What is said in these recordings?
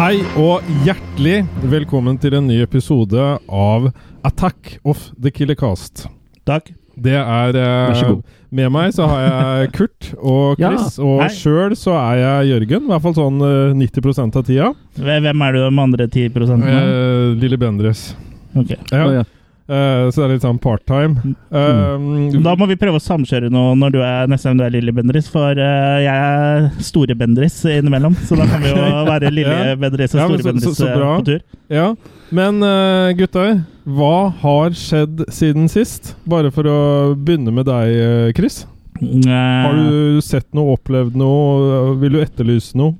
Hei og hjertelig velkommen til en ny episode av Attack of the Killer Cast. Takk. Det er eh, Vær så god. Med meg så har jeg Kurt og Ja, Chris, og hei. sjøl så er jeg Jørgen. I hvert fall sånn eh, 90 av tida. Hve- Hvem er du de andre 10 prosentene? Eh, Lille Bendres. Ok. Ja. Mhm. Å, ja. Mm. Eh, så det er litt sånn part-time. Eh, Da må vi prøve å samkjøre noe når du er nesten du er lille Bendris, for eh, jeg er store Bendris innimellom. Så da kan vi jo være lille Ja. Bendris og Ja, men store så- så- Bendris så eh, bra. på tur. Ja, men eh, gutter, hva har skjedd siden sist? Bare for å begynne med deg, eh, Chris. Har Eh, du sett noe, opplevd noe? Vil du etterlyse noe?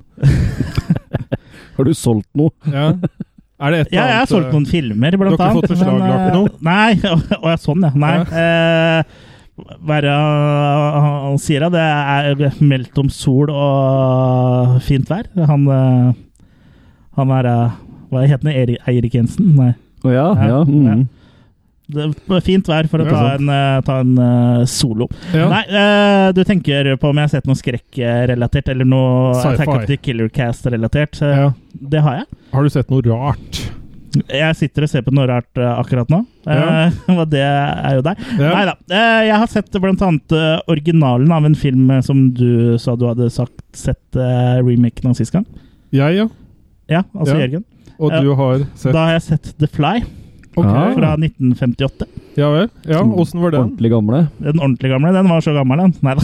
Har du solgt noe? Ja. Er det et ja, jeg har solgt noen filmer, blant eh, Du har ikke fått annet, men, forslag, Larko, eh, Nei. Å ja, sånn, ja. Nei. Eh, hva er det han han sier, da? Det er meldt om sol og fint vær. Han, eh, han er eh, Hva heter han? Erik- Eirik Jensen? Nei. Å ja, Ja, ja. Mm. Det var fint vær for å Ja. ta en, eh, ta en eh, solo. Ja. Nei, eh, du tenker på om jeg har sett noe skrekkrelatert, eller noe Sci-fi. Attack of the Killer Cast-relatert. Eh, Ja. Det har jeg. Har du sett noe rart? Jeg sitter og ser på noe rart eh, akkurat nå, Ja. Eh, og det er jo deg. Ja. Nei da. eh, jeg har sett blant annet eh, originalen av en film eh, som du sa du hadde sagt, sett eh, remaken av sist gang. Jeg, ja. Ja, altså Ja. Jørgen. Og Ja. du har sett Da har jeg sett The Fly Ok. Ah. fra 1958. Ja vel. Ja, Mm. åssen var den? Ordentlig gamle. Den ordentlig gamle, den var så gammel, den. Nei, da.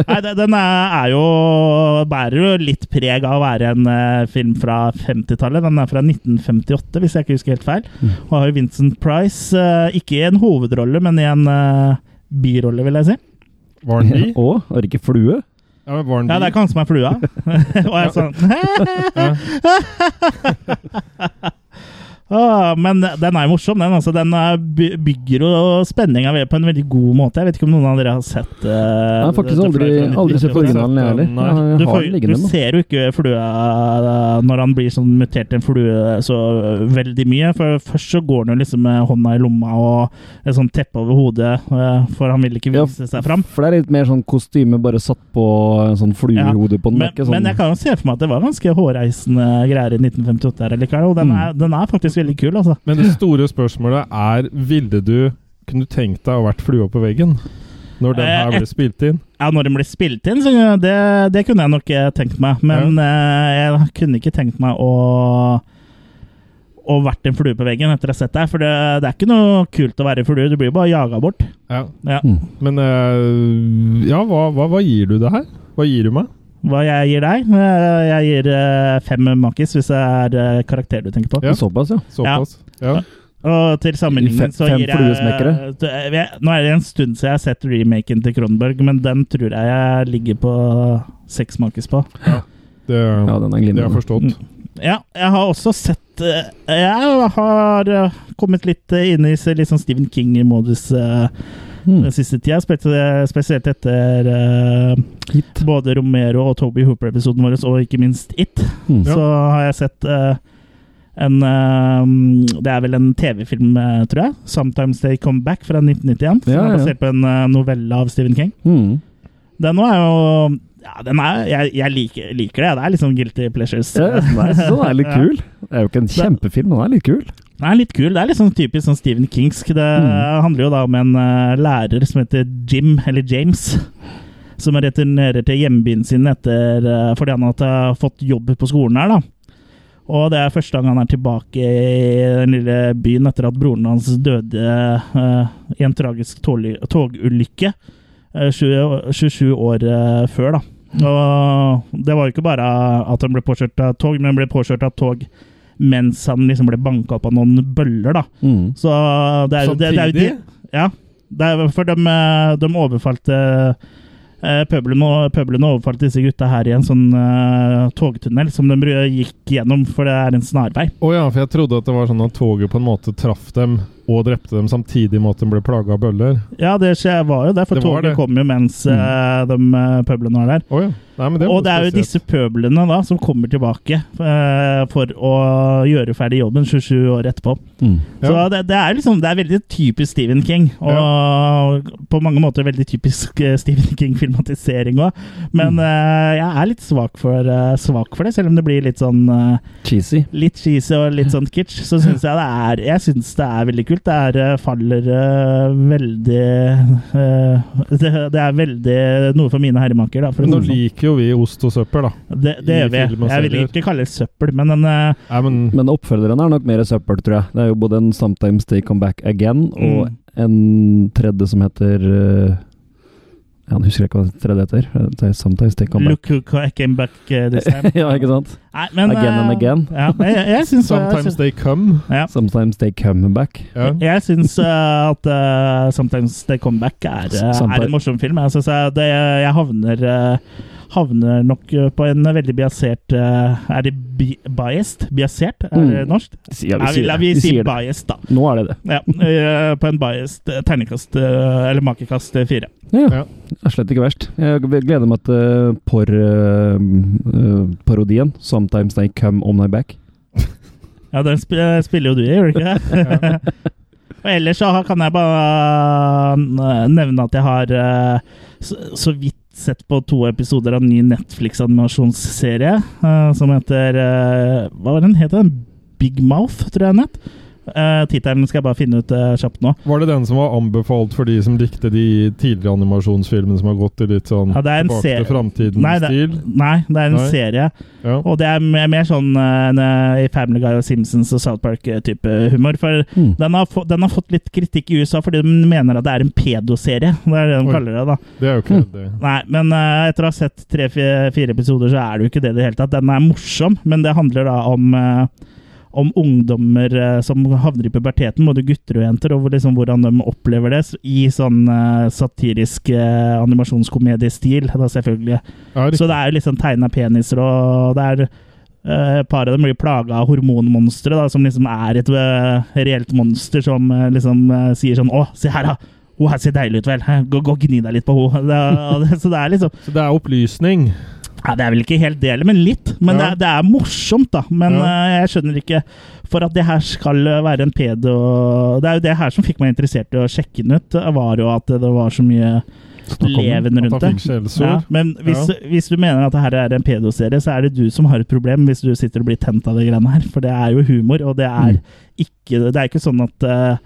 Nei den- den er, er jo Bærer jo litt preg av å være en eh, film fra 50-tallet. Den er fra 1958, hvis jeg ikke husker helt feil. Og har jo Vincent Price, eh, ikke i en hovedrolle, men i en eh, birolle, vil jeg si. Var den Ja. de? Å, er det ikke flue? Ja, men var den Ja, det er de? ikke han som er flua. Og jeg er sånn Ah, Men den er jo morsom, den. altså. Den er, by- bygger jo spenninga på en veldig god måte. Jeg vet ikke om noen av dere har sett eh, Jeg har faktisk The aldri, Fly fra aldri sett 1958. originalen, jeg heller. Nei. Jeg Du, har får, den du liggende nå. ser jo ikke flua eh, når han blir sånn mutert til en flue så eh, veldig mye. For Først så går han jo liksom med hånda i lomma og et sånt teppe over hodet, eh, for han vil ikke Ja, vise seg fram. For det er litt mer sånn kostyme bare satt på en sånn fluehode på den. Men, det er ikke sånn, men jeg kan jo se for meg at det var ganske hårreisende greier i 1958 her likevel. Og den Mm. er, den er faktisk veldig kul, altså. Men det store spørsmålet er Ville du kunne tenkt deg å vært flua på veggen når den her Eh, ble spilt inn? Ja, når den ble spilt inn, så det, det kunne jeg nok eh, tenkt meg. Men eh, jeg kunne ikke tenkt meg å å vært en flue på veggen etter å ha sett deg. For det, det er ikke noe kult å være flue. Du blir jo bare jaga bort. Ja. Ja. Mm. Men eh, Ja, hva, hva, hva gir du det her? Hva gir du meg? Hva jeg gir deg? Eh, Jeg gir eh, fem makis, hvis det er eh, karakter du tenker på. Ja. Såpass, ja. Såpass? Ja. Og til sammenligning Fem- så fem gir jeg, fluesmekkere? jeg Nå er det en stund siden jeg har sett remaken til Kronenberg, men den tror jeg jeg ligger på seks makes på. Det, Ja, den er det er glimrende. forstått. Mm. Ja, jeg har også sett eh, Jeg har eh, kommet litt eh, inn i se- litt sånn Stephen King-modus eh, Mm. den siste tida, spe- spesielt etter eh, Hit. både Romero og Toby Hooper-episoden vår, og ikke minst It. Mm. Ja. Så har jeg sett eh, en eh, Det er vel en TV-film, eh, tror jeg. 'Sometimes They Come Back' fra 1991. Som Ja, er ja. basert på en eh, novelle av Stephen King. Mm. Den nå er jo ja, den er, Jeg, jeg liker, liker det. Det er litt sånn guilty pleasures. Ja, jeg synes den er litt Ja. kul. Det er jo ikke en kjempefilm, men den er litt kul. Den er litt kul. Det er litt sånn typisk sånn Stephen Kingsk. Det Mm. handler jo da om en eh, lærer som heter Jim, eller James. Som returnerer til hjembyen sin etter, eh, fordi han har ta- fått jobb på skolen her. da. Og det er første gang han er tilbake i den lille byen etter at broren hans døde eh, i en tragisk togly- togulykke eh, 20 27 år eh, før. da. Og det var jo ikke bare at han ble påkjørt av tog, men han ble påkjørt av tog mens han liksom ble banka opp av noen bøller, da. Mm. Så det er jo det, det er jo de, Ja. Det er, jo- for de, eh, de overfalte eh, Pøbelen, og- pøbelen overfalt disse gutta her i en sånn eh, togtunnel som de br- gikk gjennom, for det er en snarvei. Å ja, for jeg trodde at det var sånn at toget på en måte traff dem og drepte dem samtidig med at de ble plaga av bøller. Ja, det skje- var jo der, for Det var toget det. kom jo mens Mm. eh, de eh, pøblene var der. Å ja. Nei, men det og det er jo spesielt. disse pøblene da som kommer tilbake eh, for å gjøre ferdig jobben 27 år etterpå. Mm. Så Ja. det, det er liksom Det er veldig typisk Stephen King. Og på mange måter veldig typisk eh, Stephen King-filmatisering òg. Men Mm. eh, jeg er litt svak for, eh, svak for det, selv om det blir litt sånn eh, Cheesy. Litt cheesy og litt sånn kitsch. Så syns jeg det er Jeg synes det er veldig kult. Det er, eh, faller eh, veldig eh, det, det er veldig noe for mine herremaker, da. For å Men si nå det sånn. liker jo vi ost og søppel, da. Det, det i gjør vi. film og Jeg vil serier. ikke kalle det søppel, men den eh, Nei, men Men oppfølgeren er nok mer søppel, tror jeg. Det er jo både en 'Sometimes They Come Back Again' og Mm. en tredje som heter eh, ja, Jeg husker ikke hva den tredje heter. Eh, det er 'Sometimes They Come Back'. Look who ca- came back eh, this time. ja, ikke sant? Nei, men, Again and eh, again. Ja, jeg, jeg, jeg syns sometimes they come. ja. Sometimes they come back. Ja. Jeg syns eh, at eh, Sometimes The Comeback er, eh, Sometimes- er en morsom film. Jeg, synes jeg, det, jeg havner, eh, havner nok eh, på en veldig biasert eh, Er det bi biased? Biasert? Er det Mm. norsk? Ja, Nei, la vi si biased, da. Nå er det det. Ja, eh, på en biased eh, terningkast eh, eller makekast eh, fire. Ja. Ja. Det er slett ikke verst. Jeg gleder meg til eh, por, eh, eh, parodien 'Sometimes They Come On My Back'. Ja, den sp eh, spiller jo du i, gjør du ikke det? Og ellers så har- kan jeg bare eh, nevne at jeg har eh, så, så vidt sett på to episoder av en ny Netflix-animasjonsserie eh, som heter eh, Hva var den het den? Big Mouth, tror jeg den het. Uh, Tittelen skal jeg bare finne ut eh, kjapt nå. Var det den som var anbefalt for de som likte de tidligere animasjonsfilmene som har gått i litt sånn Ja, det er en tilbake serie. til Nei, det, framtiden-stil? nei, det er en Nei. serie. Ja. Og det er mer, mer sånn eh, en, eh, i Family Guy og Simpsons og South Park-type humor. For Mm. Den har, få, den har fått litt kritikk i USA fordi de mener at det er en pedoserie. Det er det de Oi. kaller det, da. Det er jo ikke det. Nei, men eh, etter å ha sett tre-fire episoder, så er det jo ikke det i det hele tatt. Den er morsom, men det handler da om eh, om ungdommer eh, som havner i puberteten, både gutter og jenter, og hvor- liksom hvordan de opplever det s- i sånn eh, satirisk eh, animasjonskomediestil, da selvfølgelig. Ja, Så det er jo liksom tegna peniser, og det er eh, Et par av dem blir plaga av hormonmonstre, da, som liksom er et eh, reelt monster som eh, liksom eh, sier sånn Å, se her, da! Hun her ser deilig ut, vel. Gå, gå og gni deg litt på henne. Det, og det, så det er liksom Så det er opplysning. ja, Det er vel ikke helt delen, men litt. Men Ja. det, er, det er morsomt, da. Men Ja. eh, jeg skjønner ikke For at det her skal eh, være en pedo Det er jo det her som fikk meg interessert i å sjekke den ut, eh, var jo at det var så mye om den, leven At rundt han det. fikk Ja, skjellsord. men hvis, hvis du mener at det her er en pedoserie, så er det du som har et problem hvis du sitter og blir tent av de greiene her. For det er jo humor, og det Mm. er ikke, det er ikke sånn at eh,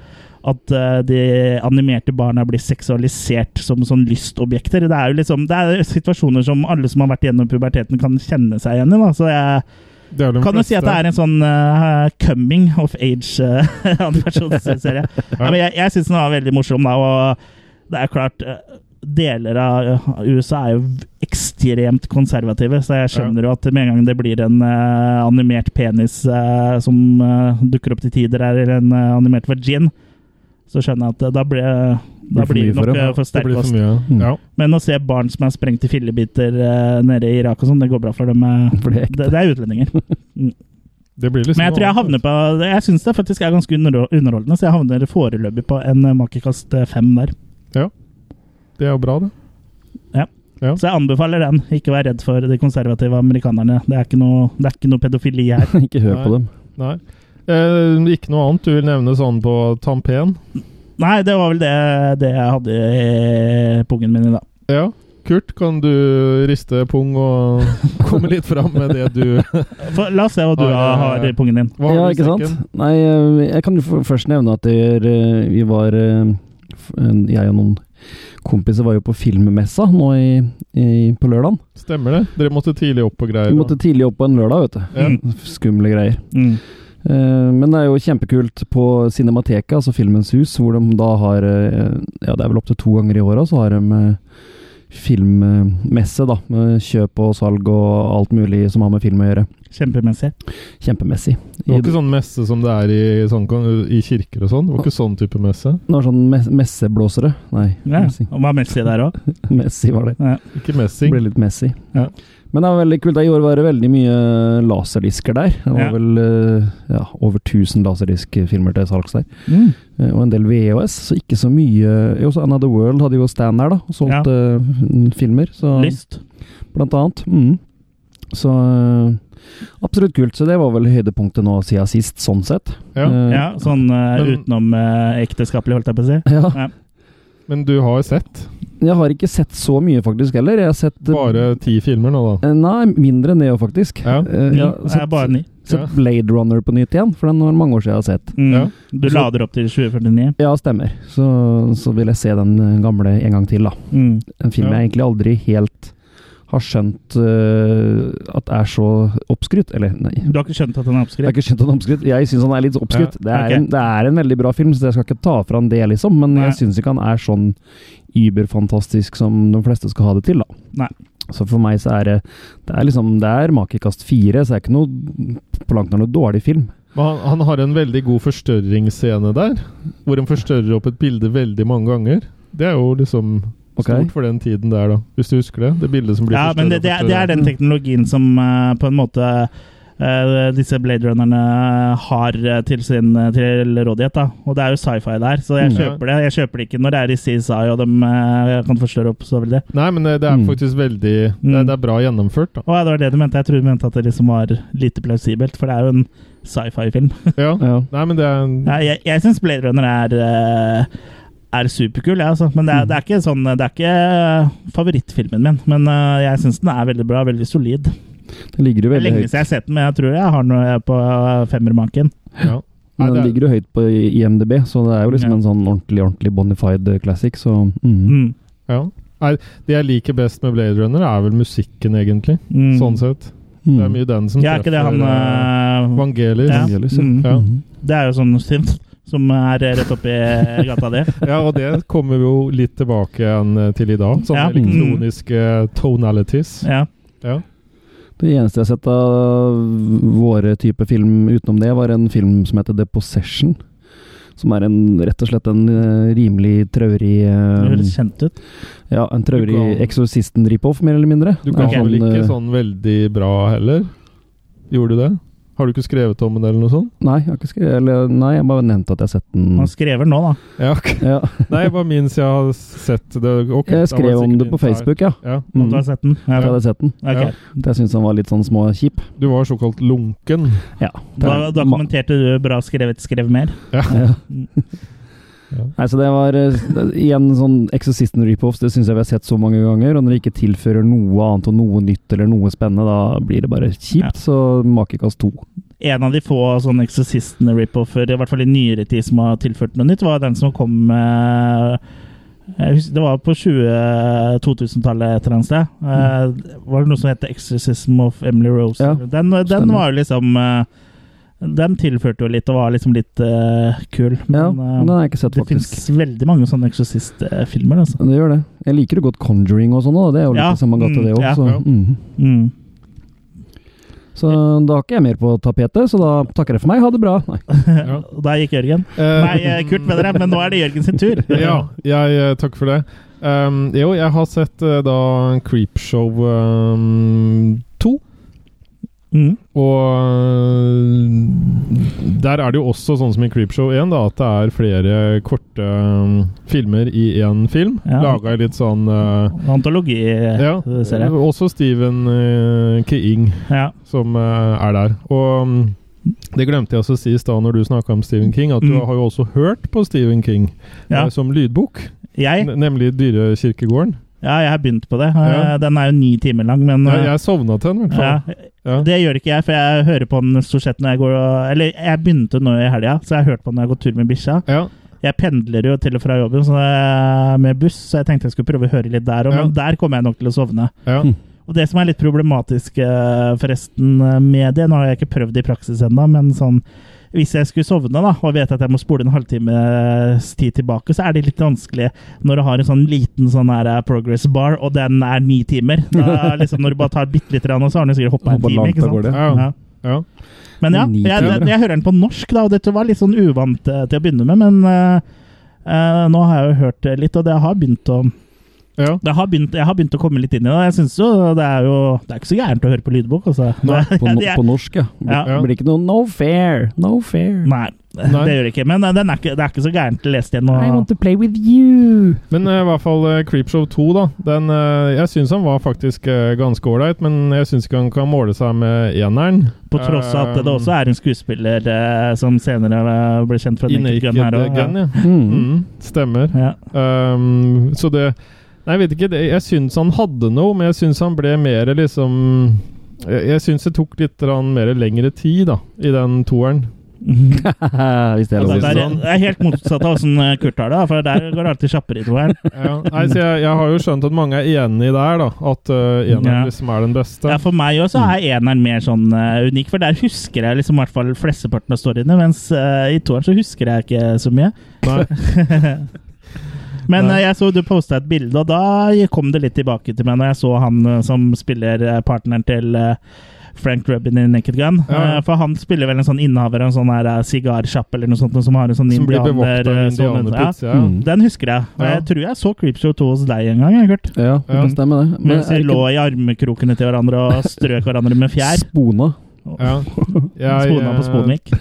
at eh, de animerte barna blir seksualisert som sånn lystobjekter. Det er jo liksom, det er situasjoner som alle som har vært gjennom puberteten, kan kjenne seg igjen i. da. Så jeg Det er de kan jo si at det er en sånn eh, coming of age-animasjonsserie. Nei, men jeg, jeg syns den var veldig morsom, da. Og det er klart eh, Deler av eh, USA er jo v- ekstremt konservative, så jeg skjønner jo at med en gang det blir en eh, animert penis eh, som eh, dukker opp til tider, her, eller en eh, animert vagin, så skjønner jeg at eh, da, ble, da Blir for blir mye det for nok dem. eh, for Det blir for sterkost. mye. Mm. Ja. Men å se barn som er sprengt i fillebiter eh, nede i Irak og sånn, det går bra for dem. eh, For det er ekte. det, det er utlendinger. Det blir liksom Men jeg tror jeg havner på Jeg syns det faktisk er ganske underho- underholdende, så jeg havner foreløpig på en eh, makekast eh, fem der. Det er jo bra, det. Så jeg anbefaler den. Ikke vær redd for de konservative amerikanerne. Det er ikke noe, det er ikke noe pedofili her. Ikke hør på dem. Nei. Eh, ikke noe annet du vil nevne sånn på tampen? Nei, det var vel det, det jeg hadde i pungen min i dag. Ja. Kurt, kan du riste pung og komme litt fram med det du For, la oss se hva du Har, eh, har i pungen din. Hva har ja, du i ikke sekken? sant? Nei, eh, jeg kan jo f- først nevne at jeg, eh, vi var eh, f- en- Jeg og noen kompiser var jo på filmmessa nå i, i, på lørdagen. Stemmer det? Dere måtte tidlig opp og greier. Vi da. måtte tidlig opp på en lørdag, vet du. Ja. Mm, Skumle greier. mm. Eh, Men det er jo kjempekult på Cinemateket, altså Filmens hus, hvor de da har eh, Ja, det er vel opptil to ganger i året, så har de eh, filmmesse, da. Med kjøp og salg og alt mulig som har med film å gjøre. Kjempemessig. Kjempemessig. Det var ikke sånn messe som det er i, sånn, i kirker og sånn? Det var ikke sånn type messe? Det var sånn mes- messeblåsere. Nei, Ja. messing. Og var Messi der òg. Messi var det. Ikke Det messing? ble litt messy. Ja. Men det var veldig kult. I år var det veldig mye laserdisker der. Det var Ja. vel eh, ja, over 1000 laserdiskfilmer til salgs der. Mm. Eh, Og en del VHS, så ikke så mye Jo, så Another World hadde jo stand der, da, og Ja. solgte eh, filmer. Så, Mm. Lyst. blant annet. Mm. Så eh, absolutt kult. Så det var vel høydepunktet nå siden sist, sånn sett. Ja. Eh, Ja, sånn eh, Men- utenom eh, ekteskapelig, holdt jeg på å si. ja. Men du har sett Jeg har ikke sett så mye, faktisk, heller. Jeg har sett eh, bare ti filmer nå, da. eh, Nei, mindre enn det, jo, faktisk. Ja. Eh, Ni. jeg har Det sett, Mm. er bare ni. Ja. sett Blade Runner på nytt igjen, for den var det mange år siden jeg har sett. Mm. Ja. Du Så- lader opp til 2049. Ja, stemmer. Så, så vil jeg se den eh, gamle en gang til, da. Mm. En film Ja. jeg egentlig aldri helt har skjønt eh, at er så oppskrytt. Eller, nei. Du har ikke skjønt at den er Jeg har oppskrytt? ikke skjønt han er oppskrytt. Jeg syns han er litt oppskrytt. det, er ok. en, det er en veldig bra film, så jeg skal ikke ta fra han det, liksom. Men Nei. jeg syns ikke han er sånn überfantastisk som de fleste skal ha det til, da. Nei. Så for meg så er det Det er liksom Det er Makekast 4, så det er ikke noe på langt nær noe dårlig film. Men han, han har en veldig god forstørringsscene der, hvor han forstørrer opp et bilde veldig mange ganger. Det er jo liksom Ok? stort for den tiden der, da. Hvis du husker det? Det bildet som blir Ja, men det, det, er- det er den teknologien som eh, på en måte eh, disse Blade Runnerne har eh, til sin eh, til rådighet. da Og det er jo sci-fi der, så jeg Mm. kjøper det. Jeg kjøper det ikke når det er i CSI og de eh, kan forstørre opp så veldig. Nei, men det, det er Mm. faktisk veldig det, Mm. det er bra gjennomført, da. Å ja, det var det du mente. Jeg tror du mente at det liksom var lite plausibelt, for det er jo en sci-fi-film. Ja. Ja. Nei, men det er Ja, jeg jeg syns Blade Runner er eh, er superkul, jeg, altså. Men det er, det, er ikke sånn, det er ikke favorittfilmen min. Men eh, jeg syns den er veldig bra, veldig solid. Den ligger jo Det er veldig lenge høyt. siden jeg har sett den, men jeg tror jeg har noe på femmermanken. ja. Nei, Men den det er- ligger jo høyt på IMDb, så det er jo liksom Ja. en sånn ordentlig ordentlig bonafide classic, så mm. Mm. ja. Nei, det jeg liker best med Blade Runner, er vel musikken, egentlig. Mm. Sånn sett. Mm. Det er mye den som Ja, er ikke det han eh, eh, Vangelis. ja. Vangelis, ja. Mm. Ja. Mhm. Det er jo sånn synth som er rett oppi gata di. Ja, og det kommer jo litt tilbake igjen eh, til i dag. Sånne Ja. Mm. elektroniske tonalities. Ja. Ja. Det eneste jeg har sett av våre type film utenom det, var en film som heter The Possession. Som er en, rett og slett en eh, rimelig Det traurig eh, høres kjent ut. Ja, en Du traurig kan- Eksorsisten-ripoff, mer eller mindre. Du ga Det er vel ikke eh, sånn veldig bra heller? Gjorde du det? Har du ikke skrevet om den, eller noe sånt? Nei, jeg har ikke skrevet Eller nei, jeg bare nevnte at jeg har sett den. Han skriver nå, da. Ja, ok. Ja. Nei, bare minst jeg har sett det. Ok, da var Jeg skrev om sikkert det på min feil. Facebook, ja. Ja. Om Mm. du har sett den? Jeg Ja. hadde sett den. Ok. Jeg syntes han var litt sånn små kjip. Du var såkalt lunken. Ja. Da, da Ma- kommenterte du 'bra skrevet, skrev mer'. Ja. Mm. Ja. Nei, så det var eh, igjen sånn Exorcisten repoffs, det syns jeg vi har sett så mange ganger. Og når det ikke tilfører noe annet og noe nytt eller noe spennende, da blir det bare Ja. kjipt. Så makekast to. en av de få sånne eksorsistene rip-offer, i hvert fall i nyere tid, som har tilført noe nytt, var den som kom eh, jeg husker, Det var på 20 2000-tallet et eller annet sted. Eh, var det noe som het 'Exorcism of Emily Rose'? Ja, den den stemmer. var jo liksom eh, Den tilførte jo litt, og var liksom litt eh, kul. Ja, Men, eh, men den har jeg ikke sett, det faktisk. fins veldig mange sånne eksorsistfilmer, altså. Det gjør det. Jeg liker jo godt Conjuring og sånn òg, det er jo litt Ja, i samme gata, mm, det òg. ja. Så, Ja. mhm. Mm. så da har ikke jeg mer på tapetet, så da takker jeg for meg. Ha det bra. Nei. Ja. Og Der gikk Jørgen. Eh, Nei, eh, Kurt, mener jeg, men nå er det Jørgen sin tur. ja, jeg, eh, takk for det. Ehm, jo, jeg har sett eh, da Creepshow ehm, 2. Mm. Og eh, der er det jo også sånn som i Creepshow 1, da, at det er flere korte ehm, filmer i én film. Ja. Laga i litt sånn eh, ja, Antologiserie. også Stephen eh, King Ja. som eh, er der. Og mm, det glemte jeg også å si i stad når du snakka om Stephen King, at du Mm. har jo også hørt på Stephen King Ja. eh, som lydbok. Jeg, Ne- Nemlig Dyrekirkegården. ja, jeg har begynt på det. Eh, Ja. Den er jo ni timer lang, men Jeg, eh, jeg sovna til den, i hvert ja, fall. Ja. Det gjør ikke jeg, for jeg hører på den stort sett når jeg går og Eller jeg begynte nå i helga, så jeg hørte på den når jeg går tur med bikkja. Ja. Jeg pendler jo til og fra jobben så jeg, med buss, så jeg tenkte jeg skulle prøve å høre litt der òg, Ja. men der kommer jeg nok til å sovne. Ja. Hm. Og det som er litt problematisk eh, forresten eh, med det, nå har jeg ikke prøvd det i praksis ennå, men sånn hvis jeg skulle sovne da, og vet at jeg må spole en halvtimes tid tilbake, så er det litt vanskelig når du har en sånn liten sånn her eh, progress bar, og den er ni timer. Da, liksom, når du bare tar bitte litt, rann, og så har den jo sikkert hoppa en Hopper time. langt ikke av sant? gårde. Ja. Ja. ja. Men ja, Ni jeg, timer, jeg, ja. hører den på norsk, da, og dette var litt sånn uvant eh, til å begynne med, men eh, eh, nå har jeg jo hørt eh, litt, og det har begynt å Ja. Det har begynt, jeg har begynt å komme litt inn i det. Jeg synes jo det er jo Det er ikke så gærent å høre på lydbok, altså. Nei, Det- På, no, det er- på norsk, ja. Det Ja. blir ikke noe no fair, no fair. Nei, Nei. det gjør det ikke. Men eh, den er ikke, det er ikke så gærent lest igjen. I want Og, to play with you. Men eh, i hvert fall eh, Creepshow 2, da. Den, eh, jeg syns han var faktisk eh, ganske ålreit, men jeg syns ikke han kan måle seg med eneren. på tross av at det også er en skuespiller eh, som senere eh, ble kjent fra I Naked Gun her Naked også, Gun, ja. Mm. Mm, stemmer. Ja. Ja. Um, så det Nei, jeg vet ikke. Det, jeg syns han hadde noe, men jeg syns han ble mer liksom Jeg, jeg syns det tok litt grann mer lengre tid, da, i den toeren. Hvis det er Altså, det, lov å si. er, Sånn. det er helt motsatt av åssen Kurt har det, da, for der går det alltid kjappere i toeren. Ja. Nei, så jeg, jeg har jo skjønt at mange er enig der, da. At uh, eneren Ja. liksom er den beste. Ja, for meg også er eneren mer sånn eh, unik, for der husker jeg liksom i hvert fall flesteparten av storyene, mens eh, i toeren så husker jeg ikke så mye. Nei. Men Nei. eh, jeg så du posta et bilde, og da kom det litt tilbake til meg når jeg så han eh, som spiller eh, partneren til eh, Frank Rubin i Naked Gun. Ja. Eh, For han spiller vel en sånn innehaver av en sånn her, eh, sigarsjapp eller noe sånt, som har en sånn Som blir indianer... bevoktet av eh, sånn- indianerpizza. Ja. ja. Den husker jeg. Og Ja. Jeg tror jeg så Creepshow 2 hos deg en gang, jeg, Kurt. Ja, det Ja. kan stemme, det. Men Mens vi er det lå ikke i armkrokene til hverandre og strøk hverandre med fjær. Spona. Ja. Jeg, eh, Spona på Sponvik.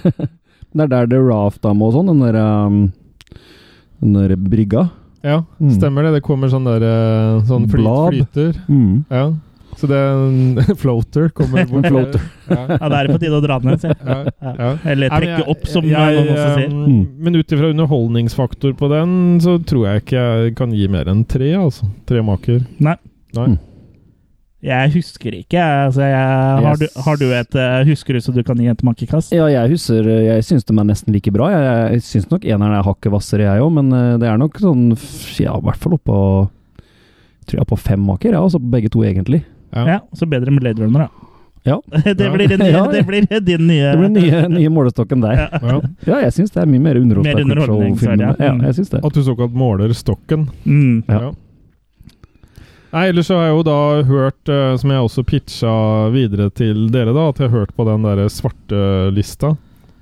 Det er der det er raftdam og sånn, den der um, Den der brygga. eh, Ja, Mm. stemmer det. Det kommer sånn der eh, Sånn flyt, Blad. flyter. Mm. Ja. Så det er en floater kommer bort. Floater. Ja. Ja, da er det på tide å dra ned, sier jeg. Ja. Ja. Eller Nei, men trekke jeg- opp, som jeg, man også sier. eh, Mm. Men ut ifra underholdningsfaktor på den, så tror jeg ikke jeg kan gi mer enn tre, altså. Tre maker. Jeg husker ikke. Altså, jeg, har, du, Yes. har du et eh, Husker du så du kan gi et makekast? Ja, jeg husker Jeg syns de er nesten like bra. Jeg, jeg syns nok eneren er hakket hvassere, jeg òg, men eh, det er nok sånn f- Ja, i hvert fall oppå Tror jeg er på fem maker, ja, altså på begge to, egentlig. Ja. Ja. Så bedre med Blade Runner, da. Ja. det, Ja. blir din, Ja, ja. det blir din nye Det blir den nye, nye målestokken der. Ja. Ja, jeg syns det er mye mer Mer underholdning. underholdningsverdig, ja. Ja, jeg syns det. At du såkalt måler stokken. Mm. Ja. Nei, ellers så har jeg jo da hørt, eh, som jeg også pitcha videre til dere, da, at jeg har hørt på den derre svartelista.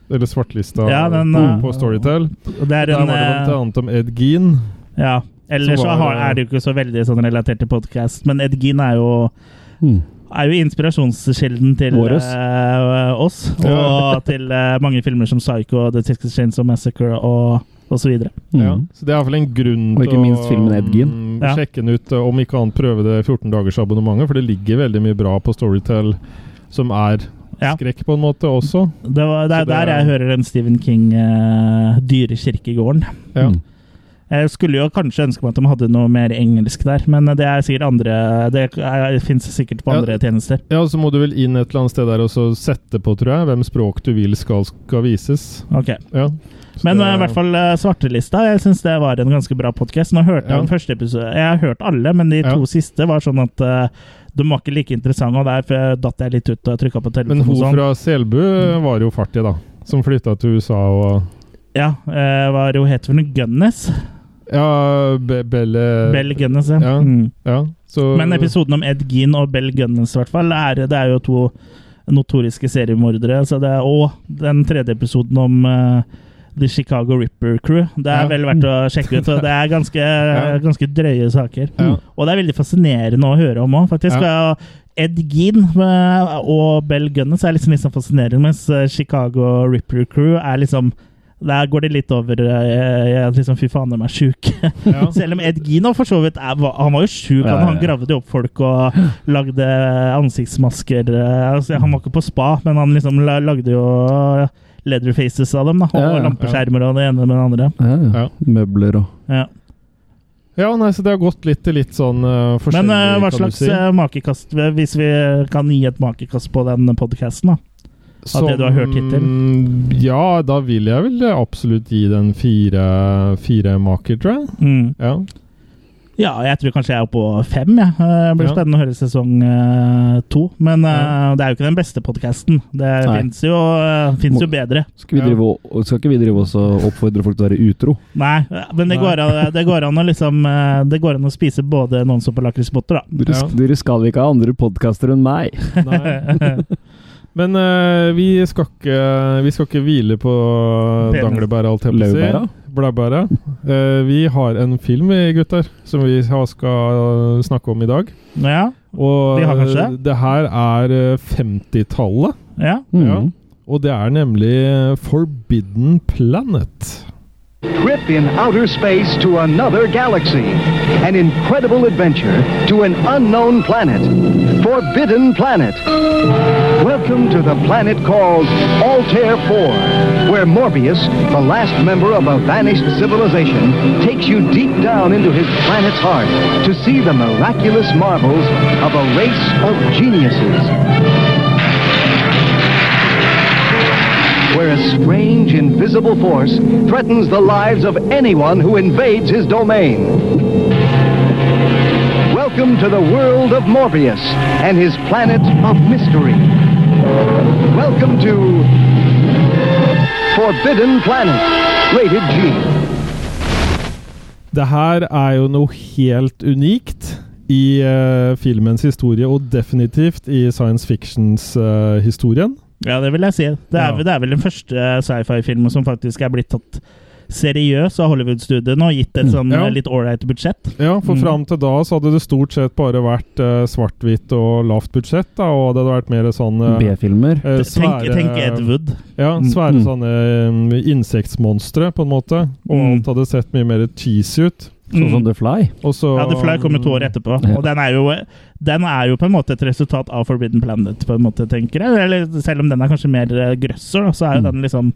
Eller svartlista Ja, den, på, eh, på Storytel. Det er Der en var det blant eh, annet om Ed Gean. Ja. Ellers Så var så har, det- er det jo ikke så veldig sånn relatert til podkast, men Ed Gein er jo Mm. er jo inspirasjonskilden til Våres. eh, oss, og Ja. til eh, mange filmer som Psycho, The Texas Chainsaw Massacre og, og så videre. Mm. Ja, så det er iallfall en grunn Og ikke minst filmen Ed Gein. mm, Ja. sjekke den ut, eh, om ikke annet prøve det 14 dagers abonnementet, for det ligger veldig mye bra på Storytel som er Ja. skrekk på en måte også. Det, var, det Så er det- der jeg hører den Stephen King eh, Dyrekirkegården. Ja. Mm. Jeg skulle jo kanskje ønske meg at de hadde noe mer engelsk der, men det er sikkert andre Det er- finnes sikkert på Ja. andre tjenester. Ja, og så må du vel inn et eller annet sted der og så sette på, tror jeg, hvem språk du vil skal, skal vises. Ok. Ja. Så Men det- eh, i hvert fall eh, Svartelista. Jeg syns det var en ganske bra podkast. Nå hørte jeg Ja. den første episode. Jeg har hørt alle, men de to Ja. siste var sånn at eh, de var ikke like interessante, og derfor datt jeg litt ut og trykka på Men telefonen. hun og sånn. fra Selbu eh, var jo fartig, da. Som flytta til USA og Ja, eh, hva er det hun heter for noe? Gunnes? Ja, Be Belle Bell Gunnes, ja. Eh, Ja. Mm. Ja, så Men episoden om Ed Gein og Bell Gunness, i hvert fall, er, det er jo to notoriske seriemordere. Så det er, og den tredje episoden om eh, The Chicago Ripper Crew. Det er Ja. vel verdt å sjekke ut. Og det er ganske, ganske drøye saker. Ja. Og det er veldig fascinerende å høre om òg, faktisk. Og Ed Gein eh, og Bell Gunness er liksom, liksom fascinerende, mens eh, Chicago Ripper Crew er liksom der går det litt over eh, jeg, liksom, Fy faen, de er sjuke. ja. Selv om Ed Gino for så vidt er, var- Han var jo sjuk. Ja, ja, Han, han ja. gravde jo opp folk og lagde ansiktsmasker. eh, Altså, han var ikke på spa, men han liksom la- lagde jo eh, leatherfaces av dem. Da, og Ja, ja. lampeskjermer og det ene med det andre. Ja, ja. Ja. Møbler og Ja. ja, nei, så det har gått litt til litt sånn uh, forskjellig, Men eh, hva kan du slags si. eh, makekast Hvis vi kan gi et makekast på den podkasten, da? av det du har hørt hittil? Som- Ja, da vil jeg vel absolutt gi den fire, fire maker, tror jeg. Mm. Ja. Ja, jeg tror kanskje jeg er oppe på fem. jeg. Eh, Det blir Ja. spennende å høre sesong eh, to. Men eh, Ja. det er jo ikke den beste podkasten. Det Nei. fins jo, eh, finnes jo bedre. Skal, Ja. vi drive og, og- skal ikke vi drive oss og oppfordre folk til å være utro? Nei, men det Nei. går, an, det går an å liksom eh, Det går an å spise både nonstop og lakrisbotter, da. Dere, Ja. dere skal ikke ha andre podkaster enn meg! Nei. Men eh, vi, skal ikke, vi skal ikke hvile på Penis. danglebæret, alt jeg på å si. Laurbæra? Blæbæret. Eh, vi har en film, vi, gutter, som vi har- skal snakke om i dag. Ja, Og Vi har kanskje eh, det her er eh, 50-tallet. ja. Ja. Mm. Og det er nemlig eh, Forbidden Planet. Trip in outer space to another galaxy. An incredible adventure to an unknown planet. Forbidden Planet. Welcome to the planet called Altair 4, where Morbius, the last member of a vanished civilization, takes you deep down into his planet's heart to see the miraculous marvels of a race of geniuses. where a strange invisible force threatens the lives of anyone who invades his domain. Welcome to the world of Morbius and his planet of mystery. Welcome to Forbidden Planet, rated G. Det her er jo noe helt unikt i eh, filmens historie, og definitivt i science fictions eh, historien. ja det vil jeg si. Det Ja. er, det er vel den første sci-fi-filmen som faktisk er blitt tatt seriøs av Hollywood-studiene og gitt et sånn Mm. Ja. eh, litt ålreit budsjett. Ja, for Mm. fram til da så hadde det stort sett bare vært eh, svart-hvitt og lavt budsjett, da, og det hadde vært mer sånn eh, B-filmer. eh, Tenk, svære- tenk Ed Wood. Ja, svære Mm. sånne eh, insektmonstre, på en måte. Og Mm. alt hadde sett mye mer cheesy ut. Sånn som Mm. The Fly. Og så Ja, The Fly kom jo to år etterpå, Ja. og den er, jo, den er jo på en måte et resultat av Forbidden Planet, på en måte, tenker jeg. Eller, selv om den er kanskje mer eh, grøsser, da, så er jo Mm. den liksom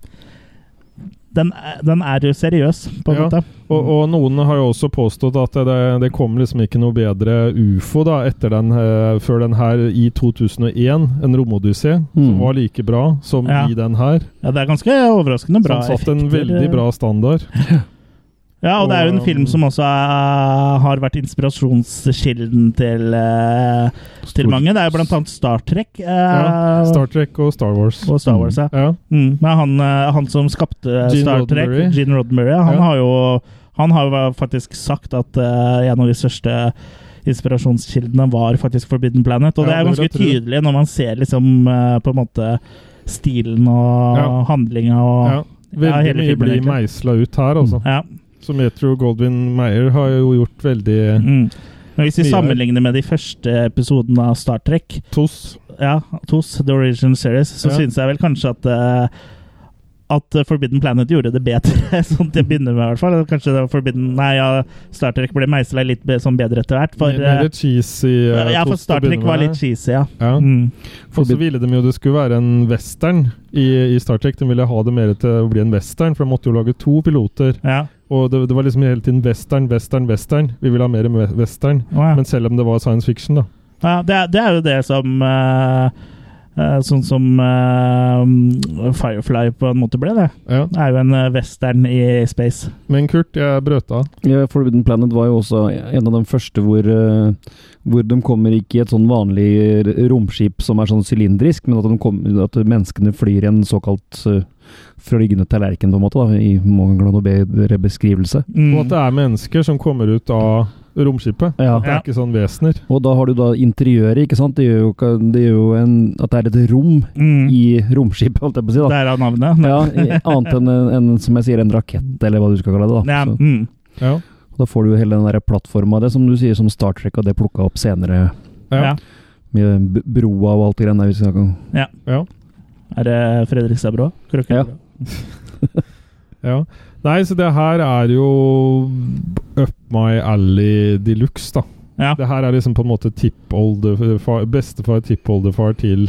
den er, den er jo seriøs, på en Ja. måte. Og, og noen har jo også påstått at det, det kom liksom ikke noe bedre ufo da, etter den, eh, før den her i 2001. En romodyssé som Mm. var like bra som Ja. i den her. Ja, det er ganske overraskende bra. som satt en effekter. veldig bra eh, standard. Ja, og det er jo en og- film som også er, har vært inspirasjonskilden til, eh, til mange. Det er jo blant annet Star Trek eh, Ja, Star Trek og Star Wars. og Star Wars. Ja. Ja. Mm, men han, eh, han som skapte Gene Star Trek, Roddenberry. Gene Roddenberry, han Ja. har jo han har jo faktisk sagt at eh, en av de største inspirasjonskildene var faktisk Forbidden Planet. Ja, Og det det er vil ganske jeg tro. tydelig når man ser liksom eh, på en måte stilen og Ja. handlinga og Ja. Veldig hele mye filmen, blir egentlig. meisla ut her, altså. Ja. Som jeg tror Goldwyn Meyer har jo gjort veldig Mm. Men hvis vi Mye. sammenligner med de første episodene av Star Trek, toss. ja, TOS, The Original Series, så Ja. synes syns jeg vel kanskje at eh, at eh, Forbidden Planet gjorde det bedre, sånn til å begynne med, i hvert fall. Kanskje det var Forbidden Nei, ja, Star Trek ble meisla litt be, sånn bedre etter hvert. For, Mer eh, mer cheesy eh, ja, for toss til å Star Trek begynne var med. litt cheesy, ja. ja. Mm. Og så ville de jo det skulle være en western i, i Star Trek. De ville ha det mer til å bli en western, for de måtte jo lage to piloter. ja. Og det, det var liksom hele tiden western, western, western. Vi ville ha mer we- western. Å, ja. Men selv om det var science fiction, da. ja det, er, det er jo det som eh, eh, Sånn som eh, Firefly på en måte ble, det. Ja. Det er jo en eh, western i space. Men Kurt, jeg brøt av. Ja, Forbidden Planet var jo også en av de første hvor, eh, hvor de kommer ikke i et sånn vanlig r- romskip som er sånn sylindrisk, men at, de kom, at menneskene flyr i en såkalt eh, flygende tallerken, på en måte, da, i mangel av noe bedre beskrivelse. Mm. Og at det er mennesker som kommer ut av romskipet. Ja. Det Ja. er ikke sånn vesener. Og da har du da interiøret, ikke sant? Det gjør jo, ikke- det gjør jo en, at det er et rom Mm. i romskipet, holdt jeg på å si. da. Det er av navnet. Ja, i- annet enn en, en, som jeg sier, en rakett, eller hva du skal kalle det. da. Ja, Så, mm. Ja. da får du jo hele den der plattforma, det som du sier, som Star Trek, og det plukka opp senere. Ja. Ja. Med b- broa og alt det greiene der. vi snakker om. Ja. Er det Fredrikstad Brå? Ja. ja. Nei, så det her er jo up my alley de luxe, da. Ja. Det her er liksom på en måte tippoldefar Bestefar, tippoldefar til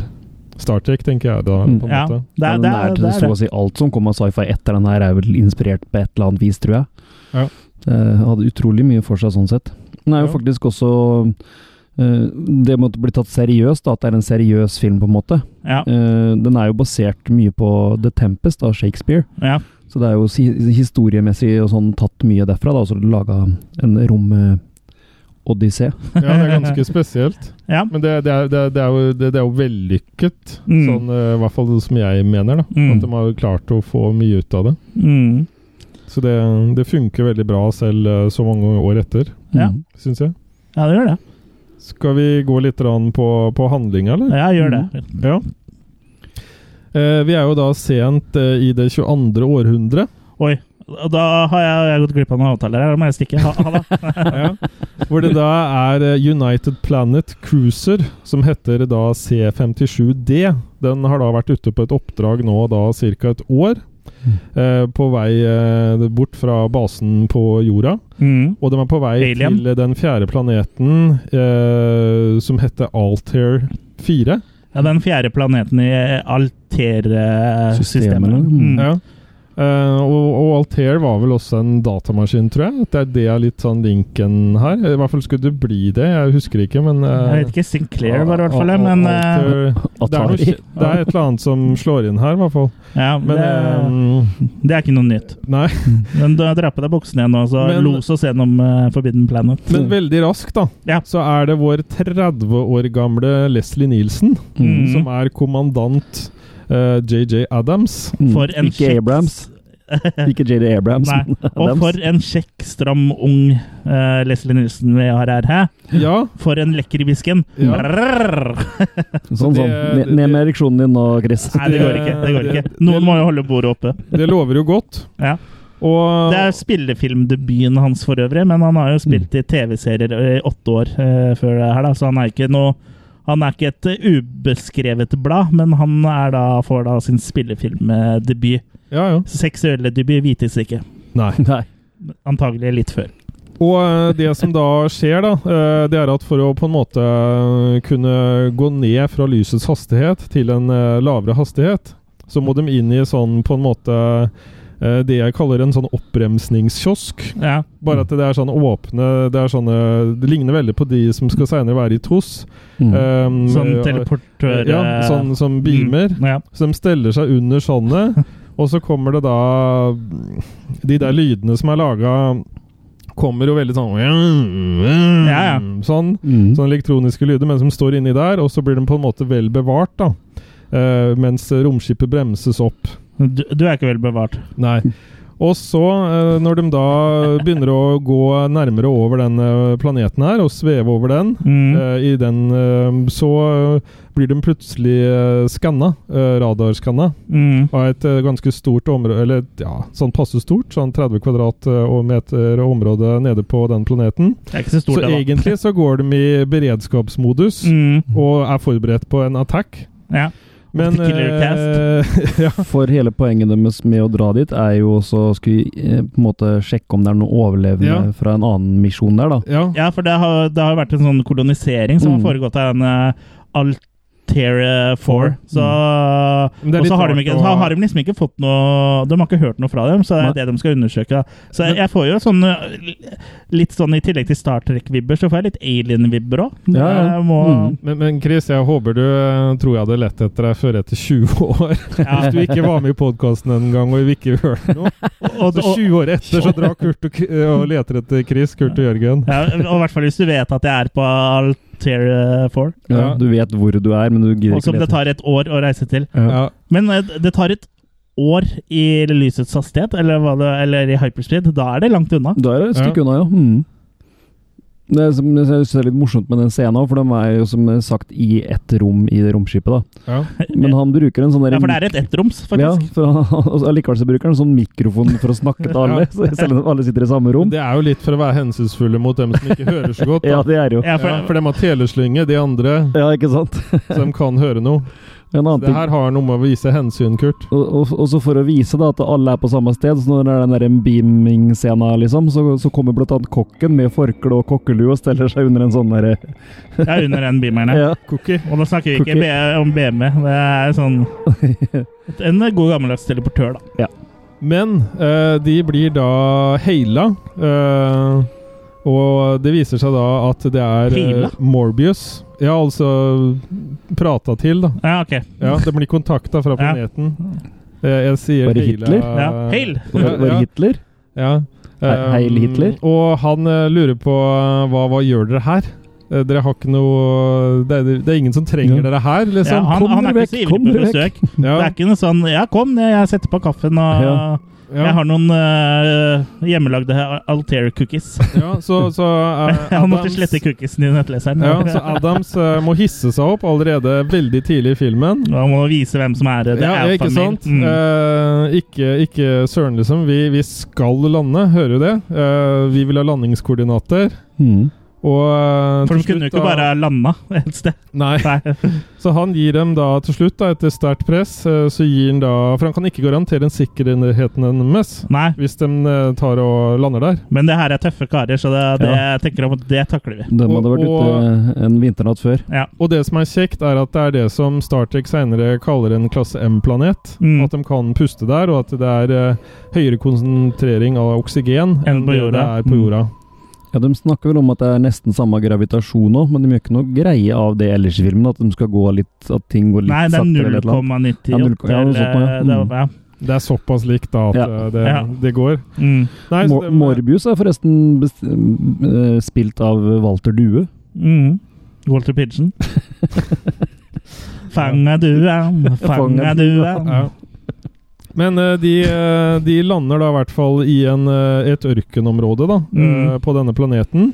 Star Trek, tenker jeg da, Mm. på en Ja, måte. det er Men det. den Er, er til det, er så det. å si alt som kom av sci-fi etter den her, er vel inspirert på et eller annet vis, tror jeg. Ja. Eh, hadde utrolig mye for seg sånn sett. Den er jo Ja. faktisk også eh, Det måtte bli tatt seriøst, da, at det er en seriøs film, på en måte. Ja. Eh, den er jo basert mye på The Tempest av Shakespeare. Ja. Så det er jo si- historiemessig og sånn tatt mye derfra, da, og så laga en rom-odyssé. Ja, det er ganske spesielt. ja. Men det, det, er, det, er- det, er, jo, det, det er jo vellykket, Mm. sånn, eh, i hvert fall som jeg mener. da. Mm. At de har klart å få mye ut av det. Mm. Så det, det funker veldig bra selv eh, så mange år etter, Ja. Mm. syns jeg. ja, det gjør det. Skal vi gå litt rann på, på handlinga, Mm. eller? Ja, gjør det. Ja. Eh, vi er jo da sent eh, i det 22. århundre. Oi. Og da har jeg, jeg har gått glipp av noen avtaler her, da må jeg stikke. Ha, ha det. Ja. Hvor det da er eh, United Planet Cruiser, som heter da C57D. Den har da vært ute på et oppdrag nå da ca. et år. eh, på vei eh, bort fra basen på jorda. Mm. Og de er på vei Alien. til eh, den fjerde planeten eh, som heter Altair 4. Ja, den fjerde planeten i Systemene. Alter-systemet. Mm. Ja. Eh, og, og Altair var vel også en datamaskin, tror jeg. At det er det er litt sånn linken her. I hvert fall skulle det bli det. Jeg husker ikke, men eh, Jeg vet ikke, Sinclair var det i hvert fall, Al- øh, Al- men Altair- eh, Det er, noe, Atari. kje- det er et eller annet som slår inn her, i hvert fall. ja, Men det, eh, det er ikke noe nytt. Nei. Men da drar jeg på deg buksen igjen nå, så Men- los oss gjennom eh, Forbidden Planet. Men veldig raskt, da, Ja. så er det vår 30 år gamle Leslie Nielsen, Mm. som er kommandant eh, JJ Adams. Mm. For en Ikke kjeks- Abrams. Ikke JD Abrams. Nei. men Og Adams. for en kjekk, stram, ung eh, Leslie Nilsen vi har her. hæ? Ja, For en lekker hvisken! Ja. Brrrr. Sånn, sånn. Det- Ned- Ned med ereksjonen din nå, Chris. Nei, det går ikke. det går ikke. Noen må jo holde bordet oppe. det lover jo godt. Ja. Og Det er spillefilmdebuten hans for øvrig, men han har jo spilt i TV-serier i åtte år eh, før det her, da, så han er ikke noe han er ikke et eh, ubeskrevet blad, men han er da, får da sin spillefilmdebut. Ja, ja. Seksuelle debut vites ikke. Nei. Nei. Antagelig litt før. Og eh, det som da skjer, da, eh, det er at for å på en måte eh, kunne gå ned fra lysets hastighet til en eh, lavere hastighet, så må de inn i sånn på en måte eh, det jeg kaller en sånn oppbremsningskiosk. Ja. Bare at det er sånn åpne Det er sånne Det ligner veldig på de som skal seinere være i TOS. Mm. Um, Sånn eh, teleportør... eh, Ja, sånn som beamer. Mm, ja. Så de steller seg under sånne, og så kommer det da De der lydene som er laga, kommer jo veldig sånn Ja, ja. Sånn. Mm. Sånne elektroniske lyder, men som står inni der, og så blir de på en måte vel bevart, da. Eh, mens romskipet bremses opp. Du, du er ikke vel bevart. Nei. Og så, eh, når de da begynner å gå nærmere over den eh, planeten her, og sveve over den, Mm. eh, i den eh, så eh, blir de plutselig eh, skanna, eh, radarskanna, Mm. av et eh, ganske stort område, eller et, ja, sånn passe stort, sånn 30 kvadratmeter område nede på den planeten. Det er ikke så Så stort, det, da. egentlig så går de i beredskapsmodus, Mm. og er forberedt på en attack. Ja. Men Killer eh, ja, For hele poenget deres med å dra dit er jo også å skulle eh, på en måte sjekke om det er noen overlevende Ja. fra en annen misjon der, da. ja, ja, for det har, det har vært en sånn kolonisering som Mm. har foregått av en uh, Altera 4. Så, Men Mm. det er og litt så har de, rart ikke, å- så har de liksom ikke fått noe De har ikke hørt noe fra dem, så det er det de skal undersøke. Så jeg, jeg får jo sånn uh, Litt sånn i tillegg til Star Trek-vibber, så får jeg litt Alien-vibber Eh, òg. Ja, ja. Mm. Men, men Chris, jeg håper du eh, tror jeg hadde lett etter deg før etter 20 år. Ja. Hvis du ikke var med i podkasten en gang og vi ikke hørte noe. Og, Så og, 20 år etter så drar Kurt og, K- og leter etter Chris, Kurt og Jørgen. ja, og i hvert fall hvis du vet at jeg er på Altera 4. Ja. Ja. Du vet hvor du er, men du gidder Og ikke som det tar et år å reise til. Ja. Men eh, det tar et år i lysets hastighet, eller, hva det, eller i hyperspeed. Da er det langt unna. Da er det et stykke unna, ja. Mm. Det er, som- jeg synes det er litt morsomt med den scenen, også, for de er jo som sagt i ett rom i det romskipet. da. Ja. Men han bruker en sånn der Ja, for det er et ettroms, Ja, faktisk. for han, og så allikevel så bruker han en sånn mikrofon for å snakke til alle, Ja. så selv om alle sitter i samme rom. Det er jo litt for å være hensynsfulle mot dem som ikke hører så godt. Da. Ja, det er jo. Ja, for, Ja, for dem har teleslynge, de andre, Ja, ikke sant? så de kan høre noe. En annen Det ting. her har noe med å vise hensyn, Kurt. Og, og, og så for å vise da at alle er på samme sted, så når det er den der beaming-scena, liksom, så, så kommer blant annet kokken med forkle og kokkelue og steller seg under en sånn derre det er under den beameren. Ja. ja. Cookie. Og nå snakker vi ikke Cookie. B- om BMW. Det er sånn En god gammeldags teleportør, da. Men eh, de blir da heila. eh, og det viser seg da at det er eh, Heila? Morbius. Ja, altså prata til, da. Ja, OK. Ja, De blir kontakta fra planeten. Eh, Jeg sier Var det heila- Hitler? Ja. Heil! Var, var det Ja, Hitler? ja. He- heil Hitler? Um, og han eh, lurer på eh, hva, hva gjør dere her? Eh, dere har ikke noe det er, det er ingen som trenger Ja. dere her, Ja, liksom. han, sånn, kom han er dere ikke så vekk, ivrig kom på dere besøk. Det er ikke noe sånn 'ja, kom, jeg setter på kaffen' og Ja. Ja. Jeg har noen eh, hjemmelagde Altair cookies. Ja, så, så eh, Jeg måtte Adams- slette cookiesen i nettleseren. Ja, så Adams eh, må hisse seg opp allerede veldig tidlig i filmen. Og må vise hvem som er det. ja, er ikke familien. sant? Mm. Eh, ikke, ikke søren, liksom. Vi, vi skal lande, hører jo det. Eh, vi vil ha landingskoordinater. Mm. Og eh, For de til kunne slutt jo ikke da- bare ha landa et sted. Nei. Nei. Så han gir dem da til slutt, da, etter sterkt press, eh, så gir han da For han kan ikke garantere en sikkerheten deres Nei. hvis de eh, tar og lander der. Men det her er tøffe karer, så det, det jeg tenker om at det takler vi. De hadde vært Og- ute en vinternatt før. Ja. Og det som er kjekt, er at det er det som Star Trek senere kaller en klasse M-planet. Mm. At de kan puste der, og at det er eh, høyere konsentrering av oksygen enn, på det jorda. det er på Mm. jorda. Ja, De snakker vel om at det er nesten samme gravitasjon òg, men de gjør ikke noe greie av det ellers i filmen. At de skal gå litt, at ting går litt Nei, det er saktere eller et eller annet. 0,98. Ja, null- ja, eller- sånn på, ja. eh, det var- Mm. ja. Det er såpass likt da at Ja. eh, det, Ja. det går. Mm. Nei, så Mor det- Morbius er forresten best, eh, spilt av Walter Due. Mm. Walter Pigeon. Fanga du, ja. Fanga Fanga du, ja. ja. Men eh, de, eh, de lander da i hvert fall i en, eh, et ørkenområde da, Mm. eh, på denne planeten.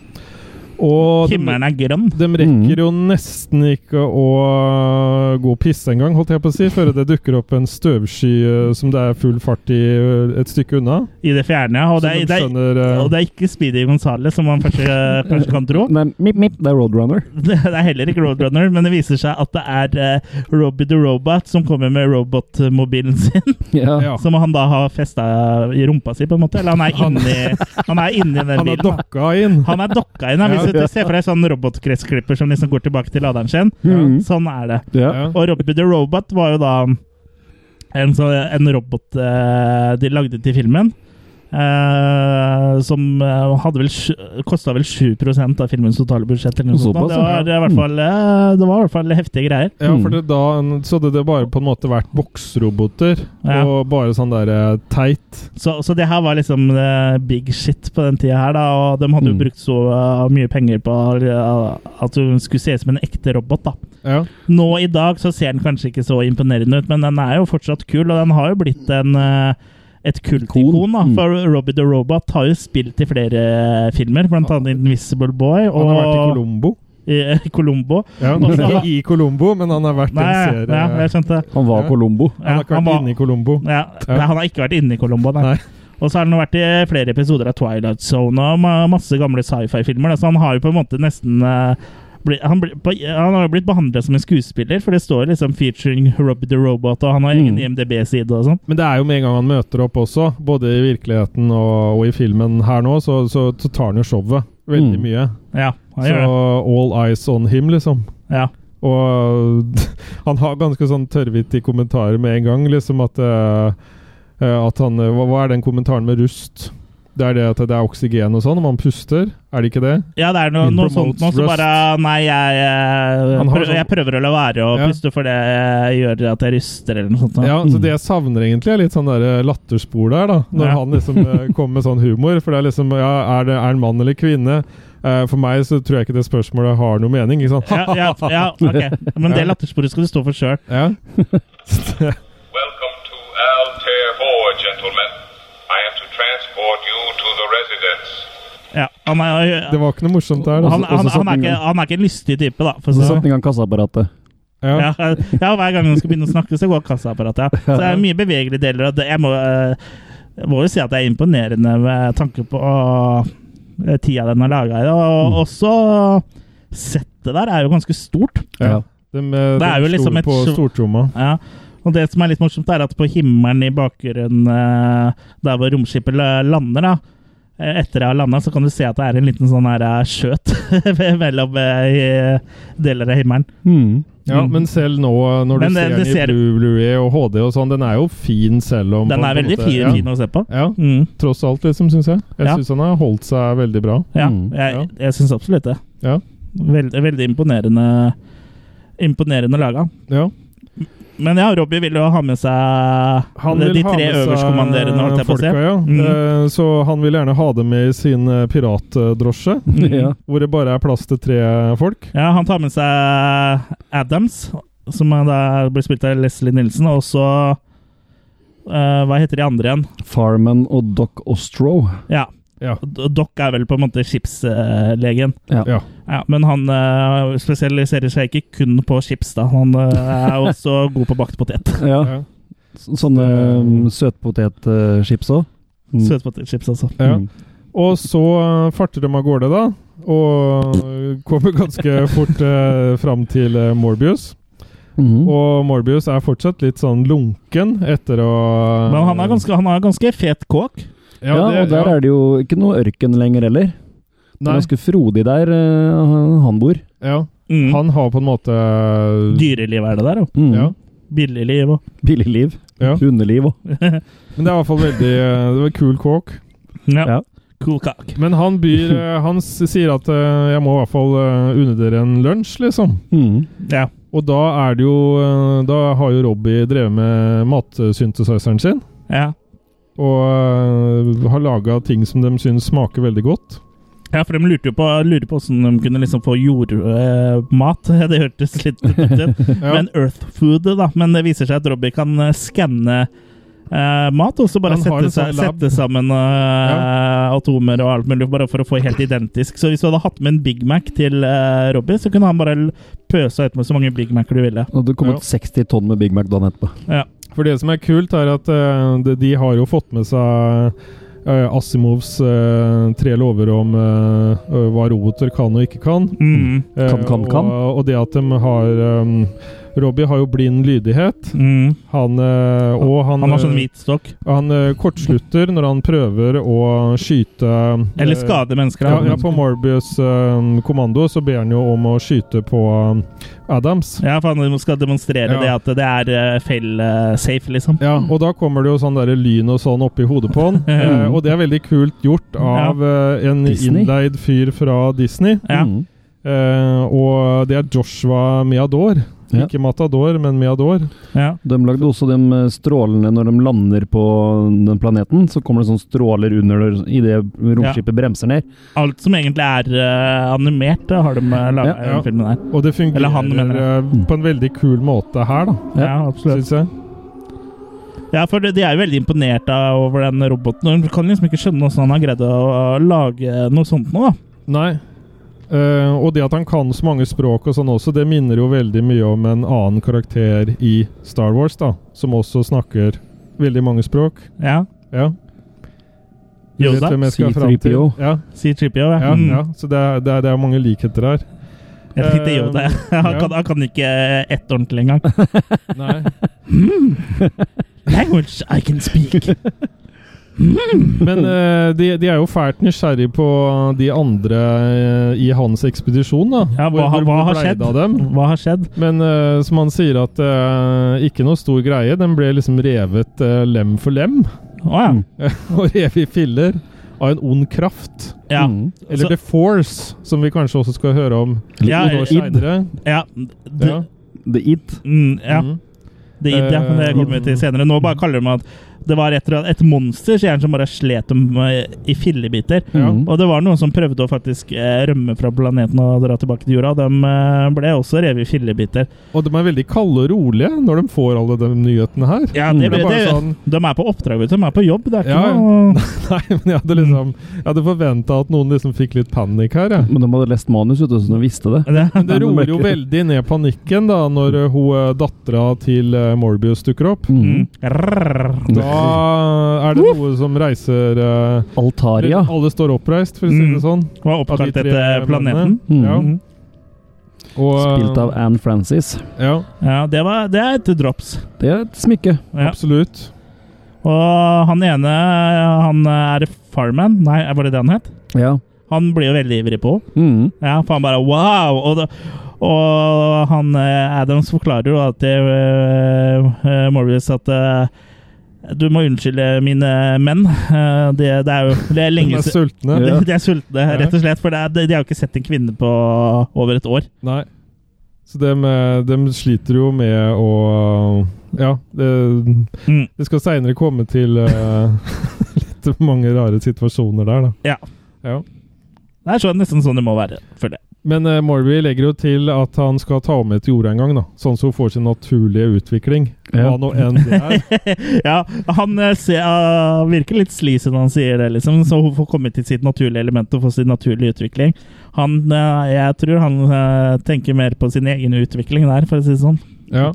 Og de, Himmelen er grønn. de rekker jo nesten ikke å eh, gå og pisse engang, holdt jeg på å si, før det dukker opp en støvsky eh, som det er full fart i eh, et stykke unna. I det fjerne, ja. Og Så det, er- de det, er- skjønner, eh, og det er ikke Speedy Gonzales, som man først, eh, kanskje kan tro. Nei, mip, mip, det er Roadrunner. Det det er heller ikke Roadrunner, men det viser seg at det er eh, Robbie the Robot som kommer med robotmobilen sin, Ja. ja. som han da har festa i rumpa si, på en måte. Eller han er inni, han er inni den Han er bilen. da. dokka inn. Han er dokka inn. da. Hvis Ja. du ser for deg sånn robotkretsklippet som liksom går tilbake til laderen sin. Mhm. Sånn er det. Ja. Ja. Og Robbie the Robot var jo da en, sånn, en robot eh, de lagde til filmen. eh, som eh, hadde vel kosta vel 7 av filmens totale budsjett. Eller noe sånt. da. Såpass, Det ja. var, det, er i hvert fall, eh, det var i hvert fall heftige greier. Ja, for Mm. det da, så hadde det bare på en måte vært boksroboter, Ja. og bare sånn der eh, teit. Så, så det her var liksom eh, big shit på den tida her, da. Og de hadde jo Mm. brukt så eh, mye penger på eh, at hun skulle se ut som en ekte robot, da. Ja. Nå i dag så ser den kanskje ikke så imponerende ut, men den er jo fortsatt kul, og den har jo blitt en eh, et kultikon, da, Ikon. Mm. for Robbie the Robot har jo spilt i flere eh, filmer, blant annet Invisible Boy og Han har vært i Colombo. i Colombo. Ja, Og så- ikke i Colombo, men han har vært i Nei, en serie. ja, jeg skjønte. Han var Ja. Colombo. han har ikke vært inne i Colombo. ja, Ja. nei, han har ikke vært inne i Colombo, nei. Nei. Og så har han vært i flere episoder av Twilight Zone og ma- masse gamle sci-fi-filmer. da, Så han har jo på en måte nesten eh, bli- han, bli- på- han har jo blitt behandla som en skuespiller, for det står liksom 'featuring Robbie the Robot', og han har egen Mm. IMDb-side og sånn. Men det er jo med en gang han møter opp også, både i virkeligheten og, og i filmen her nå, så, så, så tar han jo showet veldig Mm. mye. Ja, han Så gjør det. all eyes on him, liksom. Ja. Og han har ganske sånn tørrvitt i kommentarer med en gang, liksom at eh, eh, At han eh, hva, hva er den kommentaren med rust? Det er det at det er oksygen og sånn, om han puster? Er det ikke det? ja, det er noe, He noe promotes sånt nå som rust. bare Nei, jeg, jeg, Han har prøver, sånn- jeg prøver å la være å Ja. puste, for det gjør at jeg ryster, eller noe sånt. da. Ja, så det jeg savner egentlig, er litt sånn der latterspor der, da. Når Ja. han liksom eh, kommer med sånn humor. For det er liksom Ja, er det er en mann eller kvinne? Eh, for meg så tror jeg ikke det spørsmålet har noe mening. Ikke sant? Ja, ja, ja, ok. Men det Ja. lattersporet skal du stå for sjøl. Ja. Welcome to Altair 4, gentlemen. I am to transport you to the residence. Ja, han er, Det var ikke noe morsomt der. han, Altså. han, også han, er satt ikke, en- han er ikke en lystig type, da. For å Så si satte det. han i gang kassaapparatet. Ja. Ja, ja, hver gang han skal begynne å snakke, så går kassaapparatet. Ja. Så det er mye bevegelige deler av det. Jeg må, eh, jeg må jo si at det er imponerende med tanke på eh, tida den har laga i det. Mm. Og også settet der er jo ganske stort. ja. Ja. De, eh, Det er de jo liksom sto et på sv- stortromma. Ja. Og det som er litt morsomt, er at på himmelen i bakgrunnen eh, der hvor romskipet la- lander, da, eh, etter det har landa, så kan du se at det er en liten sånn her eh, skjøt mellom eh, i deler av himmelen. Mm. Ja, Mm. men selv nå eh, når du Men det- ser det den i ser- Blu- Blu-ray og HD og sånn, den er jo fin selv om Den på en er veldig måte- fin, ja. fin å se på. Ja, Mm. tross alt, liksom, syns jeg. Jeg Ja. synes syns han har holdt seg veldig bra. Ja, Mm. jeg, Ja. jeg syns absolutt det. Ja. Veld, veldig imponerende Imponerende laga. Ja. Men ja, Robbie vil jo ha med seg Han de vil ha tre med seg øverstkommanderende, holdt jeg på å si. folka, ja. Mm. Eh, Så han vil gjerne ha dem i sin eh, piratdrosje, Ja. hvor det bare er plass til tre folk. Ja, han tar med seg Adams, som er da blir spilt av Leslie Nilsen, og også eh, hva heter de andre igjen? Farman og Doc Ostrow. Ja, Ja. D- Doc er vel på en måte skipslegen. Ja. ja. Ja, men han eh, spesialiserer seg ikke kun på chips, da. Han eh, er også god på bakt potet. ja. ja. Så- Sånne um, søtpotetchips Mm. òg. Søtpotetchips, altså. ja. Mm. Og så eh, farter de av gårde, da. Og kommer ganske fort eh, fram til eh, Morbius. Mm-hmm. Mm. Og Morbius er fortsatt litt sånn lunken etter å eh, Men han er ganske, han er ganske fet kåk. Ja, og der er det jo ikke noe ørken lenger heller. Det er Nei, ganske frodig der eh, han bor. ja. Mm. Han har på en måte Dyreliv er det der, jo. Mm. Ja. Billigliv og Billig liv. Ja. Hundeliv òg. Men det er i hvert fall veldig eh, Det var kul kåk. ja. Ja. Cool kak. Men han byr eh, Han s- sier at eh, 'jeg må i hvert fall eh, unne dere en lunsj', liksom. Mm. Ja. Og da er det jo eh, Da har jo Robbie drevet med matsynthesizeren sin. Ja. Og eh, har laga ting som de syns smaker veldig godt. ja, for de lurte jo på, lurer på hvordan de kunne liksom få jordmat. det hørtes litt dumt ut. Ja. Men Earth Food, da. Men det viser seg at Robbie kan eh, skanne eh, mat, og så bare Han har en sette, seg, sånn lab. sette sammen eh, atomer og alt mulig, bare for å få helt identisk. Så hvis du hadde hatt med en Big Mac til eh, Robbie, så kunne han bare l- pøsa ut med så mange Big Mac du ville. Og det kom Ja. ut 60 tonn med Big Mac dagen etterpå. Ja. For det som er kult, er at eh, de, de har jo fått med seg eh, Asimovs eh, tre lover om eh, hva roboter kan og ikke kan. Mm, Eh, Kan, kan, kan. Og, og det at de har eh, Robbie har jo blind lydighet. mm. Han, eh, og han, Han har sånn eh, hvit stokk. han eh, kortslutter når han prøver å skyte eh, Eller skade mennesker. Ja, ja, på Morbius eh, kommando så ber han jo om å skyte på eh, Adams. Ja, for han skal demonstrere Ja. det at det er uh, fail-safe, liksom. Ja, og da kommer det jo sånn der lyn og sånn oppi hodet på han. eh, og det er veldig kult gjort av eh, en Disney. innleid fyr fra Disney. Ja. Mm. Eh, og det er Joshua Miador. Ja. Ikke Matador, men Miador. Ja. De lagde også de eh, strålene når de lander på den planeten. Så kommer det sånne stråler under idet romskipet bremser ned. Alt som egentlig er eh, animert, det har de uh, laga Ja, ja. i den filmen her. Og det fungerer Eller han, mener jeg. eh, på en veldig kul måte her, da. Ja. Ja, absolutt. Synes jeg. Ja, for de de er jo veldig imponert av- over den roboten. og De kan liksom ikke skjønne hvordan han har greid å å lage noe sånt nå, da. Nei. Eh, og det at han kan så mange språk og sånn også, det minner jo veldig mye om en annen karakter i Star Wars, da. Som også snakker veldig mange språk. Ja. Ja. Du vet Yoda. hvem jeg skal fram til. C-3PO. Ja. C-3PO, ja. Ja, Mm. ja. Så det er, det, er, det er mange likheter her. Jeg tenkte Yoda. ja. Han, Eh, ja. kan, han kan ikke eh, ett ordentlig engang. Nei. Language I can speak. Men eh, de, de er jo fælt nysgjerrig på de andre eh, i hans ekspedisjon, da. Ja, hva, hva har ble det skjedd? Av dem? Hva har skjedd? Men eh, som han sier at eh, ikke noe stor greie. Den ble liksom revet eh, lem for lem, Å ja. Mm. og revet i filler av en ond kraft. ja. Mm. Eller Så- The Force, som vi kanskje også skal høre om Altså- Ja, noen år id. seinere. Ja. Det, Ja. The It. Mm, ja. Mm. Det id, ja. Men det kommer Eh, vi til senere. Nå bare kaller de meg at det var et, et monster sier han, som bare slet dem eh, i fillebiter. Ja. Mm. Og det var noen som prøvde å faktisk eh, rømme fra planeten og dra tilbake til jorda. De eh, ble også revet i fillebiter. Og de er veldig kalde og rolige når de får alle de nyhetene her. Ja, det, Det er ble- bare det, sånn De er på oppdrag, vet du. De er på jobb. Det er ikke Ja. noe Nei, men jeg hadde liksom Jeg hadde forventa at noen liksom fikk litt panikk her, jeg. Men de hadde lest manus, vet du, så de visste det. det, Men det roer jo veldig ned panikken da når eh, hun eh, dattera til eh, Morbius dukker opp. mm. Mm. Rrrr. Da er det noe som reiser eh, Altaria. Alle står oppreist, for å si det Mm. sånn. Var Av de oppkalt tre etter eh, planeten. mennene. Ja. Mm. Og, eh, Spilt av Anne Francis. Ja, Ja, det, var, det er et drops. Det er et smykke. Ja. absolutt. Og han ene, han er farman. Nei, var det det han het? Ja. Han blir jo veldig ivrig på. Mm. Ja, for han bare wow! Og, da- og han eh, Adams forklarer jo da til eh, eh, Morbius at eh, du må unnskylde mine menn. Eh, det, det er jo det er De lenge er siden sultne. de, de er sultne, rett og slett. For det er, de har jo ikke sett en kvinne på over et år. Nei. Så dem, eh, dem sliter jo med å Ja, det, Mm. det skal seinere komme til eh, litt mange rare situasjoner der, da. Ja. Ja. Det er sånn, nesten sånn det må være, føler jeg. Men eh, Morby legger jo til at han skal ta med til jorda en gang, da. Sånn så hun får sin naturlige utvikling. Ja. Hva nå enn det er. ja, han eh, ser, ah, virker litt sleazy når han sier det, liksom. Så hun får komme til sitt naturlige element og få sin naturlige utvikling. Han, eh, jeg tror han eh, tenker mer på sin egen utvikling der, for å si det sånn. Ja.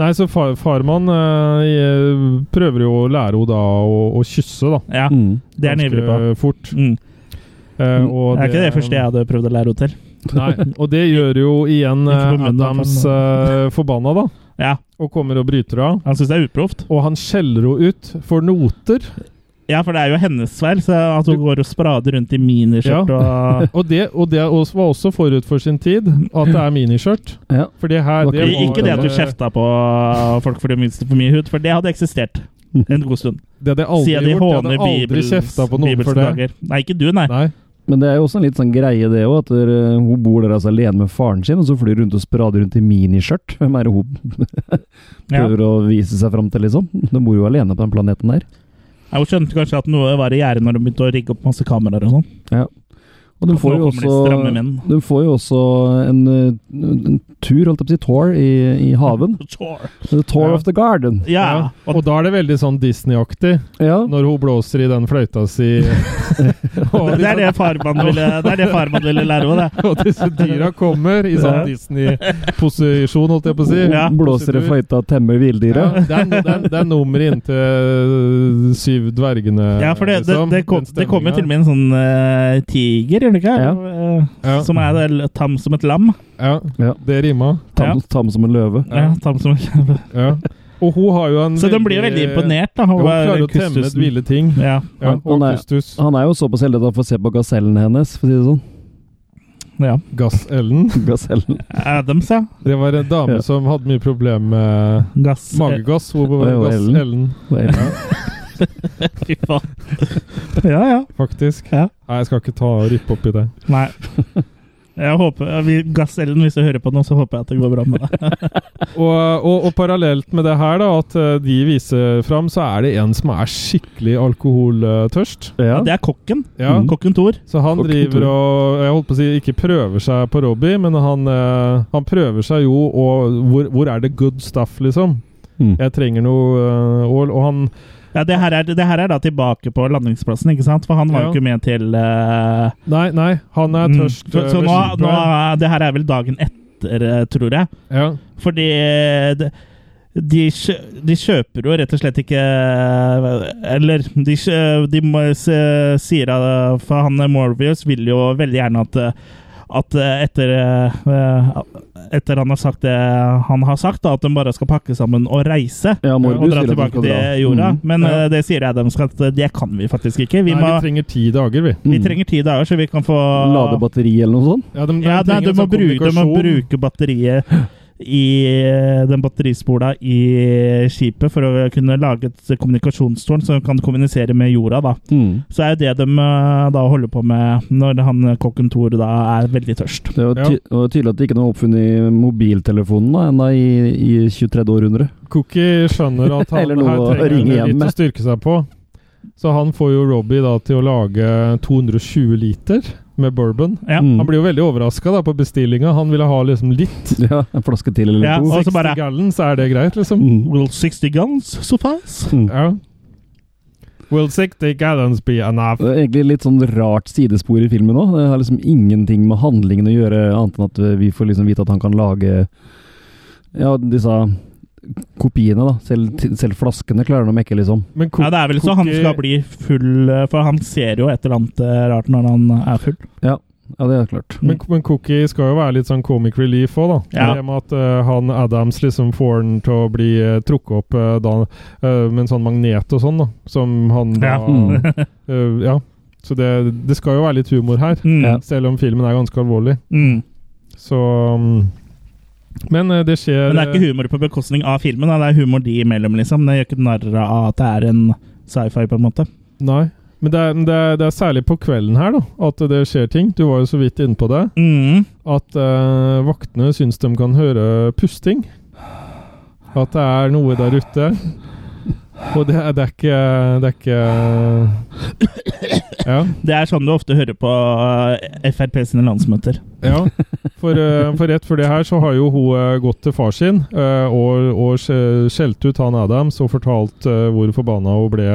Nei, så far, farmann eh, jeg prøver jo å lære henne da å, å kysse, da. Ja, Mm. det er han ivrig på. Ganske Fort. Mm. Eh, og Det er ikke det første jeg hadde prøvd å lære henne til. Nei, og det gjør jo igjen Ikke på eh, munnen, Adams i eh, forbanna, da. Ja, Og kommer og bryter av. Han syns det er uproft. Og han skjeller henne ut for noter. Ja, for det er jo hennes feil, så at hun Du- går og sprader rundt i miniskjørt Ja. og Og det, og det også- var også forut for sin tid, at det er miniskjørt. Ja. For det her Det var det Ik- var, Ikke det at du eh, kjefta på folk for det minste for mye hud, for det hadde eksistert en god stund. Det hadde jeg aldri Siden gjort. de Jeg håner hadde aldri Bibelens, kjefta på noen Bibelske for det. dager. Nei, ikke du, nei. Nei. Men det er jo også en litt sånn greie, det òg, at eh, hun bor der altså alene med faren sin, og så flyr hun rundt og sprader rundt i miniskjørt. Hvem er det hun Ja. prøver å vise seg fram til, liksom? Hun bor jo alene på den planeten der. Ja, Hun skjønte kanskje at noe var i gjære når hun begynte å rigge opp masse kameraer og sånn. Og de Nå får jo kommer de stramme også, menn. de får jo også en, eh, en tur, holdt jeg på å si, tour i, i haven. Sure. The tour Ja. of the garden. Ja. Og, Og da er det veldig sånn Disney-aktig, Ja. når hun blåser i den fløyta si. og, det er det disse, farmann ville, det er det farmann ville lære henne, det. og disse dyra kommer i Ja. sånn Disney-posisjon, holdt jeg på å si. Ja. Blåser i fløyta, temmer Ja, villdyret. det, er, det, er, det er nummeret inntil eh, Syv dvergene. Ja, for det, det, liksom. det, kom, Den det kom jo stemningen. til og med en sånn eh, tiger, gjør det ikke? Ja. Eh, Ja. Som er eh, tam som et lam. ja. Ja. Det rima. Tam, tam som en løve. Ja. tam som et Ja. Og hun har jo en eh, Så de blir jo veldig imponert, da. Hun over klarer å temme kustusen. et ville ting. Ja. Ja, Og og nei. Kustus. Han er jo såpass heldig at han får se på gasellen hennes, for å si det sånn. ja. Gass-Ellen. Gasellen. Adams, ja. Det var en dame Ja. som hadde mye problemer med Gass. magegass. Hun var Det var Ellen. Gass-Ellen, Eh, Fy faen. ja, ja. faktisk. Ja. Nei, jeg skal ikke ta og ryppe opp i det. Nei. Jeg håper, ja, vi, Gass-Ellen, hvis du hører på nå, så håper jeg at det går bra med deg. Og, og, og parallelt med det her, da, at eh, de viser fram, så er det en som er skikkelig alkoholtørst. Ja. Det er kokken. Ja. Mm. Kokken Thor. Så han Fuck, driver Tore. og Jeg holdt på å si ikke prøver seg på Robbie, men han, eh, han prøver seg jo og hvor, hvor er det good stuff, liksom? Mm. Jeg trenger noe eh, ål. Og han Ja, det her, er, det her er da tilbake på landingsplassen, ikke sant? For han var jo Ja. ikke med til eh, Nei, nei, han er mm. tørst. Så, eh, så ved nå, skipet. nå Det her er vel dagen etter, eh, tror jeg. ja. Fordi eh, de, de, kjø- de kjøper jo rett og slett ikke Eller de, kjø- de må se- sier at For han Morbius vil jo veldig gjerne at eh, at etter, eh, etter han har sagt det han har sagt, da, at de bare skal pakke sammen og reise. Ja, Morbius og dra sier at de tilbake skal til dra. jorda. Mm. Men Ja. eh, det sier jeg dem skal at det kan vi faktisk ikke. Vi, Nei, må, vi trenger ti dager, vi. vi Mm. trenger ti dager, så vi kan få Lade batteri eller noe sånt? Ja, de, de ja, nei, trenger du, en må sånn bruke, du må kommunikasjon. bruke batteriet i eh, den batterispola i skipet for å kunne lage et kommunikasjonstårn som kan kommunisere med jorda. da. Så er jo det de eh, da holder på med når han eh, kokken Thor da er veldig tørst. Det var, ty det var tydelig at det ikke var oppfunnet mobiltelefonen da, enda i, i 23. århundre. Cookie skjønner at han Eller noe å her trenger ringe hjem litt med. å styrke seg på. Så han får jo Robbie da til å lage 220 liter med bourbon. Ja. Mm. Han blir jo veldig overraska på bestillinga. Han ville ha liksom litt. Ja, En flaske til eller Ja, to. og så 60 bare gallons, er det greit, liksom? Mm. Will 60 guns suffice? Mm. Ja. Will 60 gallons be enough? Det er egentlig litt sånn rart sidespor i filmen òg. Det har liksom ingenting med handlingen å gjøre, annet enn at vi får liksom vite at han kan lage ja, disse kopiene, da. Selv, til- selv flaskene klarer han å mekke, liksom. Men Ja, det er vel så han koke- skal bli full, eh, for han ser jo et eller annet eh, rart når han er full. Ja, det er klart. men, men Cookie skal jo være litt sånn comic relief òg, da. Ja. Det med at eh, han Adams liksom får han til å bli eh, trukket opp eh, da, eh, med en sånn magnet og sånn, da. Som han da Ja. Mm. Eh, ja. Så det, det skal jo være litt humor her, Mm. Ja. selv om filmen er ganske alvorlig. Mm. Så um, Men eh, det skjer Men det er ikke humor på bekostning av filmen. Da. Det er humor de imellom, liksom. Det gjør ikke narr av at det er en sci-fi, på en måte. Nei. Men det er, men det, er, det er særlig på kvelden her da, at det skjer ting. Du var jo så vidt inne på det. Mm. At eh, vaktene syns de kan høre pusting. At det er noe der ute. Og det, er- det er ikke Det er ikke Ja. Det er sånn du ofte hører på eh, Frp sine landsmøter. ja. For, eh, for rett før det her så har jo hun eh, gått til far sin eh, og, og skje- skjelt ut han Adams og fortalt eh, hvor forbanna hun ble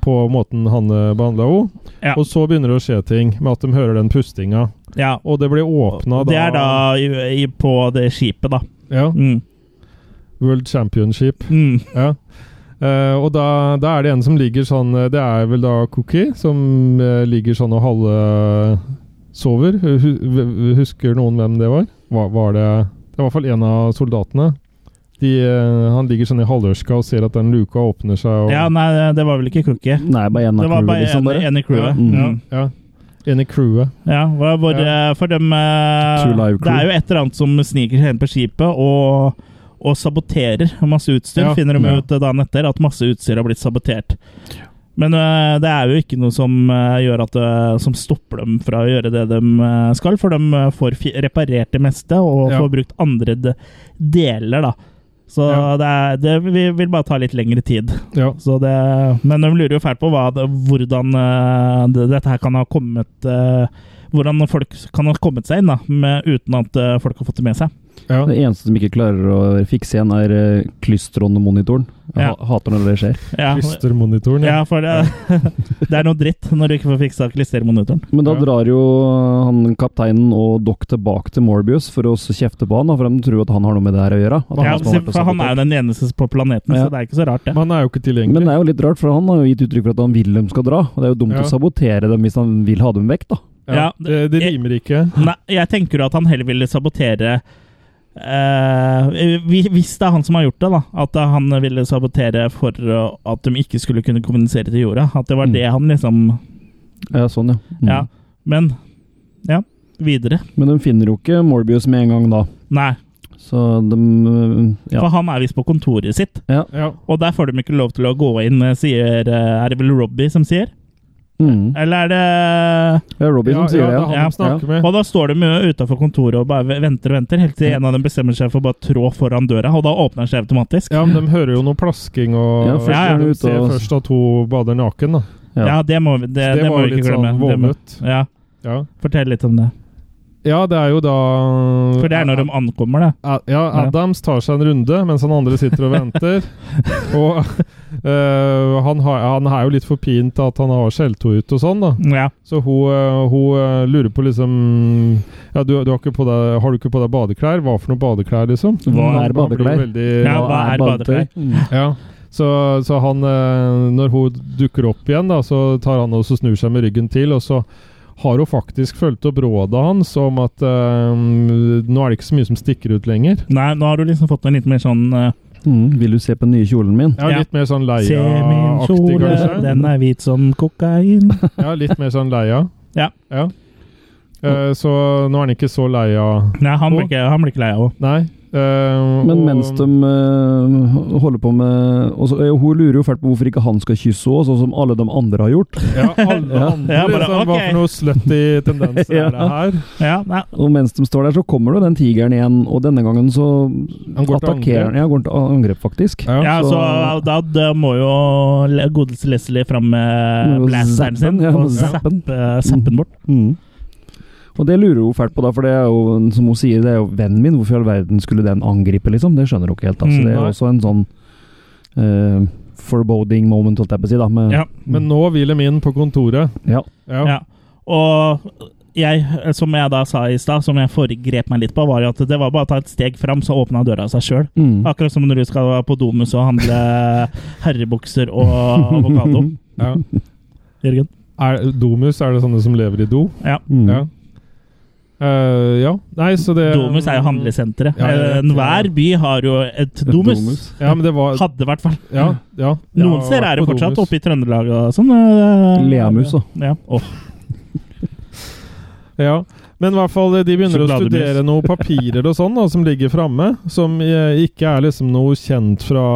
på måten han behandla henne. Ja. Og så begynner det å skje ting med at de hører den pustinga. Ja. Og det blir åpna da Det er da i, i, på det skipet, da. Ja, Mm. World Championship. Mm. Ja. Eh, og da, da er det en som ligger sånn eh, Det er vel da Cookie, som eh, ligger sånn og halve sover. Hu- hu- Husker noen hvem det var? Var, var det Det var i hvert fall en av soldatene. De, eh, han ligger sånn i halvørska og ser at den luka åpner seg. Og, Ja, nei, det var vel ikke Cookie. Nei, bare én Det av var crewet, bare liksom. en, Bare. en i crewet. Ja. Ja. Mm. ja. En i crewet. Ja, hva- hvor, Ja. eh, for dem eh, True Live Det Crew. er jo et eller annet som sniker seg inn på skipet og, og saboterer masse utstyr. Ja. Finner de Ja. ut eh, dagen etter at masse utstyr har blitt sabotert. Men eh, det er jo ikke noe som, eh, gjør at, eh, som stopper dem fra å gjøre det de eh, skal, for de eh, får fi- reparert det meste og Ja. får brukt andre de deler, da. Så Ja. det, er, det vil vil bare ta litt lengre tid. Ja. Så det, men de lurer jo fælt på hva, det- hvordan eh, det, dette her kan ha kommet eh, Hvordan folk kan ha kommet seg inn da, med, uten at eh, folk har fått det med seg. Ja. Det eneste de ikke klarer å fikse igjen, er eh, klystronmonitoren. Jeg Ja. ha- hater når det skjer. Ja, Klistermonitoren. ja Ja. for det, det er noe dritt når du ikke får fiksa klistermonitoren. Men da Ja. drar jo han kapteinen og Doc tilbake til Morbius for å s- kjefte på han, da, for de tror at han har noe med det her å gjøre. At Ja, han som har vært og for han er sabotert. jo den eneste på planeten, Ja. så det er ikke så rart, det. Men han er jo ikke Men eh, det tilgjengelig. er jo litt rart, for han har jo gitt uttrykk for at han vil dem skal dra. Og det er jo dumt Ja. å sabotere dem hvis han vil ha dem vekk, da. Ja. Ja. Det, det rimer ikke. Nei, jeg tenker jo at han heller ville sabotere eh, hvi- Hvis det er han som har gjort det, da. At han ville sabotere for eh, at de ikke skulle kunne kommunisere til jorda. At det var Mm. det han liksom Ja, sånn, ja. Mm. Ja, men Ja, videre. Men de finner jo ikke Morbius med en gang da. Nei, Så de øh, for Ja. han er visst på kontoret sitt, Ja. og der får de ikke lov til å gå inn, sier eh, Er det vel Robbie som sier? Mm. Eller er det Det er Robbie Ja, som sier ja, det, det er ja. han de snakker med. Og da står de jo utafor kontoret og bare venter og venter, helt til en av dem bestemmer seg for å bare trå foran døra, og da åpner den seg automatisk. Ja, men de hører jo noe plasking, og Ja, først er de hun ute ser og- først at hun bader naken. da. Ja. Ja, det må vi, det, Så Eh, det må var vi jo ikke litt glemme. sånn Det må- våvet. ja, Ja. Fortell litt om det. ja, det er jo da For det er når de ankommer, det. A- Ja, Adams tar seg en runde mens han andre sitter og venter. og eh, han, har, han er jo litt for pint til at han har skjelt henne ut og sånn, da. Ja. Så hun, eh, hun eh, lurer på liksom Ja, du, du har, ikke på deg, har du ikke på deg badeklær? Hva for noe badeklær, liksom? Hva Han- er han blir jo badeklær? Veldig, Ja, hva er badeklær? Mm. Ja. Så, så han eh, Når hun dukker opp igjen, da, så tar han også og snur seg med ryggen til. Og så har hun faktisk fulgt opp rådet hans om at eh, nå er det ikke så mye som stikker ut lenger. Nei, nå har du liksom fått en litt mer sånn eh, Mm. Vil du se på den nye kjolen min? Ja, Ja. Litt mer sånn Se min leia-aktig, eh, kjole, kanskje. den er hvit som kokain. Ja, litt mer sånn leia. Ja. Eh, så nå er han ikke så leia Nei, han blir ikke, han blir ikke lei av henne. Nei. eh, Men og- mens de øh, holder på med og så, øh, Hun lurer jo fælt på hvorfor ikke han skal kysse henne, sånn som alle de andre har gjort. Ja, alle Ja. andre Ja, bare, liksom, Hva ok. for noe slutty tendenser Ja. er det her? Ja, nei, Og mens de står der, så kommer jo den tigeren igjen, og denne gangen så Han går til attakkerer angrep. han. Ja, går til angrep, faktisk. Ja, så- så, da, da må jo le- godeste Leslie fram med Må jo blasteren sin zappen, ja, og må zappen. zappe- zappe den bort. Mm. Og det lurer hun fælt på, da, for det er jo, som hun sier, det er jo vennen min. Hvorfor i all verden skulle den angripe, liksom? Det skjønner hun ikke helt. Altså. Mm, Det er nei. også en sånn eh, foreboding moment, holdt jeg på å si. da. Med, Ja. Men nå vil de inn på kontoret. Ja. Ja. Ja. Og jeg, eh, som jeg da sa i stad, som jeg foregrep meg litt på, var jo at det var bare å ta et steg fram, så åpna døra seg sjøl. Mm. Akkurat som når du skal på Domus og handle herrebukser og avokado. Ja. Jørgen. Er, domus, er det sånne som lever i do? Ja. Mm. Ja. Eh, ja. Nei, så det Domus er jo handlesenteret. Eh, Ja, jeg vet. Enhver by har jo et Domus. domus. Ja, men det var Hadde i hvert fall. Ja. ja Noen Ja, steder er det på fortsatt Domus. oppe i Trøndelag og sånn. øh, Leamus, da. Ja. Åh. Ja. Men i hvert fall, eh, de begynner å Sjokolademus. studere noen papirer og sånn da, som ligger framme, som eh, ikke er liksom noe kjent fra,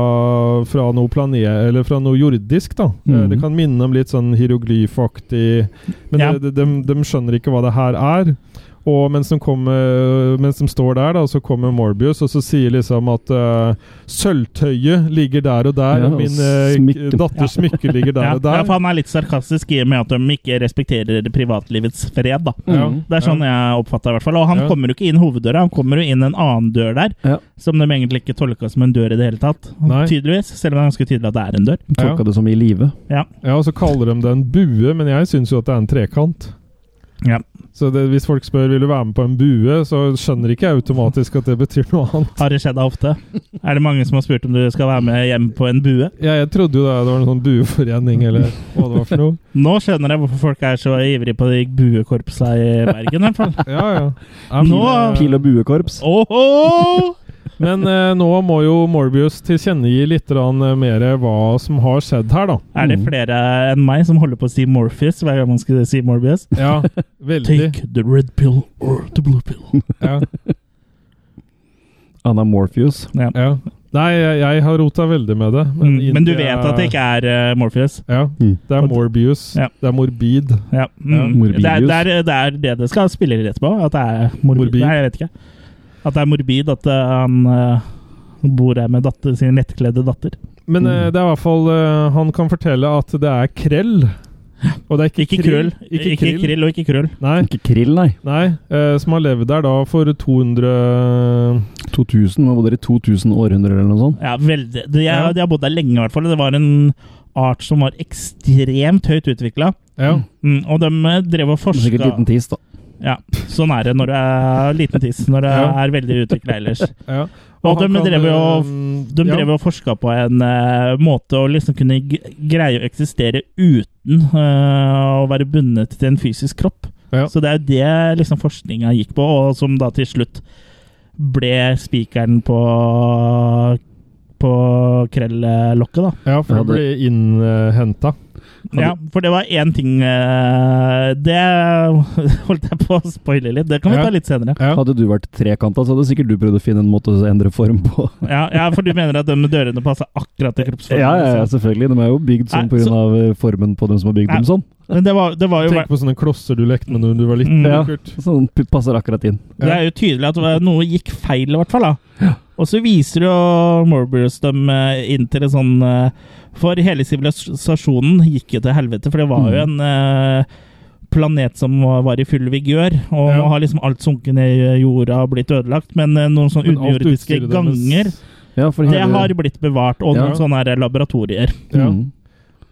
fra noe planet, eller fra noe jordisk, da. Eh, Mm. Mhm. Det kan minne om litt sånn hieroglyfaktig Men Ja. det- det- dem- dem skjønner ikke hva det her er. Og mens de, kommer, mens de står der, da, så kommer Morbius, og så sier liksom at eh, sølvtøyet ligger der og der, Ja, og min eh, smykke. datters smykke ligger der Ja, og ja, der. for han er litt sarkastisk i og med at de ikke respekterer privatlivets fred, da. Ja, Det er sånn jeg oppfatter det, i hvert fall. Og han Ja. kommer jo ikke inn hoveddøra, han kommer jo inn en annen dør der. Ja. Som de egentlig ikke tolka som en dør i det hele tatt. Nei. Tydeligvis. Selv om det er ganske tydelig at det er en dør. Tolka Ja. det som i live. Ja. ja, og så kaller de det en bue, men jeg syns jo at det er en trekant. Ja. Så det, hvis folk spør vil du være med på en bue, så skjønner ikke jeg automatisk at det betyr noe annet. Har det skjedd deg ofte? Er det mange som har spurt om du skal være med hjem på en bue? Ja, jeg trodde jo det, det var en sånn bueforening eller hva det var for noe. Nå skjønner jeg hvorfor folk er så ivrige på de buekorpsa i Bergen, i hvert fall. Ja, ja. Ja, Nå- men, eh, Pil- Pil- og buekorps. Åhå! Men eh, nå må jo Morbius tilkjennegi litt grann, eh, mer hva som har skjedd her, da. Er det flere enn meg som holder på å si Morpheus hver gang man skal si Morbius? Ja, veldig. Take the red pill or the blue pill. Ja, Anna Morpheus. Ja. ja. Nei, jeg, jeg har rota veldig med det. Men, Mm, men du inni vet er- at det ikke er eh, Morpheus? Ja. Mm. Det er Morbius. Ja. Det er morbid. Ja. Mm. Morbidius. det, er, det, er, det er det det skal spille rett på. At det er morbid. Morbid. Nei, jeg vet ikke. At det er morbid at eh, han eh, bor her med datter, sin lettkledde datter. Men eh, Mm. det er i hvert fall eh, Han kan fortelle at det er krell. Og det er ikke, Ikke krøll. Ikke, krill. og ikke krøll. Nei, Ikke krill, nei. nei eh, som har levd der da for 200 2000, Hva bodde dere i 2000 århundrer eller noe sånt? Ja, veldig. De, Ja. de har bodd der lenge, i hvert fall. Det var en art som var ekstremt høyt utvikla. Ja. Mm, og de eh, drev og forska Sikkert liten tiss, da. Ja, sånn er det når du er liten tiss. Når du Ja. er veldig utvikla ellers. ja. Og de han kan, drev jo- eh, De ja. drev og forska på en eh, måte å liksom kunne g greie å eksistere uten eh, å være bundet til en fysisk kropp. Ja. Så det er jo det liksom forskninga gikk på, og som da til slutt ble spikeren på på krellelokket, da. Ja, for Ja, han det- blir innhenta. Ja, for det var én ting eh, Det holdt jeg på å spoile litt. Det kan vi Ja. ta litt senere. Ja. Hadde du vært trekanta, så hadde sikkert du prøvd å finne en måte å endre form på. Ja, ja, for du mener at de dørene passer akkurat til Ja, kroppsformen? liksom. ja, ja, selvfølgelig. De er jo bygd sånn Nei, pga. av formen på dem som har bygd Nei. dem sånn. Men det var, det var jo Tenk på sånne klosser du lekte med når du var liten. Mm. Ja, Kurt. sånn p- passer akkurat inn. Ja. Det er jo tydelig at det var- noe gikk feil, i hvert fall. da. Og så viser jo Morbius dem eh, inn til en sånn eh, For hele sivilisasjonen gikk jo til helvete, for det var jo Mm. en eh, planet som var i full vigør. Og Ja. nå har liksom alt sunket ned i jorda og blitt ødelagt, men eh, noen sånne Men alt underjordiske utstyret ganger deres- Ja, for det hele- har blitt bevart, og Ja. noen sånne her laboratorier. Ja. Mm.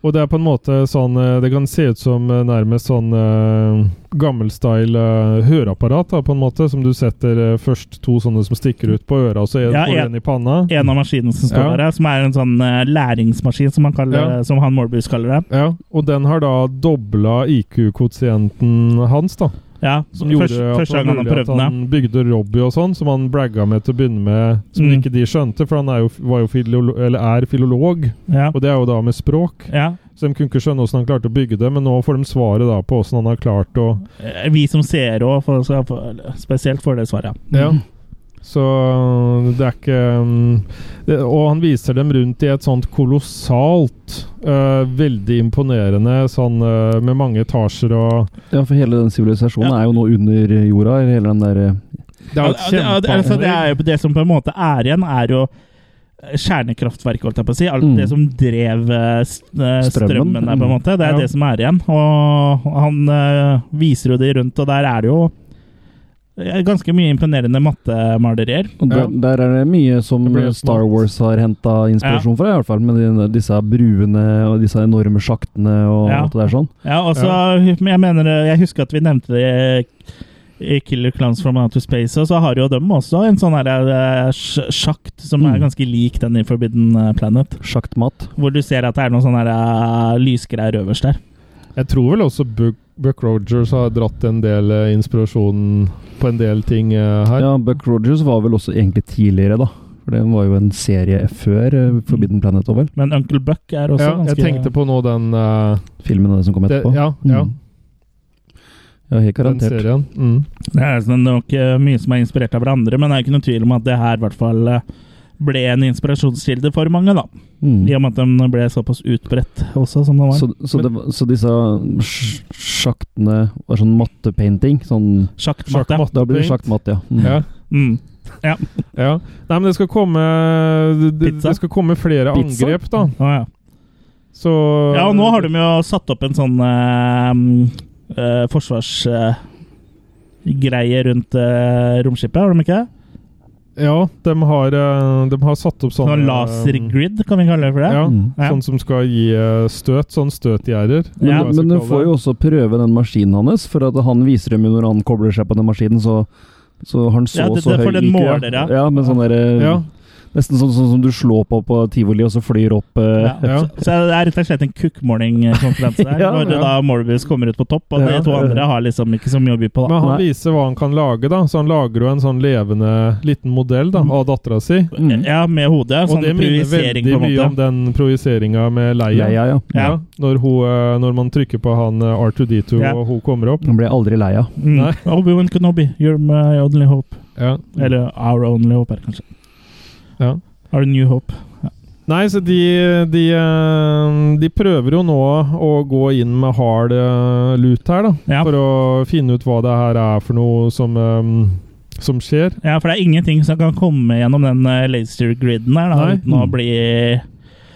Og det er på en måte sånn eh, Det kan se ut som eh, nærmest sånn uh, gammelstyle eh, høreapparat, da, på en måte, som du setter eh, først to sånne som stikker ut på øra, og så en, Ja, får du en- en i panna. En av maskinene som står Ja. der, som er en sånn eh, læringsmaskin, som han, kaller, Ja. som han Morbius kaller det. Ja, og den har da dobla IQ-koeffisienten hans, da. Ja, Som gjorde først- at, det første var gang han mulig at prøvde det. han bygde Robbie og sånn, som han bragga med til å begynne med, som Mm. ikke de skjønte, for han er jo, var jo filolo eller er filolog, Ja. og det er jo da med språk. Ja. Så de kunne ikke skjønne åssen han klarte å bygge det, men nå får de svaret da på åssen han har klart å Eh, Vi som ser òg, spesielt får det svaret. Ja. Så øh, det er ikke um, det, Og han viser dem rundt i et sånt kolossalt, øh, veldig imponerende sånn øh, med mange etasjer og ja, for hele den sivilisasjonen Ja. er jo nå under jorda. eller Hele den der, eh, Det er jo et Ja, det- ja, det- altså, det, er kjempeanlegg. jo det som på en måte er igjen, er jo eh, kjernekraftverket, holdt jeg på å si. Alt Mm. det som drev eh, s- eh, strømmen, Strømmen. der, på en måte. Det er mm. Ja. det som er igjen. Og han eh, viser jo de rundt, og der er det jo eh, ganske mye imponerende mattemalerier. og der, Ja. der er det mye som Det ble helt Star smalt. Wars har henta inspirasjon fra, i hvert fall. Med de, disse bruene og disse enorme sjaktene og Ja. alt det der sånn. Ja, og så men Jeg mener, jeg husker at vi nevnte det i Killer Clowns from Outer Space, og så har jo dem også en sånn her eh, sj- sjakt som er Mm. ganske lik den i Forbidden eh, Planet. Sjaktmat. Hvor du ser at det er noen sånne her, eh, lysgreier øverst der. Jeg tror vel også Buck, Buck Rogers har dratt en del eh, inspirasjon på en del ting eh, her. Ja, Buck Rogers var vel også egentlig tidligere, da. For den var jo en serie før eh, Forbidden Planet, over. Men Uncle Buck er også Ja, ganske jeg tenkte på nå den, eh, Filmen er det som kom det, etterpå. ja, ja, Mm. ja helt den garantert. serien. Mm. Det er sånn nok eh, mye som er inspirert av hverandre, men det er ikke noe tvil om at det her i hvert fall eh, ble en inspirasjonskilde for mange, da. Mm. I og med at den ble såpass utbredt også, som den var. Så, så, det, var- så disse mm, sj- sjaktene var sånn mattepainting? Sånn, Sjakkmatte. Sjakkmatte. da blir det Paint. sjakkmatte, ja. Mm. Ja, Mm. ja. Nei, men det skal komme øh, Det, Pizza? det skal komme flere Pizza? angrep, da. Å, ja. Så ja, og nå har de jo satt opp en sånn eh, forsvarsgreie rundt eh, romskipet, har de ikke? Ja, de har, eh, de har satt opp sånne Sånn lasergrid, kan vi kalle det for det? Ja, Mm. Ja. Sånn som skal gi eh, støt. Sånn støtgjerder. Men, Ja. men du får jo også prøve den maskinen hans, for at han viser dem jo når han kobler seg på den maskinen, så, så har han så Ja, det- så det- høy for den IQ, måler, ja. ja men sånn der, eh, Ja. Nesten sånn, sånn som du slår på på tivoli, og så flyr opp eh, Ja. Ja. Så, så det er rett og slett en kukkmålingkonkurranse der, Ja, når det ja. da Morbius kommer ut på topp, og Ja. de to andre har liksom ikke så mye å by på, da. Men han Nei. viser hva han kan lage, da. Så han lager jo en sånn levende liten modell da, av dattera si. Mm. Ja, med hodet. Og Sånn det minner projisering, veldig på en mye om måte. den projiseringa med Ja, Leia. ja, ja. Ja. Ja. Når, hun, eh, når man trykker på han eh, R2D2 Ja. og hun kommer opp. Han ble aldri lei av. Mm. Nei. Obi-Wan Kenobi, you're my uh, only hope. Ja. Eller our only hope, er det kanskje. Ja. Our new hope. Nei, så de, de, eh, de prøver jo nå å gå inn med hard eh, lut her, da. Ja. For å finne ut hva det her er for noe som, eh, som skjer. Ja, for det er ingenting som kan komme gjennom den eh, laser-griden her, da, Nei. uten å bli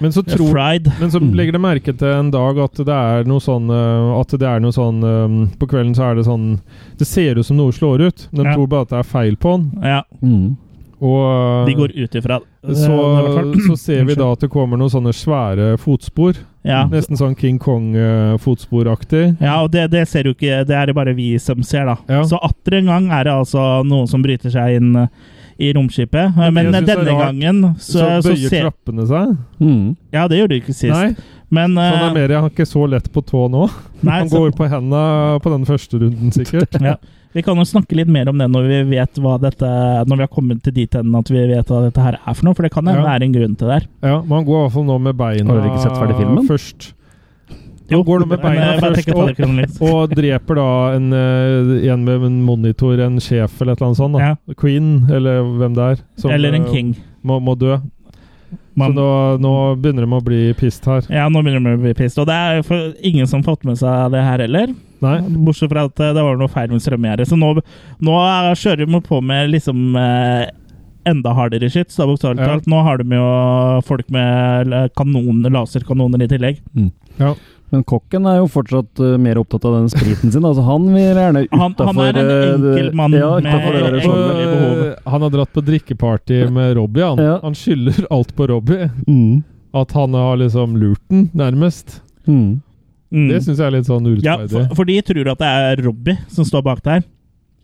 Men så eh, tror fried. Men så legger de merke til en dag at det er noe sånn eh, At det er noe sånn eh, På kvelden så er det sånn Det ser ut som noe slår ut. De Ja. tror bare at det er feil på den. Ja, Mm. Og eh, de går ut ifra det. så, Eh, i hvert fall. så ser vi da at det kommer noen sånne svære fotspor. ja. Nesten sånn King Kong-fotsporaktig. ja, og det, det ser jo ikke Det er det bare vi som ser, da. Ja. Så atter en gang er det altså noen som bryter seg inn eh, i romskipet. Eh, Men Men det jeg synes er denne rart, gangen Så, så, så, bøyer ser trappene seg. Mm. Ja, det gjorde du ikke sist. Nei, Men så han er eh, mer han er ikke så lett på tå nå. nei, Han så- går på henda på den første runden, sikkert. Ja. Vi kan jo snakke litt mer om det når vi vet hva dette Når vi har kommet til dit hen at vi vet hva dette her er for noe, for det kan hende Ja. det er en grunn til det her. Ja, Men han går i hvert fall nå med beina Har dere ikke sett ferdig filmen? først. går du med men, beina eh, bare først, tenk på det litt. Og dreper da en, eh, en med en monitor, en sjef eller et eller annet sånt. Da. Queen, eller hvem det er. som, Eller en eh, king. Må, må dø. Så Man, nå, nå begynner de å bli pissed her. ja, nå begynner de å bli pissed. Og det er for ingen som fått med seg det her heller. Nei? Bortsett fra at eh, det var noe feil med strømgjerdet. Så nå, nå eh, kjører de på med liksom eh, enda hardere skyts, da bokstavelig Ja. talt. Nå har de jo folk med eh, kanoner, laserkanoner i tillegg. Ja. Men kokken er jo fortsatt eh, mer opptatt av den spriten sin. Altså, han vil gjerne Han- utafor han er en enkel mann ja, med utenfor sånn. det der enkel- skjoldet. sånn veldig behov. eh, han har dratt på drikkeparty med Robbie. Han, Ja. han skylder alt på Robbie. Mm. At han har liksom lurt den, nærmest. Mm. Mm. Det syns jeg er litt sånn ja, urettferdig. for, for de tror at det er Robbie som står bak der.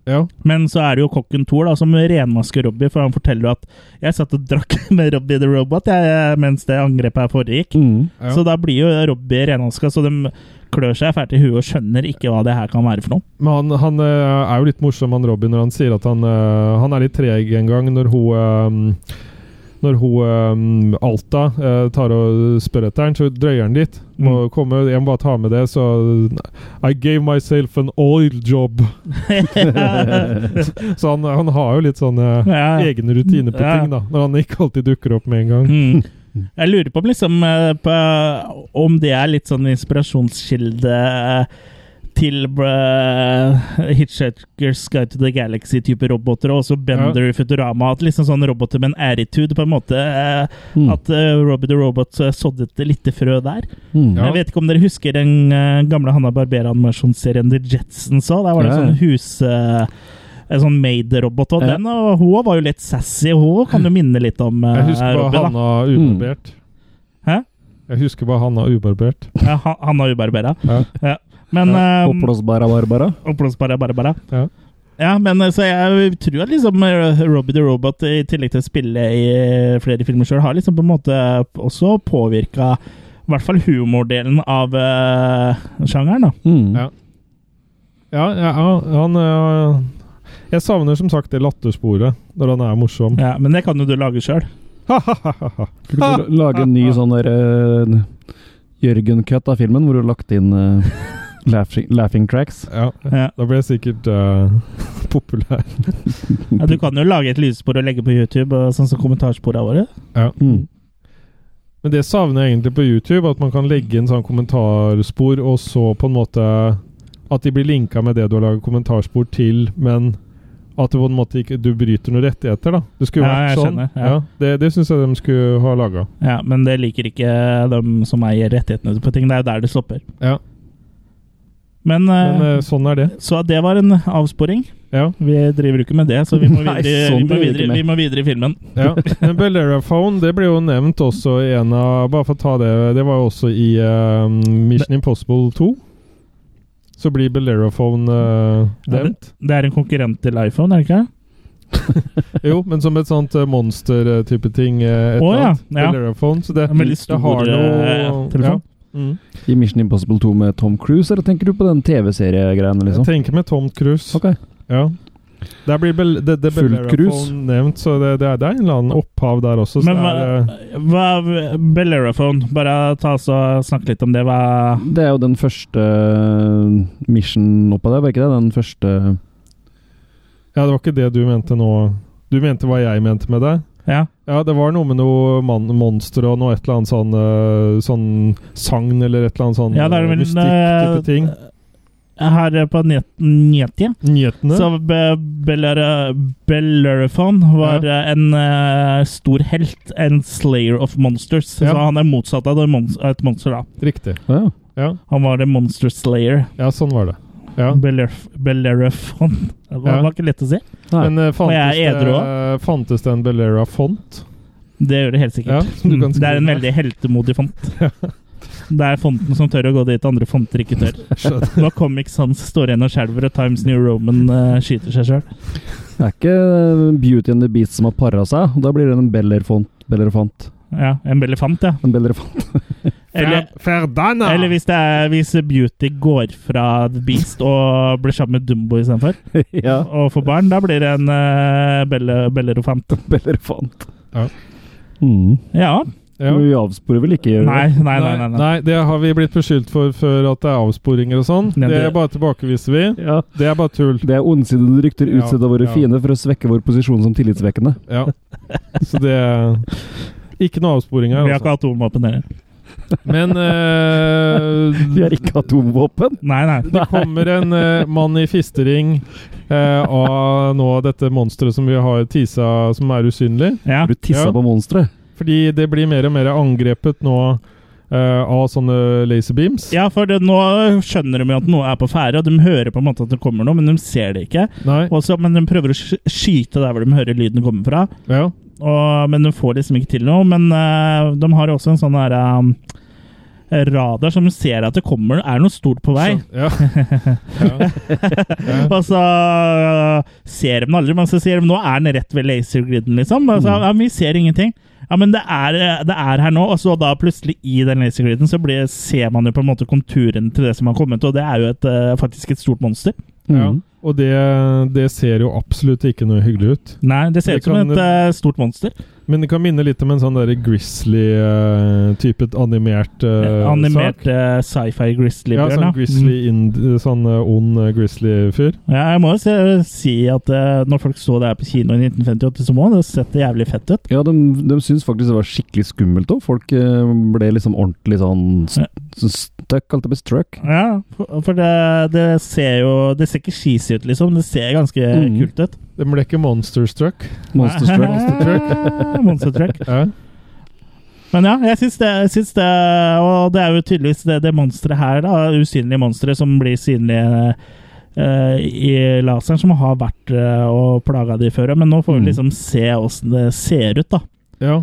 Ja. Men så er det jo kokken Thor da, som renmasker Robbie, for han forteller jo at jeg satt og drakk med Robbie the Robot jeg, mens det angrepet her foregikk. Mm. Ja. Så da blir jo Robbie renvaska, så de klør seg fælt i huet og skjønner ikke hva det her kan være for noe. Men han, han eh, er jo litt morsom, han Robin, når han sier at han, eh, han er litt treg en gang når hun eh, når hun eh, Alta eh, tar og spør etter han, så drøyer han litt. Må Mm. komme, jeg må bare ta med det, så I gave myself an oil job. Så han, han har jo litt sånn, sånne Ja. egne rutiner på Ja. ting, da. Når han ikke alltid dukker opp med en gang. Mm. Jeg lurer på om, liksom, eh, på om det er litt sånn inspirasjonskilde eh, til eh, Hitchhiker's Guide to the Galaxy-type roboter, og også Bender i Futurama. At liksom sånn roboter med en attitude, på en måte. eh, Mm. At eh, Robbie the Robot eh, sådde et lite frø der. Mm. Ja. Jeg vet ikke om dere husker den eh, gamle Hanna Barbera-animasjonsserien The Jetsons òg? Der var det Ja, en ja. sånn hus... eh, en sånn maid-robot, og Ja. den og hun var jo litt sassy. Hun kan jo minne litt om eh, Jeg husker bare Robbie, da. Mm. Hanna ubarbert. Hæ? Jeg husker bare Hanna ubarbert. Ja, han, han har ubarbera. Ja. Ja. Men eh, Ja, ja, Oppblåsbara Mm. Barbara. Oppblåsbara barbara. Ja. Ja, men eh, så jeg tror at liksom eh, Robbie the Robot, i tillegg til å spille i eh, flere filmer sjøl, har liksom på en måte også påvirka i hvert fall humordelen av eh, sjangeren, da. Mm. Ja. Ja, ja, ja han øh, Jeg savner som sagt det lattersporet når han er morsom. Ja, men det kan jo du lage sjøl. Skulle Ah, du la- lage en ny sånn der eh, Jørgen-cut av filmen, hvor du har lagt inn eh, laughing, laughing tracks? Ja, Ja. Da blir jeg sikkert øh, populær. Ja, du kan jo lage et lydspor og legge på YouTube, og sånn som kommentarsporene våre. Ja. Mm. Men det savner jeg egentlig på YouTube, at man kan legge inn sånn kommentarspor, og så på en måte At de blir linka med det du har laget kommentarspor til, men at det på en måte ikke, du bryter noen rettigheter, da. Det skulle Ja, vært jeg sånn. skjønner, ja. Ja. det det syns jeg de skulle ha laga. Ja, Men det liker ikke de som eier rettighetene på ting. Det er jo der det stopper. Ja. Men, eh, Men eh, sånn er det. Så det var en avsporing. Ja. Vi driver jo ikke med det, så vi må Nei, videre, sånn vi må driver vi ikke videre, med. vi må videre i filmen. Ja, men Bellera Phone det ble jo nevnt også i en av Bare for å ta det Det var jo også i eh, Mission Impossible 2. Så blir Bellera Phone eh, Ja, nevnt. Det er en konkurrent til iPhone, er det ikke? Jo, men som et sånt eh, monster-type ting. eh, Et Å, eller ja, annet. ja. Bellera Phone. Så det, En veldig stor det har eh, noe telefon. Ja. Mm. I Mission Impossible 2 med Tom Cruise, eller tenker du på den TV-seriegreiene, Jeg liksom? tenker med Tom Cruise. Ok. Ja. Der blir Bel det, det Full Bellera cruise. Phone nevnt, så det, det, er, det er en eller annen opphav der også. Så Men hva, det er, eh, hva Bellerophone, bare ta oss og snakke litt om det. Hva Det er jo den første eh, mission oppå der, var ikke det? Den første ja, det var ikke det du mente nå. Du mente hva jeg mente med det? Ja. Ja, det var noe med noe man monster og noe et eller annet sånn, eh, sånn sagn eller et eller annet sånn Ja, det er vel, eh, mystikk-type ting. Her på net- nettet Nyhetene. så Be- Bellera- Bellerophon var eh, en eh, stor helt, en slayer of monsters. Ja. Så han er motsatt av det mons- av et monster, da. Riktig. Å ja. Ja. Han var en monster slayer. ja, sånn var det. Ja. Bellerf- Bellerophon. Det var, Ja. var ikke lett å si. Nei. Men eh, Og jeg fantes, er edru det, eh, fantes det en Bellera font? Det gjør det helt sikkert. Ja, som du kan Mm, det er en skrive. veldig heltemodig font. Det er fonten som tør å gå dit andre fonter ikke tør. Skjønner. Når Comic Sans står igjen og skjelver, og Times New Roman eh, skyter seg sjøl. Det er ikke eh, Beauty and the Beast som har para seg, og da blir det en Bellerfont. Bellerfont. Ja, en belefant, ja. En Bellerfont. Eller, Ferdanna! eller hvis, det er, hvis Beauty går fra The Beast og blir sammen med Dumbo istedenfor, ja, og får barn, da blir det en uh, belle, bellerofant. Bellerfont. Ja. Mm. Ja. ja. Men Vi avsporer vel ikke, gjør vi? Nei, nei, nei. nei, nei. Nei, det har vi blitt beskyldt for før, at det er avsporinger og sånn. Nei, Det det- bare tilbakeviser vi. Ja. Det er bare tull. Det er ondsidede rykter Ja, utstedt av våre ja. fiender for å svekke vår posisjon som tillitsvekkende. Ja. Så det er Ikke noe avsporing her, Vi har altså. ikke atomvåpen heller. Men eh, Vi har ikke atomvåpen! Nei, nei. Det kommer en eh, mann i fistering eh, av nå dette monsteret som vi har tisa, som er usynlig. Ja. Har du tissa Ja. på monsteret? Fordi det blir mer og mer angrepet nå eh, av sånne laserbeams. Ja, for det, nå skjønner de jo at noe er på ferde, og de hører på en måte at det kommer noe, men de ser det ikke. Nei. Og så- men de prøver å sk- skyte der hvor de hører lyden komme fra, Ja. og, men de får liksom ikke til noe. Men eh, de har jo også en sånn der um, radar som ser at det kommer, er noe stort på vei. Så- Ja. ja. ja. Og så eh, ser de den aldri, men så sier de nå er den rett ved lasergriden, liksom. Og Mm. så, ja, men vi ser ingenting. Ja, men det er, øh, det er her nå, og så da plutselig i den lasergriden så blir, ser man jo på en måte konturen til det som har kommet, og det er jo et, eh, faktisk et stort monster. ja. Mm. Og det, det ser jo absolutt ikke noe hyggelig ut. Nei, det ser Det ut som kan- et eh, stort monster. Men det kan minne litt om en sånn der grizzly-type animert eh, Animert sak. eh, sci-fi Ja, grizzly-bjørn. sånn grizzly ind, sånn eh, ond eh, grizzly-fyr. Mm. Ja, jeg må jo se- si at eh, når folk så det her på kino i 1958, så må det sette jævlig fett ut. Ja, de, de syntes faktisk det var skikkelig skummelt òg. Folk eh, ble liksom ordentlig sånn st stuck, alt det blir struck. Ja, for, for det, det ser jo Det ser ikke cheesy ut, liksom. Det ser ganske Mm. kult ut. Den ble ikke monsterstruck. Monster struck. Monstertruck. Monstertruck. Ja. Men ja, jeg syns det, jeg syns det. Og det er jo tydeligvis det, det monsteret her, da. Usynlige monstre som blir synlige eh, i laseren, som har vært eh, og plaga de før. Men nå får Mm. vi liksom se åssen det ser ut, da. ja.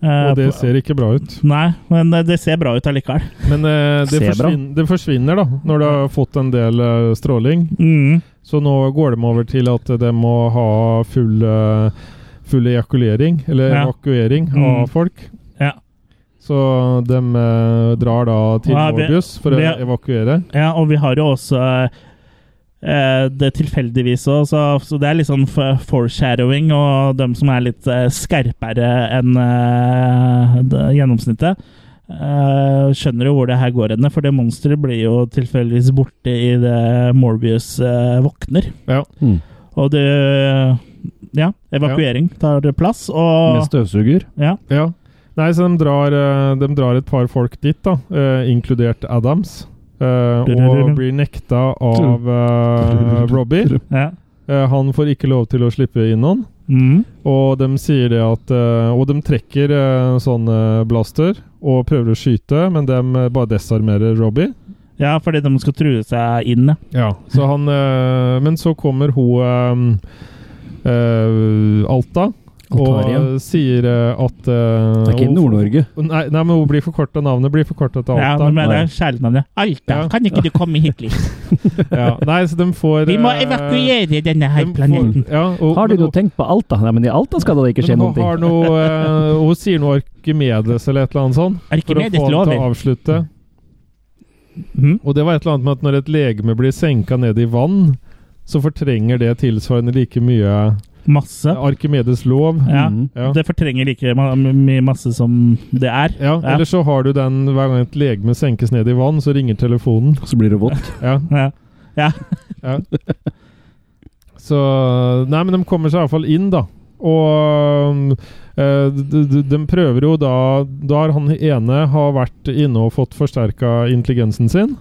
Eh, Og det på- ser ikke bra ut. Nei, men det, det ser bra ut allikevel. Men eh, det, Ser bra. forsvinner, det forsvinner, da, når det har fått en del eh, stråling. Mm. Så nå går de over til at de må ha full, eh, full ejakulering, eller Ja. evakuering, Mm. av folk. Ja. Så de eh, drar da til Ja, vi- Morbius for å vi- evakuere. ja, og vi har jo også eh, det tilfeldigvis òg, så, så det er litt sånn f- foreshadowing. Og dem som er litt eh, skarpere enn eh, det gjennomsnittet, eh, skjønner jo hvor det her går hen. For det monsteret blir jo tilfeldigvis borte i det Morbius eh, våkner. Ja. Mm. Og det Ja, evakuering tar plass, og Med støvsuger. ja, Ja. Nei, så de drar, eh, de drar et par folk dit, da, eh, inkludert Adams. eh, og blir nekta av eh, Robbie. ja. Eh, han får ikke lov til å slippe inn han. Mm. Og de sier det at eh, Og de trekker eh, sånn eh, blaster og prøver å skyte, men de eh, bare desarmerer Robbie. ja, fordi de skal true seg inn. ja. Ja, så han eh, Men så kommer hun eh, eh, Alta Altarien. og sier eh, at eh, Det er ikke hun- Nord-Norge. Nei, nei, men hun blir forkorta navnet. Blir forkorta til Ja, Alta. men det er kjælenavnet. Alta, Ja. kan ikke du komme hit litt? Ja, nei, så de får Vi må eh, evakuere denne de her får- planeten. Ja, og, Har de men noe tenkt på Alta? Nei, men i Alta skal det da ikke skje men noen hun har ting. noe eh, Hun sier noe Arkimedes eller et eller annet sånt. For å Arkimedes få han til lover. å avslutte. Mhm. Og det var et eller annet med at når et legeme blir senka ned i vann, så fortrenger det tilsvarende like mye Masse. Arkimedes lov. Ja. Mhm. Ja. Det fortrenger like ma- mye masse som det er. Ja, Eller så har du den hver gang et legeme senkes ned i vann, så ringer telefonen. Så blir det vått. Ja, Ja. ja. Så Nei, men de kommer seg iallfall inn, da. Og eh, de, de, de prøver jo da Da har han ene har vært inne og fått forsterka intelligensen sin.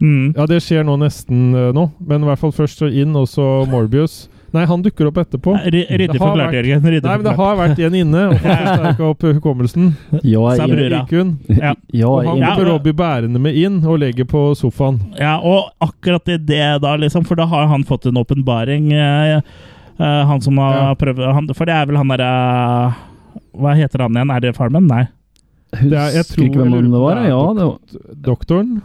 Mm. Ja, det skjer nå nesten eh, nå, men i hvert fall først så inn, og så Morbius. Nei, han dukker opp etterpå. Ry- Ryddig Det har forklart, vært- Jørgen. Ryddig Nei, men det har forklart. vært en inne, og fått forsterka opp hukommelsen. Ja, Sa jeg, brura. Ikun. Ja. ja, Og han jeg, kommer Robbie bærende med inn og legger på sofaen. Ja, og akkurat i det da, liksom, for da har han fått en åpenbaring. eh, eh, han som har Ja. prøvd han, For det er vel han derre Hva heter han igjen? Er det Farmen? Nei. er- jeg husker ikke tror- hvem han det var. det er Ja, det var Doktoren.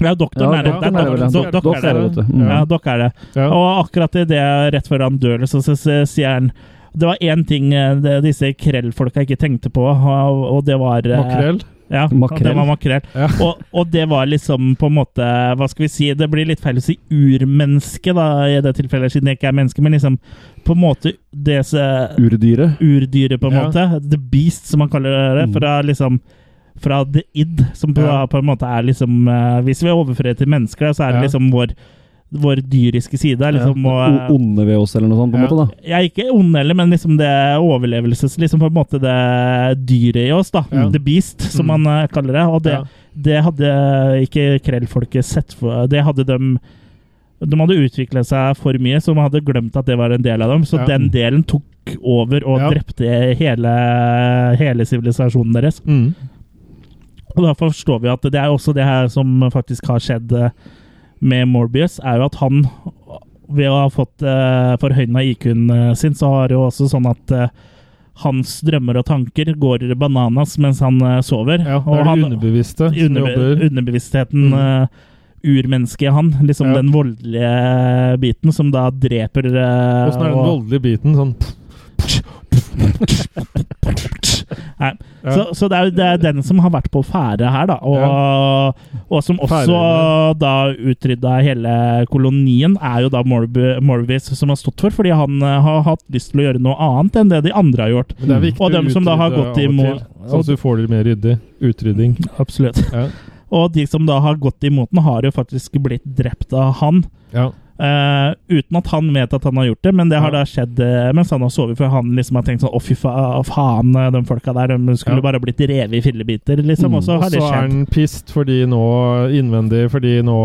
Ja, doktoren Ja, er det. doktoren er det. Er vel doktoren, han. dok, dok, Doktoren er det. er det. vet du. Mm. Ja, dok er det. Ja. Og akkurat i det rett før han dør, liksom, så så sier han Det var én ting eh, det, disse krellfolka ikke tenkte på, og, og det var eh, Makrell. Ja, Makrell. det var makrell. Ja. Og, og det var liksom på en måte Hva skal vi si? Det blir litt feil å si urmenneske, da, i det tilfellet, siden jeg ikke er menneske, men liksom på en måte det som- Urdyret. urdyret, på en Ja. Mm. måte. The Beast, som man kaller det. Fra liksom fra The Id, som på, Ja. på en måte er liksom eh, Hvis vi overfører til mennesker, da, så er det Ja. liksom liksom vår, vår dyriske side. er Liksom, O- og, Onde ved oss, eller noe sånt, på en Ja. måte. da. jeg er ikke ond heller, men liksom det overlevelses... Liksom på en måte det dyret i oss, da. Ja. The Beast, som Mm. man eh, kaller det. Og det, Ja. det hadde ikke krellfolket sett for Det hadde dem De hadde utvikla seg for mye, så de hadde glemt at det var en del av dem. Så Ja. den delen tok over og Ja. drepte hele hele sivilisasjonen deres. Mm. Og da forstår vi at det er også det her som faktisk har skjedd eh, med Morbius, er jo at han ved å ha fått uh, forhøyna IQ-en eh, sin, så har jo også sånn at eh, hans drømmer og tanker går bananas mens han eh, sover. Ja, det og er det han, underbevisste som underbe- jobber. underbevisstheten Mm. eh, Urmennesket i han. Liksom Ja. den voldelige biten som da dreper eh, Åssen er den og- voldelige biten? Sånn Nei. Ja. Så, så det, er, jo- det er den som har vært på ferde her, da. Og, og som også Færøyene. da utrydda hele kolonien, er jo da Morb- Morbius som har stått for, fordi han eh, har hatt lyst til å gjøre noe annet enn det de andre har gjort. Men det er viktig Og dem som da har utrydde gått i av og mål- til, Sånn at du får det mer ryddig. Utrydding. Absolutt. Ja. Og de som da har gått imot den, har jo faktisk blitt drept av han. ja. Eh, uten at han vet at han har gjort det, men det har Ja. da skjedd eh, mens han har sovet. For han liksom har tenkt sånn Å, fy fa faen, eh, de folka der de skulle Ja. bare blitt revet i fillebiter, liksom. Mm. Og så Og har det så er skjedd. han pissed fordi nå, innvendig fordi nå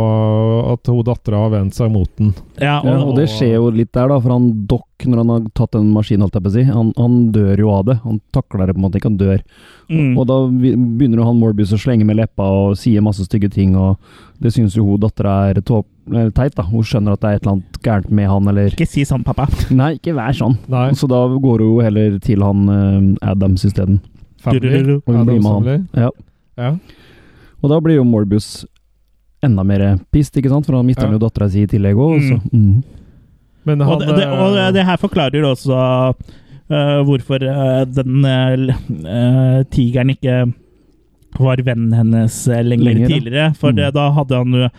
at hun dattera har vendt seg mot den. Ja, Ja, og det skjer jo litt der, da, for han Doc, når han har tatt den maskinen, holdt jeg på å si, han, han dør jo av det. Han takler det på en måte ikke, han dør. Mm. Og da vi- begynner jo han Morbius å slenge med leppa og sier masse stygge ting, og det syns jo hun dattera er tå- eller teit, da. Hun skjønner at det er et eller annet gærent med han, eller Ikke si sånn, pappa. Nei, ikke vær sånn. Nei. Så da går hun jo heller til han eh, Adams isteden. Family. Du-du-du-du. Og hun Adams blir med sånn han. Family. Ja. Ja. Og da blir jo Morbius enda mer pissed, ikke sant, for han mister Ja. jo dattera si i tillegg òg, så mm. Men han Og det, det, og eh, det her forklarer jo også eh, hvorfor eh, den eh, l- eh, tigeren ikke var vennen hennes eh, lenger, Lenger, ja. tidligere. For Mm. det, da hadde han jo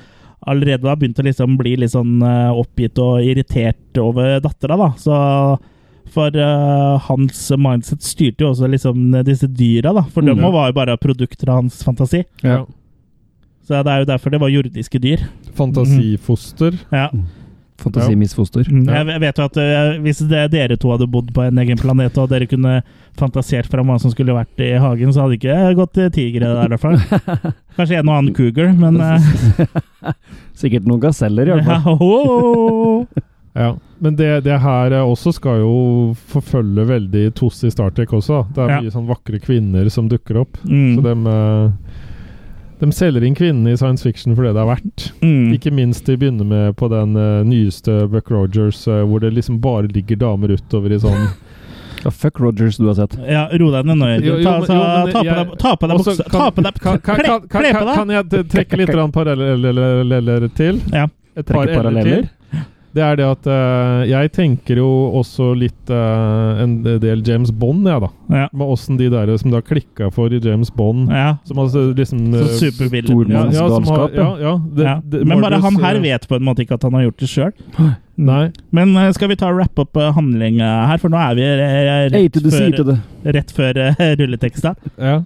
allerede da begynt å liksom bli litt sånn eh, oppgitt og irritert over dattera, da. Så for eh, hans mindset styrte jo også liksom disse dyra, da. For Mm. dem var jo bare produkter av hans fantasi. eh, ja. Så det er jo derfor det var jordiske dyr. Mhm. Fantasifoster. Ja. Fantasi Ja. misfoster. Mm, Ja. Jeg jeg vet jo at eh, Hvis det, dere to hadde bodd på en egen planet, og dere kunne fantasert fram hva som skulle vært i hagen, så hadde ikke gått eh, tigre der, i hvert fall. Kanskje en og annen cougar, men eh, Sikkert noen gaseller, i hvert ja, fall. ho, ho. Ja, Men det, det her eh, også skal jo forfølge veldig Toss i Star Trek også. da. Det er Ja. mye sånn vakre kvinner som dukker opp. Så Mm, dem, eh, dem selger inn kvinnene i science fiction for det det er verdt. mm, Ikke minst de begynner med på den eh, nyeste Buck Rogers, eh, hvor det liksom bare ligger damer utover i sånn Ja, fuck Rogers du har sett. ja, ro deg ned nå, Jo, jo, Jørgen. Ta, men- ta, jo, men ta jeg- på deg- ta på deg Også buksa Ta på deg kan, kan, Kle kan, kan, kle på deg! kan jeg t- trekke litt grann paralleller til? Ja. Et par Trekke eller til? paralleller. Det er det at eh, jeg tenker jo også litt eh, en del James Bond, jeg, da. Ja. Med åssen de der som da klikka for i James Bond ja. Som altså liksom Så eh, superbillig. ja, Stormanns- ja, som har, galskap, ja, ja. ja, det, Ja. det- Men bare Morbius, han her eh, vet på en måte ikke at han har gjort det sjøl. Nei. Men eh, skal vi ta wrap up eh, handlinga her, for nå er vi eh, Hey, to rett the sea, to før, the rett før eh, rulleteksta. Ja.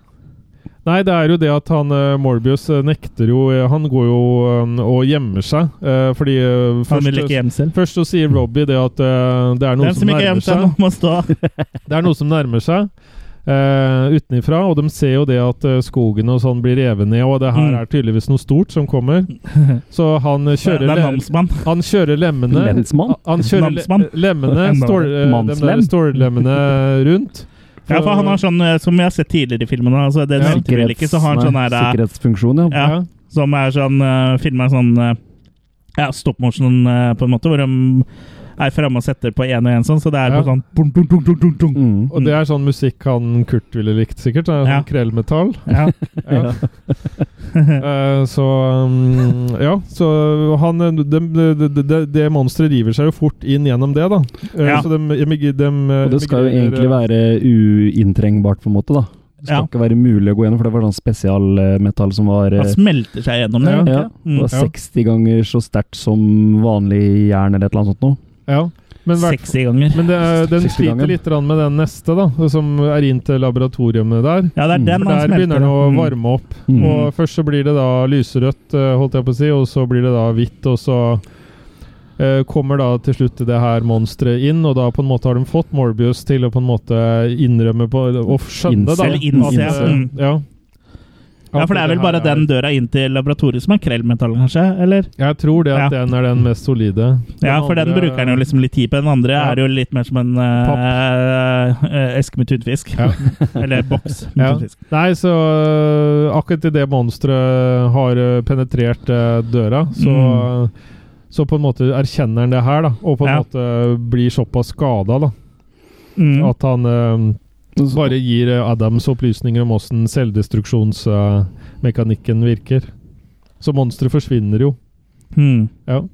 Nei, det er jo det at han eh, Morbius eh, nekter jo eh, Han går jo eh, og gjemmer seg, eh, fordi eh, Han vil ikke først, hjem selv. først så sier Robbie det at eh, det er noe Den som ikke gjemte seg, nå må stå. Det er noe som nærmer seg eh, utenifra, og de ser jo det at eh, skogen og sånn blir revet ned, og det her Mm. er tydeligvis noe stort som kommer. Så han eh, Det kjører, er le namsmann. han kjører lemmene Lensmann? Han kjører le Namsmann. lemmene, stål, eh, de der Manslem. stålremmene rundt. Ja, for han har sånn eh, som vi har sett tidligere i filmene, altså det Ja. nevnte vi vel ikke, så har han sånn her eh, Sikkerhetsfunksjon, ja. ja, som er sånn uh, Filma sånn eh, ja, stop motion, eh, på en måte, hvor de er framme og setter på én og én sånn, så det er Ja. på sånn dun, dun, dun, dun, dun, dun. Mm. Og det er sånn musikk han Kurt ville likt, sikkert. Det er Ja. Sånn krellmetall. Ja. Ja. Eh, så um, Ja, så han eh, Det de, de, de, det monsteret river seg jo fort inn gjennom det, da. Eh, Ja. Så dem emig- dem, eh, Og det skal jo emigrerer- egentlig være uinntrengbart, på en måte. da. Det skal Ja. ikke være mulig å gå gjennom, for det var sånn spesialmetall som var eh, Han smelter seg gjennom det. Ja. ikke? ja, det var Mm. 60 ganger så sterkt som vanlig jern eller et eller annet sånt noe. Ja. Men hvert Sexy ganger. Men det, er- den Siste sliter gangen. litt grann med den neste, da, som er inn til laboratoriet der. Ja, det er Mm. den For han der smelter. begynner den å Mm. varme opp. Mm. Og Først så blir det da lyserødt, eh, holdt jeg på å si, og så blir det da hvitt, og så eh, kommer da til slutt det her monsteret inn, og da på en måte har de fått Morbius til å på en måte innrømme på, og skjønne da Innse. Eller innse, at, ja. eh, Mm. ja. Ja, for det er vel bare den døra inn til laboratoriet som er krellmetall, kanskje? Eller? Jeg tror det at Ja. den er den mest solide. Ja, for den andre- bruker han jo liksom litt tid på. Den andre Ja. er jo litt mer som en eh, eh, eske med tunfisk. Ja. Eller boks med Ja. tunfisk. Nei, så øh, akkurat idet monsteret har øh, penetrert øh, døra, så, Mm. så på en måte erkjenner han det her, da. Og på en Ja. måte blir såpass skada, da. Mm. At han øh, bare gir øh, Adams opplysninger om åssen selvdestruksjonsmekanikken virker. Så monsteret forsvinner jo. Mm. Ja.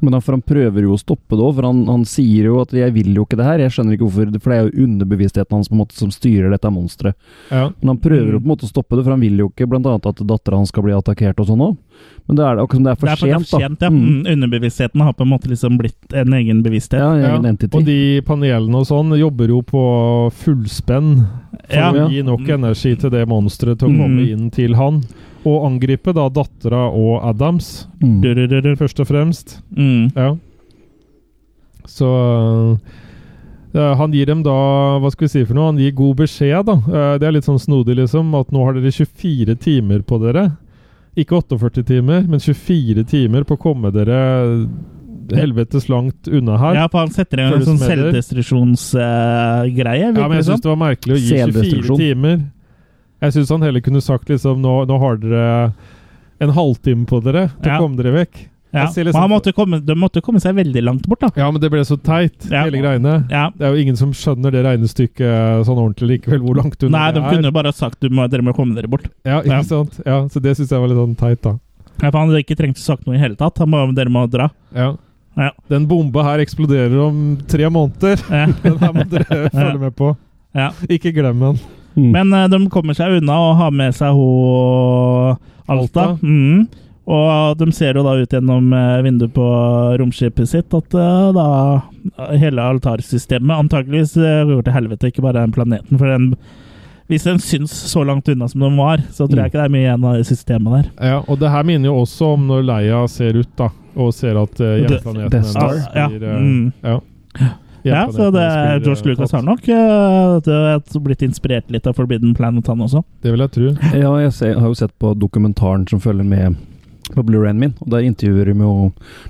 Men da, for han prøver jo å stoppe det òg, for han, han sier jo at 'jeg vil jo ikke det her', jeg skjønner ikke hvorfor, for det er jo underbevisstheten hans på en måte som styrer dette monsteret. ja. Men han prøver jo Mm. på en måte å stoppe det, for han vil jo ikke blant annet at dattera hans skal bli attakkert og sånn òg. Men det er det akkurat som det er Det er for sent, da. ja. Mm. Mm. Underbevisstheten har på en måte liksom blitt en egen bevissthet. Ja, Ja. egen Og entity. de panelene og sånn jobber jo på fullspenn for Ja. å gi nok energi til det monsteret til å komme Mm. inn til han. Og angripe da dattera og Adams. Mm. Durururu. Først og fremst. Mm. Ja. Så øh, Han gir dem da Hva skal vi si for noe? Han gir god beskjed, da. Eh, det er litt sånn snodig, liksom. At nå har dere 24 timer på dere. Ikke 48 timer, men 24 timer på å komme dere helvetes langt unna her. Ja, for han setter i gang en Føles sånn eh, med det. selvdestruksjonsgreie. Ja, men jeg syns det var merkelig å gi 24 Selvdestruksjon. timer. Jeg syns han heller kunne sagt liksom Nå, nå har dere en halvtime på dere til Ja. å komme dere vekk. ja. jeg ser Men liksom- han måtte komme, de måtte komme seg veldig langt bort, da. Ja, men det ble så teit, Ja. hele greiene. Ja. Det er jo ingen som skjønner det regnestykket sånn ordentlig likevel, hvor langt unna Nei, de det er. kunne jo bare sagt du må, dere må komme dere bort. Ja, ikke Ja. sant? Ja, så det syns jeg var litt sånn teit, da. Ja, for han hadde ikke trengt å sagt noe i hele tatt. Han bare, dere må dra. Ja. Ja. Den bomba her eksploderer om tre måneder. Ja. Den her må dere følge med på. Ja. Ikke glem den. Mm. Men eh, de kommer seg unna og har med seg ho Alta. Alta. Mhm. Og de ser jo da ut gjennom eh, vinduet på romskipet sitt at eh, da hele altarsystemet antakeligvis eh, går til helvete, ikke bare den planeten. For den Hvis den syns så langt unna som den var, så tror jeg ikke det er mye igjen av det systemet der. Ja, og det her minner jo også om når Leia ser ut, da. Og ser at uh, hjemplaneten Death Star. hennes Ja, blir, eh, mm. ja. ja, så Hjemplaneten det hennes blir, George eh, Lucas tatt. har nok eh, vet du, blitt inspirert litt av Forbidden Planet, han også. Det vil jeg tro. Ja, jeg ser, har jo sett på dokumentaren som følger med på Blu-rayen min, og der intervjuer de jo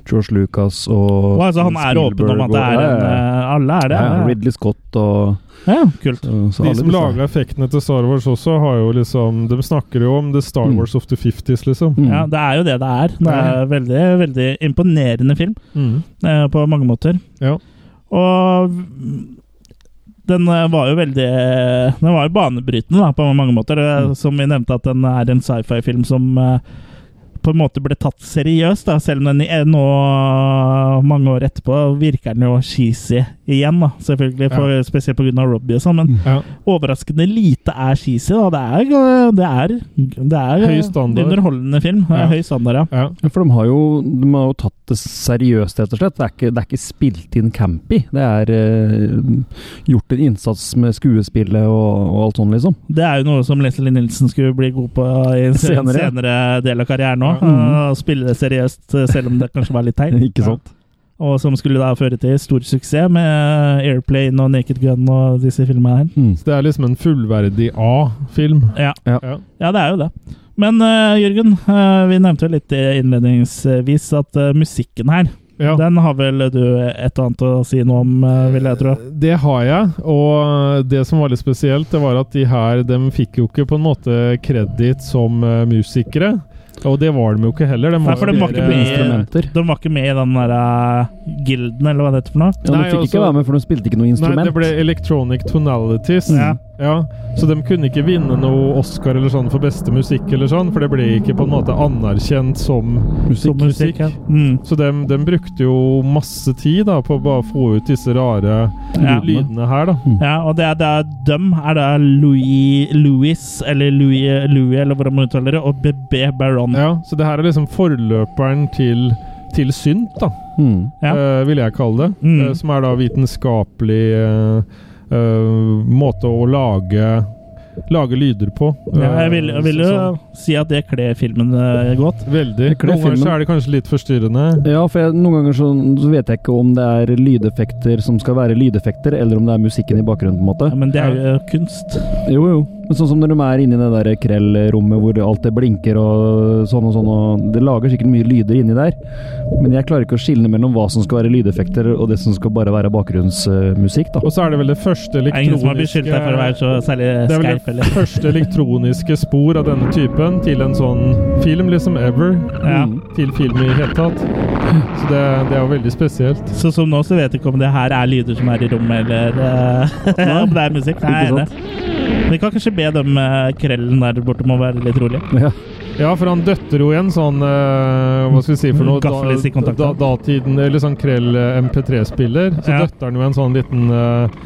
George Lucas og Og, altså, han er åpen om at det er en eh, Alle er det? ja, ja, Ja, Ridley Scott og ja. ja kult. så, så De alle som liksom. disse- laga effektene til Star Wars også, har jo liksom De snakker jo om The Star Mm. Wars of the 50s, liksom. Mm. Ja, det er jo det det er. Det er veldig, veldig imponerende film Mm. eh, på mange måter. Ja. Og den eh, var jo veldig Den var jo banebrytende da, på mange måter. Eh, Mm. Som vi nevnte, at den er en sci-fi-film som eh, på en måte ble tatt seriøst, da, selv om den i- nå, mange år etterpå, virker den jo cheesy igjen, da, selvfølgelig, for, spesielt pga. Robbie og sånn, men Ja. overraskende lite er cheesy. Da. Det er, eh, det er, det er eh, Høy standard. underholdende film. Det er Ja. Høy standard, ja. ja. Ja, For de har, jo, de har jo tatt det seriøst, rett og slett. Det er ikke, det er ikke spilt inn campy. Det er eh, gjort en innsats med skuespillet og, og alt sånn, liksom. Det er jo noe som Leslie Nilsen skulle bli god på i en se- Senere. senere, del av karrieren òg. Ja. Å Spille det seriøst, eh, selv om det kanskje var litt teit. Ikke sant? Og som skulle da føre til stor suksess med Airplane og Naked Gun og disse filmene her. Mm. Så det er liksom en fullverdig A-film. Ja, Ja. Ja. ja det er jo det. Men eh, Jørgen, eh, vi nevnte jo litt i innledningsvis at eh, musikken her, Ja. den har vel du et og annet å si noe om, eh, vil jeg tro. Det har jeg, og det som var litt spesielt, det var at de her de fikk jo ikke på en måte kreditt som eh, musikere. Og det var de jo ikke heller. De Nei, for de var mer- ikke med i- Eh, Instrumenter. De var ikke med i den der eh, gilden, eller hva det heter for noe. Ja, de Nei, fikk altså- ikke være med, for de spilte ikke noe instrument. Nei, det ble Electronic Tonalities. Ja. Ja, Så de kunne ikke vinne noe Oscar eller sånn for beste musikk, eller sånn, for det ble ikke på en måte anerkjent som Som musikk. Ja. Mm. Så de, de brukte jo masse tid da, på å bare få ut disse rare Ja. lydene her. da. Ja, og det er, det er dem er da Louis, Louis eller Louis, Louis eller hvordan man uttaler det, og BB Baron. Ja. Ja, Så det her er liksom forløperen til, til synt, da, Mm. eh, vil jeg kalle det. Mm. Eh, som er da vitenskapelig eh, eh, måte å lage Lage lyder på. Ja, jeg Eh, vil, jeg vil jo så- sånn. si at det kler filmen eh, godt. Veldig. Det kler Noen ganger filmen. så er det kanskje litt forstyrrende. Ja, for jeg, noen ganger så, så vet jeg ikke om det er lydeffekter som skal være lydeffekter, eller om det er musikken i bakgrunnen, på en Ja, måte. men det er jo kunst. Jo, jo. Men sånn som når de er inne i det der krellrommet hvor alt det blinker og sånn og sånn, og det lager sikkert mye lyder inni der, men jeg klarer ikke å skille mellom hva som skal være lydeffekter, og det som skal bare være bakgrunnsmusikk, da. Og så er det vel det første Det er ingen som har beskyldt deg for å være elektroniske så særlig det er vel skerp, det eller? første elektroniske spor av denne typen til en sånn film, liksom ever. Ja. Til film i hele tatt. Så det, det er jo veldig spesielt. Så som nå så vet jeg ikke om det her er lyder som er i rommet, eller eh, om det er musikk. Nei, Ikke det. sant? Vi kan kanskje be dem eh, krellen der borte om å være litt rolig. Ja. Ja, for han døtter jo i en sånn eh, Hva skal vi si for Mm, noe? Gaffelstikkontakt. da, datiden Eller sånn Krell eh, MP3-spiller. Så Ja. døtter han jo en sånn liten eh,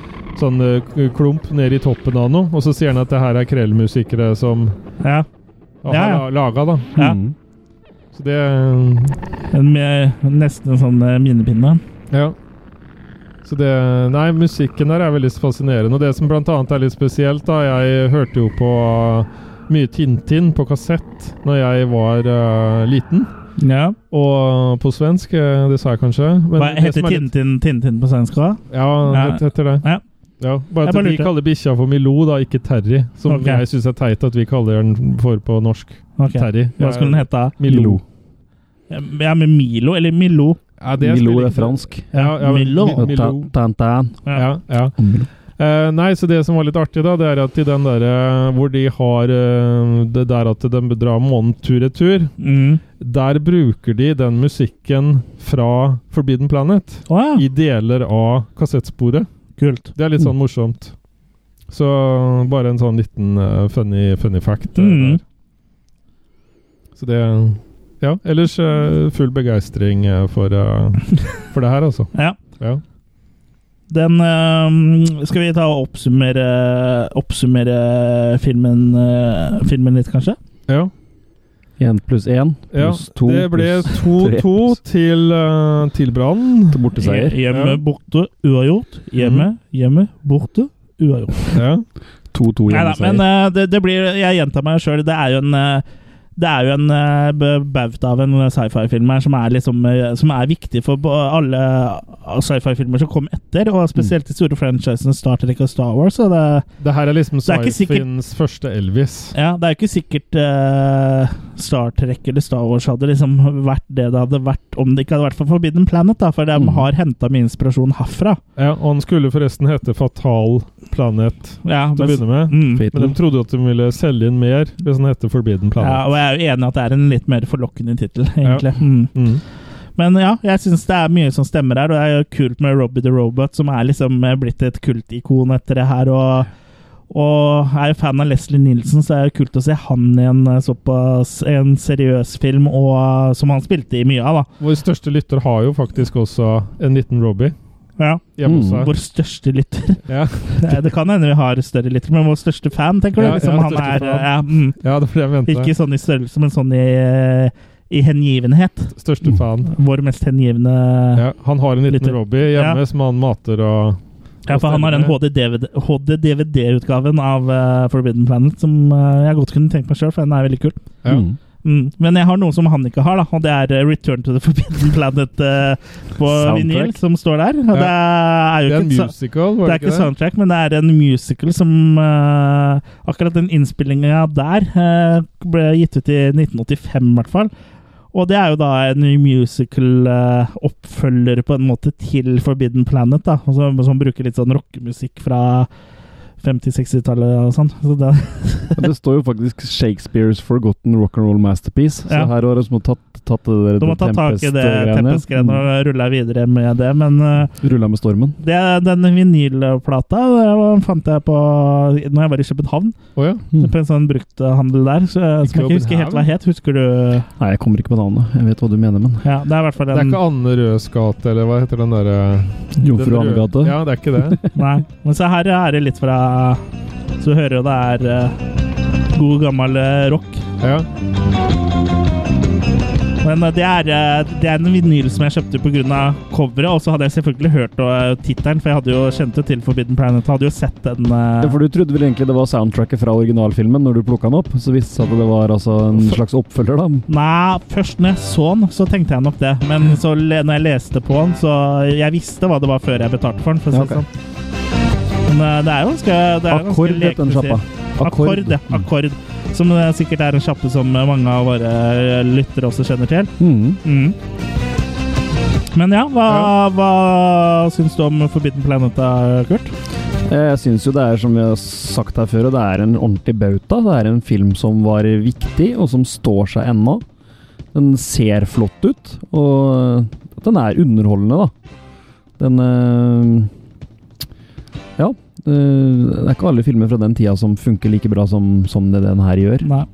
Sånn eh, k- klump ned i toppen av noe, og så sier han at det her er Krell-musikere som Ja. har Ja, ja. la- laga, da. ja. Mm. Så det eh, En, eh, nesten en sånn eh, minnepinne. Ja. Så det Nei, musikken der er veldig fascinerende. Og det som blant annet er litt spesielt, da Jeg hørte jo på mye Tintin på kassett når jeg var eh, liten. Ja. Og på svensk, eh, det sa jeg kanskje. men Hva det heter som er litt- Tintin Tintin på svensk òg? Ja, Ja. det heter det. Ja. Ja, bare Jeg at bare vi lurte. kaller bikkja for Milou, da, ikke Terry. Som Ok. jeg syns er teit at vi kaller den for på norsk. Ok. Terry. Hva skulle den hete? da? Milou. Ja, men Milo, eller Milo. Ja, det Milo spiller er ikke- fransk. Ja, ja, Milo. Mi- Og Milou. Tantan. Ja. Ja, ja. Eh, nei, så det som var litt artig, da, det er at i den derre hvor de har eh, det der at de drar månen tur-retur, Mm. der bruker de den musikken fra Forbidden Planet Å ja, i deler av kassettsporet. kult. Det er litt sånn morsomt. Så bare en sånn liten eh, funny, funny fact. eh, Mm. der. Så det Ja, ellers eh, full begeistring eh, for, eh, for det her, altså. Ja. Ja. Den øhm, Skal vi ta og oppsummere, oppsummere filmen, øh, filmen litt, kanskje? ja. Én pluss én Ja, pluss to det ble pluss 2-2 til, eh, til Brann. borteseier. Hjemme, Ja. Mm. borte, uavgjort. Hjemme, hjemme, borte, uavgjort. Ja. 2-2 Neida, hjemmeseier. men eh, det, det blir Jeg gjentar meg sjøl. Det er jo en eh, det er jo en eh, b- bauta av en eh, sci-fi-film her som er, liksom, eh, som er viktig for bo- alle eh, sci-fi-filmer som kom etter, og spesielt de store franchisene Star Trek og Star Wars. Og det, Det her er liksom Det er ikke sikkert- sci-fiens første Elvis. ja, det er jo ikke sikkert eh, Star Trek eller Star Wars hadde liksom vært det det hadde vært om det ikke hadde vært for Forbidden Planet, da, for de Mm. har henta mye inspirasjon herfra. Ja, og han skulle forresten hete Fatal Planet Ja, til å begynne med. mm. Fatal. Men de trodde jo at de ville selge inn mer hvis han hette Forbidden Ja, Planet. og jeg er jo enig i at det er en litt mer forlokkende tittel, egentlig. Mm. Mm. Men ja, jeg syns det er mye som stemmer her, og det er jo kult med Robbie the Robot, som er liksom eh, blitt et kultikon etter det her. og og er jo fan av Leslie Nilsen, så er det jo kult å se han i en eh, såpass en seriøs film, og, eh, som han spilte i mye av. Vår største lytter har jo faktisk også en liten Robbie da. Ja. hjemme hos Mm. seg. Vår største lytter. Ja. Eh, Det kan hende vi har større lytter, men vår største fan, tenker du? Ja, liksom, ja, han største er, fan. eh, ja, mm, ja, det var det jeg mente. ikke sånn i størrelse, men sånn i, eh, i hengivenhet. Mm. Største fan. Vår mest hengivne Ja, han har en liten Lytter. Robbie hjemme som han mater og Ja, for han har den HD-DVD-utgaven av eh, Forbidden Planet som eh, jeg godt kunne tenkt meg sjøl, for den er veldig kul. ja. Mm. Mm. Men jeg har noe som han ikke har, da, og det er eh, Return to the Forbidden Planet eh, på Soundtrack. vinyl, som står der. Og Ja. det Det er jo er en ikke, et sa- musical, det var er ikke sånn- soundtrack, men det er en musical som eh, Akkurat den innspillinga der eh, ble gitt ut i 1985, i hvert fall. Og det er jo da en musical-oppfølger eh, på en måte til Forbidden Planet, da. og Som, som bruker litt sånn rockemusikk fra 50-60-tallet og sånn. Så det, Men Det står jo faktisk 'Shakespeare's Forgotten Rock'n'Roll Masterpiece', så Ja. her har de små tatt, tatt det eh, der du må ta tak i det Tempest-greiene. Tempest-greiene og rulle videre med det. Men eh, Mm. Rulla med stormen. det, den vinylplata eh, fant jeg på når jeg var i København. Å ja. Mm. på en sånn brukthandel der, så, eh, som jeg ikke husker helt hva het. Husker du Nei, jeg kommer ikke på navnet. Jeg vet hva du mener, men Ja, det er i hvert fall Det er en ikke Anne Røds gate, eller hva heter den derre Jomfru Annegate. Ja, det er ikke det. Nei. Men så her er det litt fra Så du hører jo det er eh, god, gammel eh, rock. Ja. Men eh, det er, eh, det er en vinyl som jeg kjøpte pga. coveret, og så hadde jeg selvfølgelig hørt eh, tittelen, for jeg hadde jo kjente jo til Forbidden Planet. Hadde jo sett den eh, Ja, for Du trodde vel egentlig det var soundtracket fra originalfilmen når du plukka den opp? Så visste det seg at det var altså en slags oppfølger, da. Nei, først når jeg så den, så tenkte jeg nok det. Men så le når jeg leste på den, så Jeg visste hva det var før jeg betalte for den. For å si det Ja, sånn. Men eh, det er jo ganske det er jo ganske Akkord het den lekende sjappa. Mm. serie. Akkord, ja. Akkord. Som eh, sikkert er en sjappe som eh, mange av våre eh, lyttere også kjenner til. Mm. Mm. Men ja, hva, hva syns du om Forbidden Planet, da, Kurt? Eh, Jeg syns jo det er, som vi har sagt her før, og det er en ordentlig bauta. Det er en film som var viktig, og som står seg ennå. Den ser flott ut, og eh, den er underholdende, da. Den eh, Ja. eh, det er ikke alle filmer fra den tida som funker like bra som, som det den her gjør. Nei.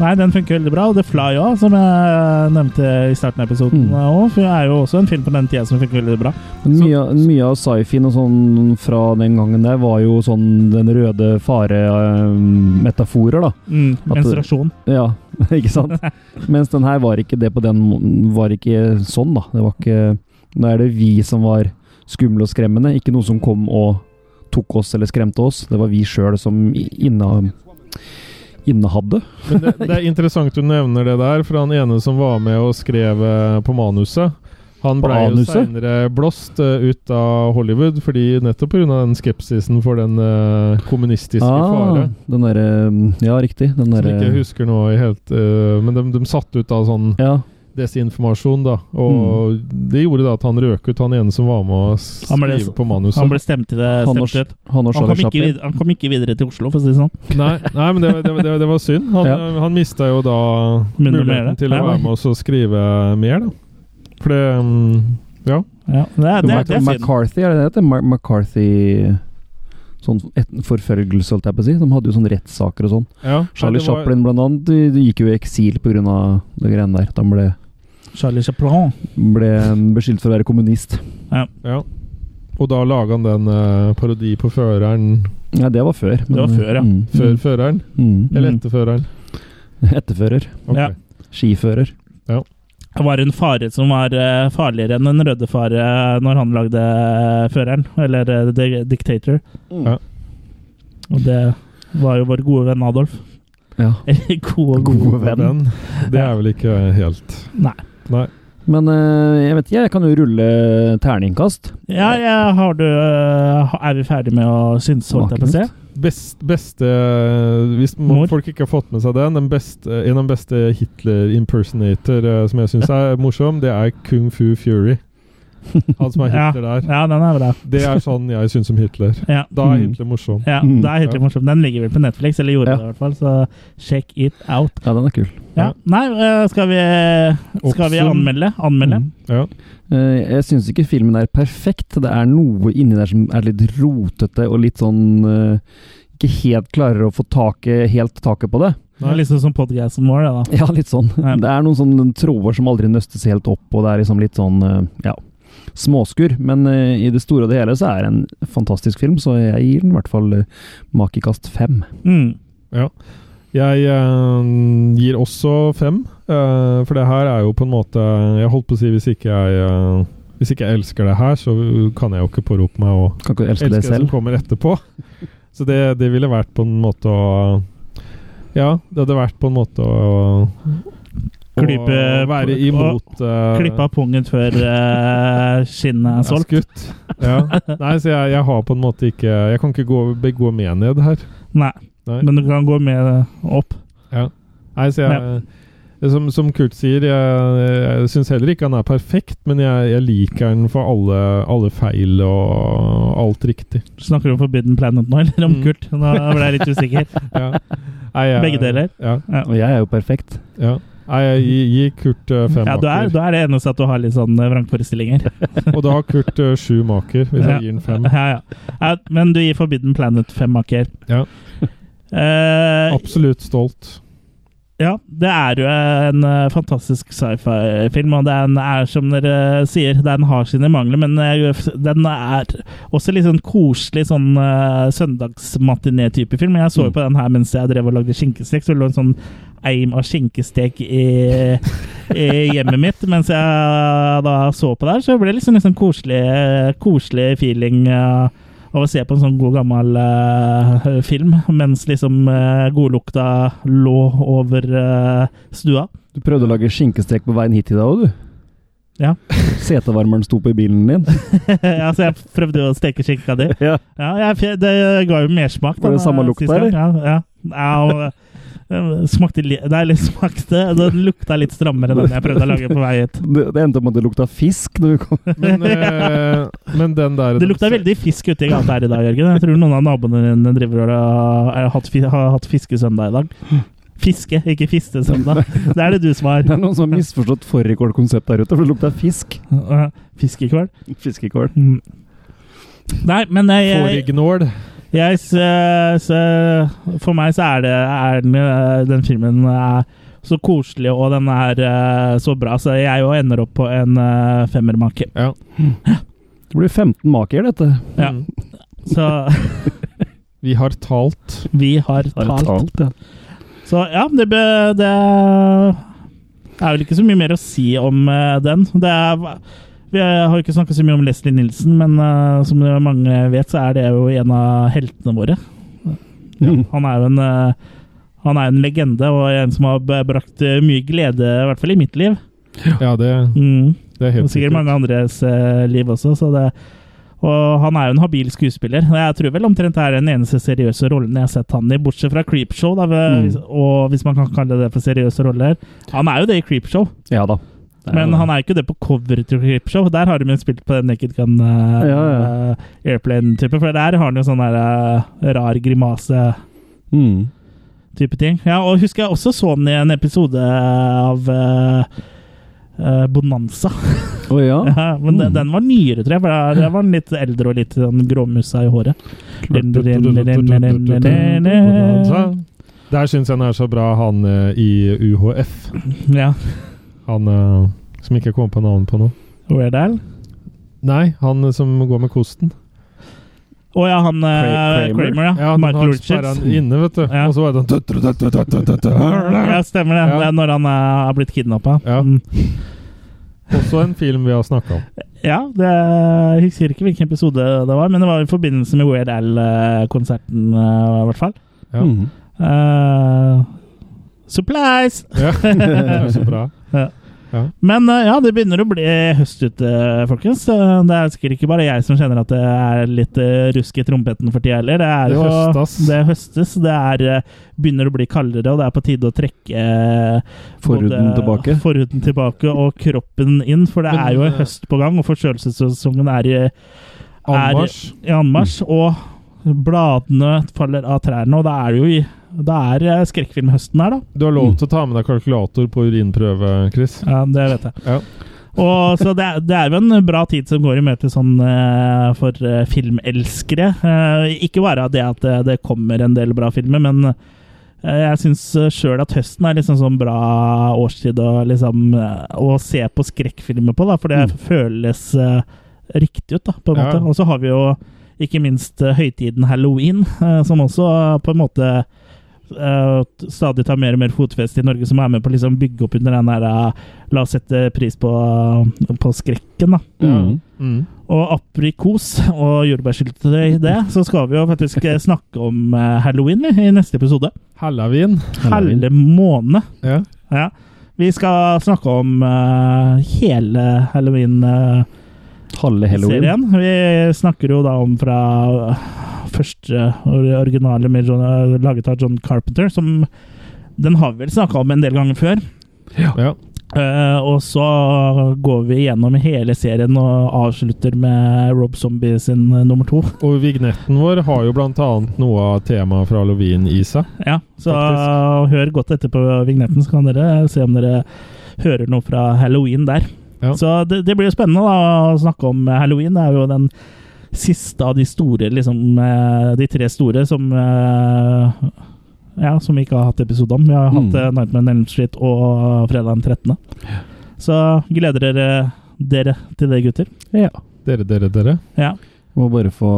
Nei, den funker veldig bra. Og The Fly òg, som jeg nevnte i starten av episoden. eh, Mm. også, for det er jo også en film på den tida som funker veldig bra. Men mye, mye av sci-fien og sånn fra den gangen der var jo sånn den røde fare-metaforer, da. Mm, At- menstruasjon. Ja, ikke sant? Mens den her var ikke det på den må- var ikke sånn, da. Det var ikke Nå er det vi som var skumle og skremmende, ikke noe som kom og tok oss eller skremte oss. Det var vi sjøl som i- inne, innehadde. Men det, det er interessant du nevner det der, for han ene som var med og skrev eh, på manuset han På ble jo anuset? seinere blåst eh, ut av Hollywood fordi nettopp pga. den skepsisen for den eh, kommunistiske fare. Ah, den derre Ja, riktig. Den Som ikke jeg derre husker nå i helt eh, Men de, de satte ut da sånn ja, desinformasjon, da. Og det gjorde da at han røk ut, han ene som var med å s- Mm. Han ble- skrive på manuset. Han ble stemt i det. Han og- Stemt ut. han og Han, Charlie kom ikke Chaplin. videre, han kom ikke videre til Oslo, for å si det sånn. Nei, nei men det, var- det, var- det, var- det var synd. Han, eh, Ja. han mista jo da Men det ble muligheten det. til å Ja. være med oss og skrive mer, da. For det mm, Ja. Ja, det, er- det, er- det er synd. McCarthy, er det det heter? Ma- McCarthy Sånn et, forfølgelse, holdt jeg på å si. De hadde jo sånne rettssaker og sånn. ja. Charlie Nei, det var- Chaplin blant annet de, de gikk jo i eksil pga. det greiene der. De ble, Charlie Chaplin. ble beskyldt for å være kommunist. Ja. Og da laga han den eh, parodi på føreren Ja, det var før. Det var før, ja. Mm, før føreren? Mm, Eller Mm. etter føreren? etterfører. Ok. Ja. Skifører. Det var en fare som var eh, farligere enn den røde fare når han lagde eh, føreren, eller eh, The Dictator. Ja. eh, Og det var jo vår gode venn Adolf. Ja. Eller gode, gode venn. Den. Det er vel ikke helt Nei. Nei. Men eh, jeg vet ikke, jeg kan jo rulle terningkast. Ja, ja, har du eh, Er vi ferdig med å synse, holdt jeg på å si? Best, beste eh, Hvis må- Mor. folk ikke har fått med seg den, den beste, en av de beste Hitler-impersonator eh, som jeg syns er morsom, det er Kung Fu Fury. Han som er Ja. Hitler der. Ja, den er bra. Det er sånn jeg syns om Hitler. Ja. Da er Mm. Hitler morsom. Ja, Mm. det er helt Ja. morsomt. Den ligger vel på Netflix, eller gjorde Ja. det i hvert fall, så check it out. Ja, den er kul. Ja. Ja. Nei, eh, skal vi, eh, skal vi Oppsum- anmelde? Anmelde? Mm. Ja. Eh, jeg syns ikke filmen er perfekt. Det er noe inni der som er litt rotete og litt sånn eh, Ikke helt klarer å få taket, helt taket på det. Det er liksom som podcasten vår, det da. Ja, litt sånn. Ja. Det er noen sånne tråder som aldri nøstes helt opp, og det er liksom litt sånn eh, ja, småskur. Men eh, i det store og det hele så er det en fantastisk film, så jeg gir den i hvert fall eh, makekast fem. Mm. Jeg eh, gir også fem, eh, for det her er jo på en måte Jeg holdt på å si hvis ikke jeg eh, Hvis ikke jeg elsker det her, så kan jeg jo ikke pårope meg å Kan ikke elske elsker det det som selv. kommer etterpå. Så det, det ville vært på en måte å Ja, det hadde vært på en måte å Klype- å være imot uh, Klipp av pungen før eh, skinnet er solgt. Skutt. Ja. Nei, så jeg, jeg har på en måte ikke Jeg kan ikke gå, begå mened her. Nei, Nei. men du kan gå med det opp. Nei, så jeg som, som Kurt sier, jeg, jeg syns heller ikke han er perfekt, men jeg, jeg liker han for alle, alle feil og alt riktig. Snakker du om Forbidden Planet nå, eller om Mm. Kurt? Nå ble jeg litt usikker. Ja. Nei, jeg- Begge deler? Ja. Ja. Og jeg er jo perfekt. ja. Nei, jeg gi- gir Kurt eh, fem Ja, du er, maker. du er det eneste at du har litt sånn eh, vrangforestillinger. Og da har Kurt eh, sju maker, hvis Ja. jeg gir den fem. Ja, ja. Ja, Men du gir Forbidden Planet fem makker. Ja. Eh, Absolutt stolt. ja, det er jo en eh, fantastisk sci-fi-film, og den er som dere sier, den har sine mangler, men eh, den er også litt sånn koselig sånn eh, søndagsmatiné-type film. Jeg så jo på den her mens jeg drev og lagde skinkestek, så det lå en sånn eim av skinkestek i, i hjemmet mitt mens jeg da så på der, så ble det liksom en sånn koselig, koselig feeling. eh, av å se på en sånn god gammel eh, film, mens liksom eh, godlukta lå over eh, stua. Du prøvde å lage skinkestek på veien hit i dag òg, du. Ja. Setevarmeren sto på i bilen din. ja, så Altså, jeg prøvde jo å steke skinka di. ja. Ja, jeg, f- det ga jo mersmak. Var det da, samme lukt sist da, gang. Ja, ja. ja og, eh, smakte li Nei, det smakte Det lukta litt strammere enn den jeg prøvde å lage på vei hit. det, det endte opp med at det lukta fisk når du kom. Men, eh, men den der Det lukta veldig fisk ute i gata her i dag, Jørgen. Jeg tror noen av naboene dine driver og eh, har hatt, fi- har hatt fiskesøndag i dag. Hm. Fiske, ikke fistesøndag. Det er det du som har. Det er noen som har misforstått fårikålkonseptet her ute, for det lukta fisk. Uh, Fiskekål. Fiskekål. Mm. Nei, men jeg, jeg, Fårignål. jeg s- s- For meg så er, det, er den, eh, den filmen eh, så koselig, og den er eh, så bra, så jeg jo ender opp på en eh, femmermake. Ja. Det blir 15 maker, dette. Ja. Mm. Så Vi har talt. vi har talt. talt, ja. Så ja, det, be, det er vel ikke så mye mer å si om eh, den. Det er, vi har jo ikke snakka så mye om Leslie Nilsen, men eh, som det mange vet, så er det jo en av heltene våre. Mm. Han er jo en, eh, han er en legende og en som har b- brakt eh, mye glede, i hvert fall i mitt liv. Ja, det, Mm. det er Og helt sikkert mange andres eh, liv også. Så det, og han er jo en habil skuespiller. Og Jeg tror vel omtrent det er den eneste seriøse rollen jeg har sett han i, bortsett fra Creepshow, da, ved- Mm. hvis- og hvis man kan kalle det for seriøse roller. Han er jo det i Creepshow, Ja da. men han er jo ikke det på cover til Creepshow. Der har de jo spilt på den Naked Gun eh, Ja, ja. eh, Airplane-type, for der har han jo sånn der eh, rar grimase mm. type ting. Ja, og husker jeg også så han i en episode av eh, eh, Bonanza. Å ja. Ah. Ja, men den, Mm. den var nyere, tror jeg. For der- der var den litt eldre og litt sånn gråmussa i håret. Der syns jeg han er så bra, han eh, i UHF. Ja, Han eh, som ikke kom på navnet på nå. Weird Al. Nei, han eh, som går med kosten. Å ja, han eh, Kramer. Kramer, ja. Ja, han Michael har sperret Richards. han inne, vet du. Ja. Og så var det sånn tut, tut, tut, tut, tut, tut, tut. Ja, stemmer det. Ja. Det er når han eh, har blitt kidnappa. Ja. Mm. Også en film vi har snakka om. Ja, det, jeg husker ikke hvilken episode det var, men det var i forbindelse med Weird Al-konserten, eh, i hvert fall. Ja. Mhm. Eh, supplies! Ja. Det er så bra. Men eh, ja, det begynner å bli høst ute, folkens. Eh, Det er sikkert ikke bare jeg som kjenner at det er litt eh, rusk i trompeten for tida heller. Det, Det er jo, høstas. Det høstes. Det er, eh, begynner å bli kaldere, og det er på tide å trekke eh, Forhuden både tilbake. Forhuden tilbake og kroppen inn, for det Men, er jo eh, en høst på gang, og forkjølelsessesongen er i, Anmarsj. i anmarsj. Og bladene faller av trærne, og da er det jo i Det er eh, skrekkfilmhøsten her, da. Du har Mm. lov til å ta med deg kalkulator på urinprøve, Chris. Ja, det vet jeg. Ja. Og så det er, det er jo en bra tid som går i møte sånn eh, for eh, filmelskere. Eh, ikke bare det at eh, det, det kommer en del bra filmer, men eh, jeg syns sjøl at høsten er liksom sånn bra årstid å, liksom, eh, å se på skrekkfilmer på, da, for det føles eh, riktig ut, da, på en Mm. Ja. måte. Og så har vi jo ikke minst eh, høytiden halloween, eh, som også eh, på en måte eh, t- stadig tar mer og mer fotfest i Norge, som er med på å liksom bygge opp under den der eh, La oss sette pris på, eh, på skrekken, da. Mhm. Mm. Og aprikos og jordbærsyltetøy i det, så skal vi jo faktisk eh, snakke om eh, halloween vi, i neste episode. Hallavin. Halloween. Halve måned. Ja. Ja. Vi skal snakke om eh, hele halloween-serien. Halve halloween. Vi snakker jo da om fra eh, første originale med John, eh, laget av John Carpenter, som den har vi vel snakka om en del ganger før. Ja. Eh, og så går vi gjennom hele serien og avslutter med Rob Zombie sin eh, nummer to. Og vignetten vår har jo blant annet noe av temaet fra halloween i seg. Ja, Så hør godt etter på vignetten, så kan dere se om dere hører noe fra halloween der. Ja. Så det, det blir jo spennende da, å snakke om halloween. Det er jo den siste av de store, liksom eh, De tre store som eh, Ja, som vi ikke har hatt episode om. Vi har hatt Mm. eh, Nightmare on Elm Street og fredag den 13. Så gleder dere dere til det, gutter. Ja. Dere, dere, dere. Ja. Må bare få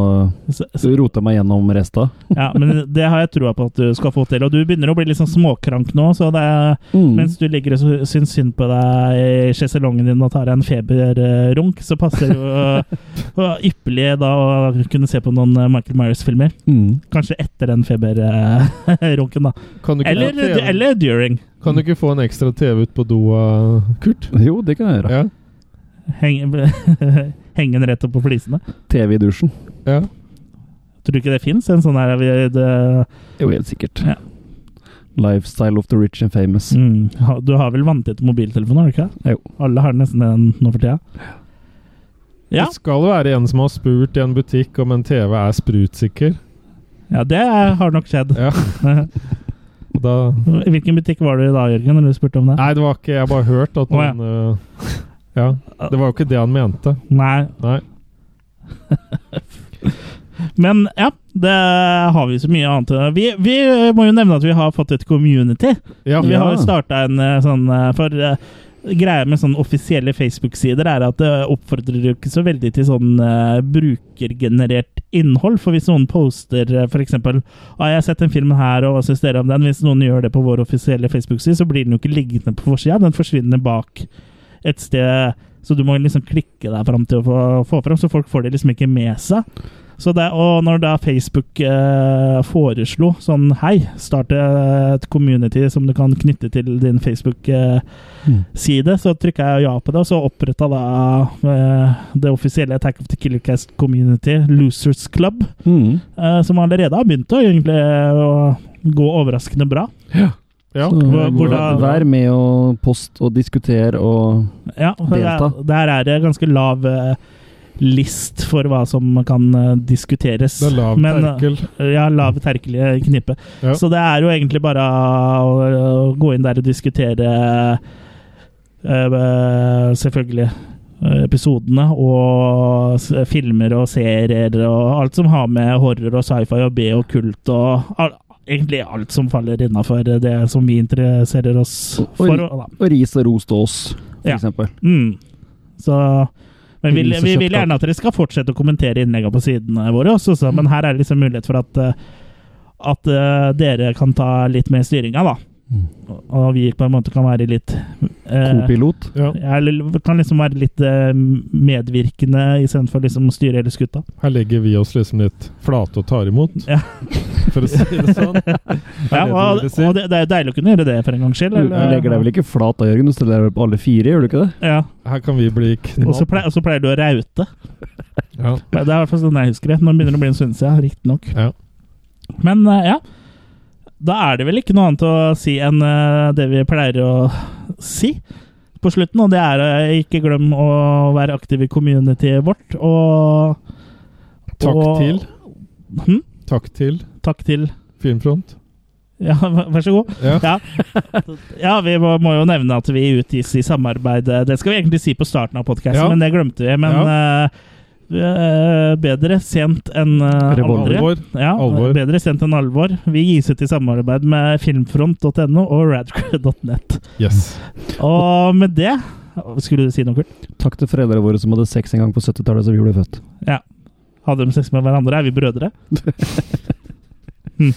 Så, så, rota meg gjennom resta. ja, men det har jeg trua på at du skal få til. Og du begynner å bli litt sånn småkrank nå, så det er, Mm. mens du ligger og sy- syns synd på deg i sjeselongen din og tar deg en feberrunk, så passer det jo øh, ypperlig da å kunne se på noen øh, Michael Myers-filmer. Mm. Kanskje etter den feberrunken, da. Kan du ikke, Eller, få, TV eller during. kan du ikke få en ekstra TV ut på do av Kurt? Jo, det kan jeg gjøre. Ja. Heng, henge den rett opp på flisene. TV i dusjen. ja. Tror du ikke det fins en sånn her vi- det- Jo, helt sikkert. Ja. Lifestyle of the rich and famous. mm, ha- Du har vel vanntett mobiltelefon, har du ikke? det? Jo. Alle har nesten den nå for tida. Ja. Det skal jo være en som har spurt i en butikk om en TV er sprutsikker. Ja, det har nok skjedd. Ja. Og da I Hvilken butikk var du i da, Jørgen, når du spurte om det? Nei, det var ikke Jeg bare hørte at Å, ja. noen øh, Ja. Det var jo ikke det han mente. Nei. Nei. Men ja, det har vi så mye annet. Vi, vi må jo nevne at vi har fått et community. Ja. Vi har Ja. starta en eh, sånn eh, For eh, greia med sånne offisielle Facebook-sider er at det oppfordrer jo ikke så veldig til sånn eh, brukergenerert innhold. For hvis noen poster eh, for eksempel, ah, 'Jeg har sett den filmen her, og hva syns dere om den?' Hvis noen gjør det på vår offisielle Facebook-side, så blir den jo ikke liggende på forsida. Den forsvinner bak et sted. Så du må liksom klikke deg fram til å få, få fram, så folk får det liksom ikke med seg. Så det, og når da Facebook eh, foreslo sånn Hei, start et community som du kan knytte til din Facebook-side, Mm. så trykka jeg ja på det, og så oppretta da eh, det offisielle Attack of the Killer Cast Community, Losers Club, Mm. eh, som allerede har begynt å egentlig eh, å gå overraskende bra. ja. Så, Hvor- hvor da- vær med og post og diskuter og Ja, for Delta. Der, der er det ganske lav eh, list for hva som kan eh, diskuteres. Det er lav Men, eh, terkel. Ja, lav terkel i knippet. Ja. Så det er jo egentlig bare å, å gå inn der og diskutere eh, Selvfølgelig eh, episodene og s- filmer og serier og alt som har med horror og sci-fi og B og kult og al Egentlig alt som faller innafor det som vi interesserer oss for. Oi. Da. Og ris og ros til oss, for Ja. eksempel. Mm. Så men vi, Ris og vi kjøpt vil gjerne at dere skal fortsette å kommentere innleggene på sidene våre også, så, men her er det liksom mulighet for at eh, at eh, dere kan ta litt mer styringa, da. Og vi på en måte kan være litt eh, Kopilot. Ja, ja, eller kan liksom være litt eh, medvirkende istedenfor liksom å styre hele skuta. Her legger vi oss liksom litt flate og tar imot, Ja. for å si det sånn. det Ja, og, det du sier? og det, det er jo deilig å kunne gjøre det for en gangs skyld. Du legger deg vel ikke flat da, Jørgen? Du stiller deg vel på alle fire, gjør du ikke det? Ja, Her kan vi bli og så knall. pleier, og så pleier du å raute. Ja. Det er i hvert fall sånn jeg husker det. Nå begynner det å bli en stund siden, riktignok. Ja. Men eh, ja, da er det vel ikke noe annet å si enn eh, det vi pleier å si på slutten, og det er eh, ikke glem å være aktiv i communityet vårt, og Takk og- til. Hm? Takk til Takk til Filmfront. Ja, vær vær så god. Ja. Ja, ja vi må, må jo nevne at vi utgis i samarbeid Eh, Det skal vi egentlig si på starten av podkasten, Ja. men det glemte vi. Men eh, eh, bedre sent enn eh, Revolver. aldri. Alvor. Ja, Alvor. Bedre sent enn alvor. Vi gis ut i samarbeid med filmfront.no og radcrew.net. Yes. Og med det Skulle du si noe kult? Takk til foreldrene våre som hadde sex en gang på 70-tallet, så vi ble født. Hadde de sex med hverandre? Er vi brødre? Hm.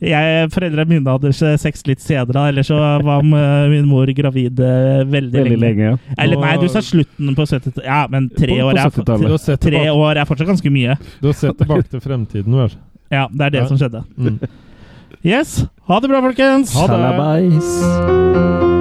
Jeg, Foreldrene mine hadde sex litt senere, ellers så var eh, min mor gravid eh, veldig, Veldig lenge. lenge, ja. Eller nei, du sa slutten på 70-tallet. Ja, men tre, På- på år er, for- 70-tallet. Du har sett, tre tilbake, år er fortsatt ganske mye. du har sett tilbake til fremtiden, vel? Ja, det er det Ja. som skjedde. Mm. Yes. Ha det bra, folkens! Ha det. Salabais.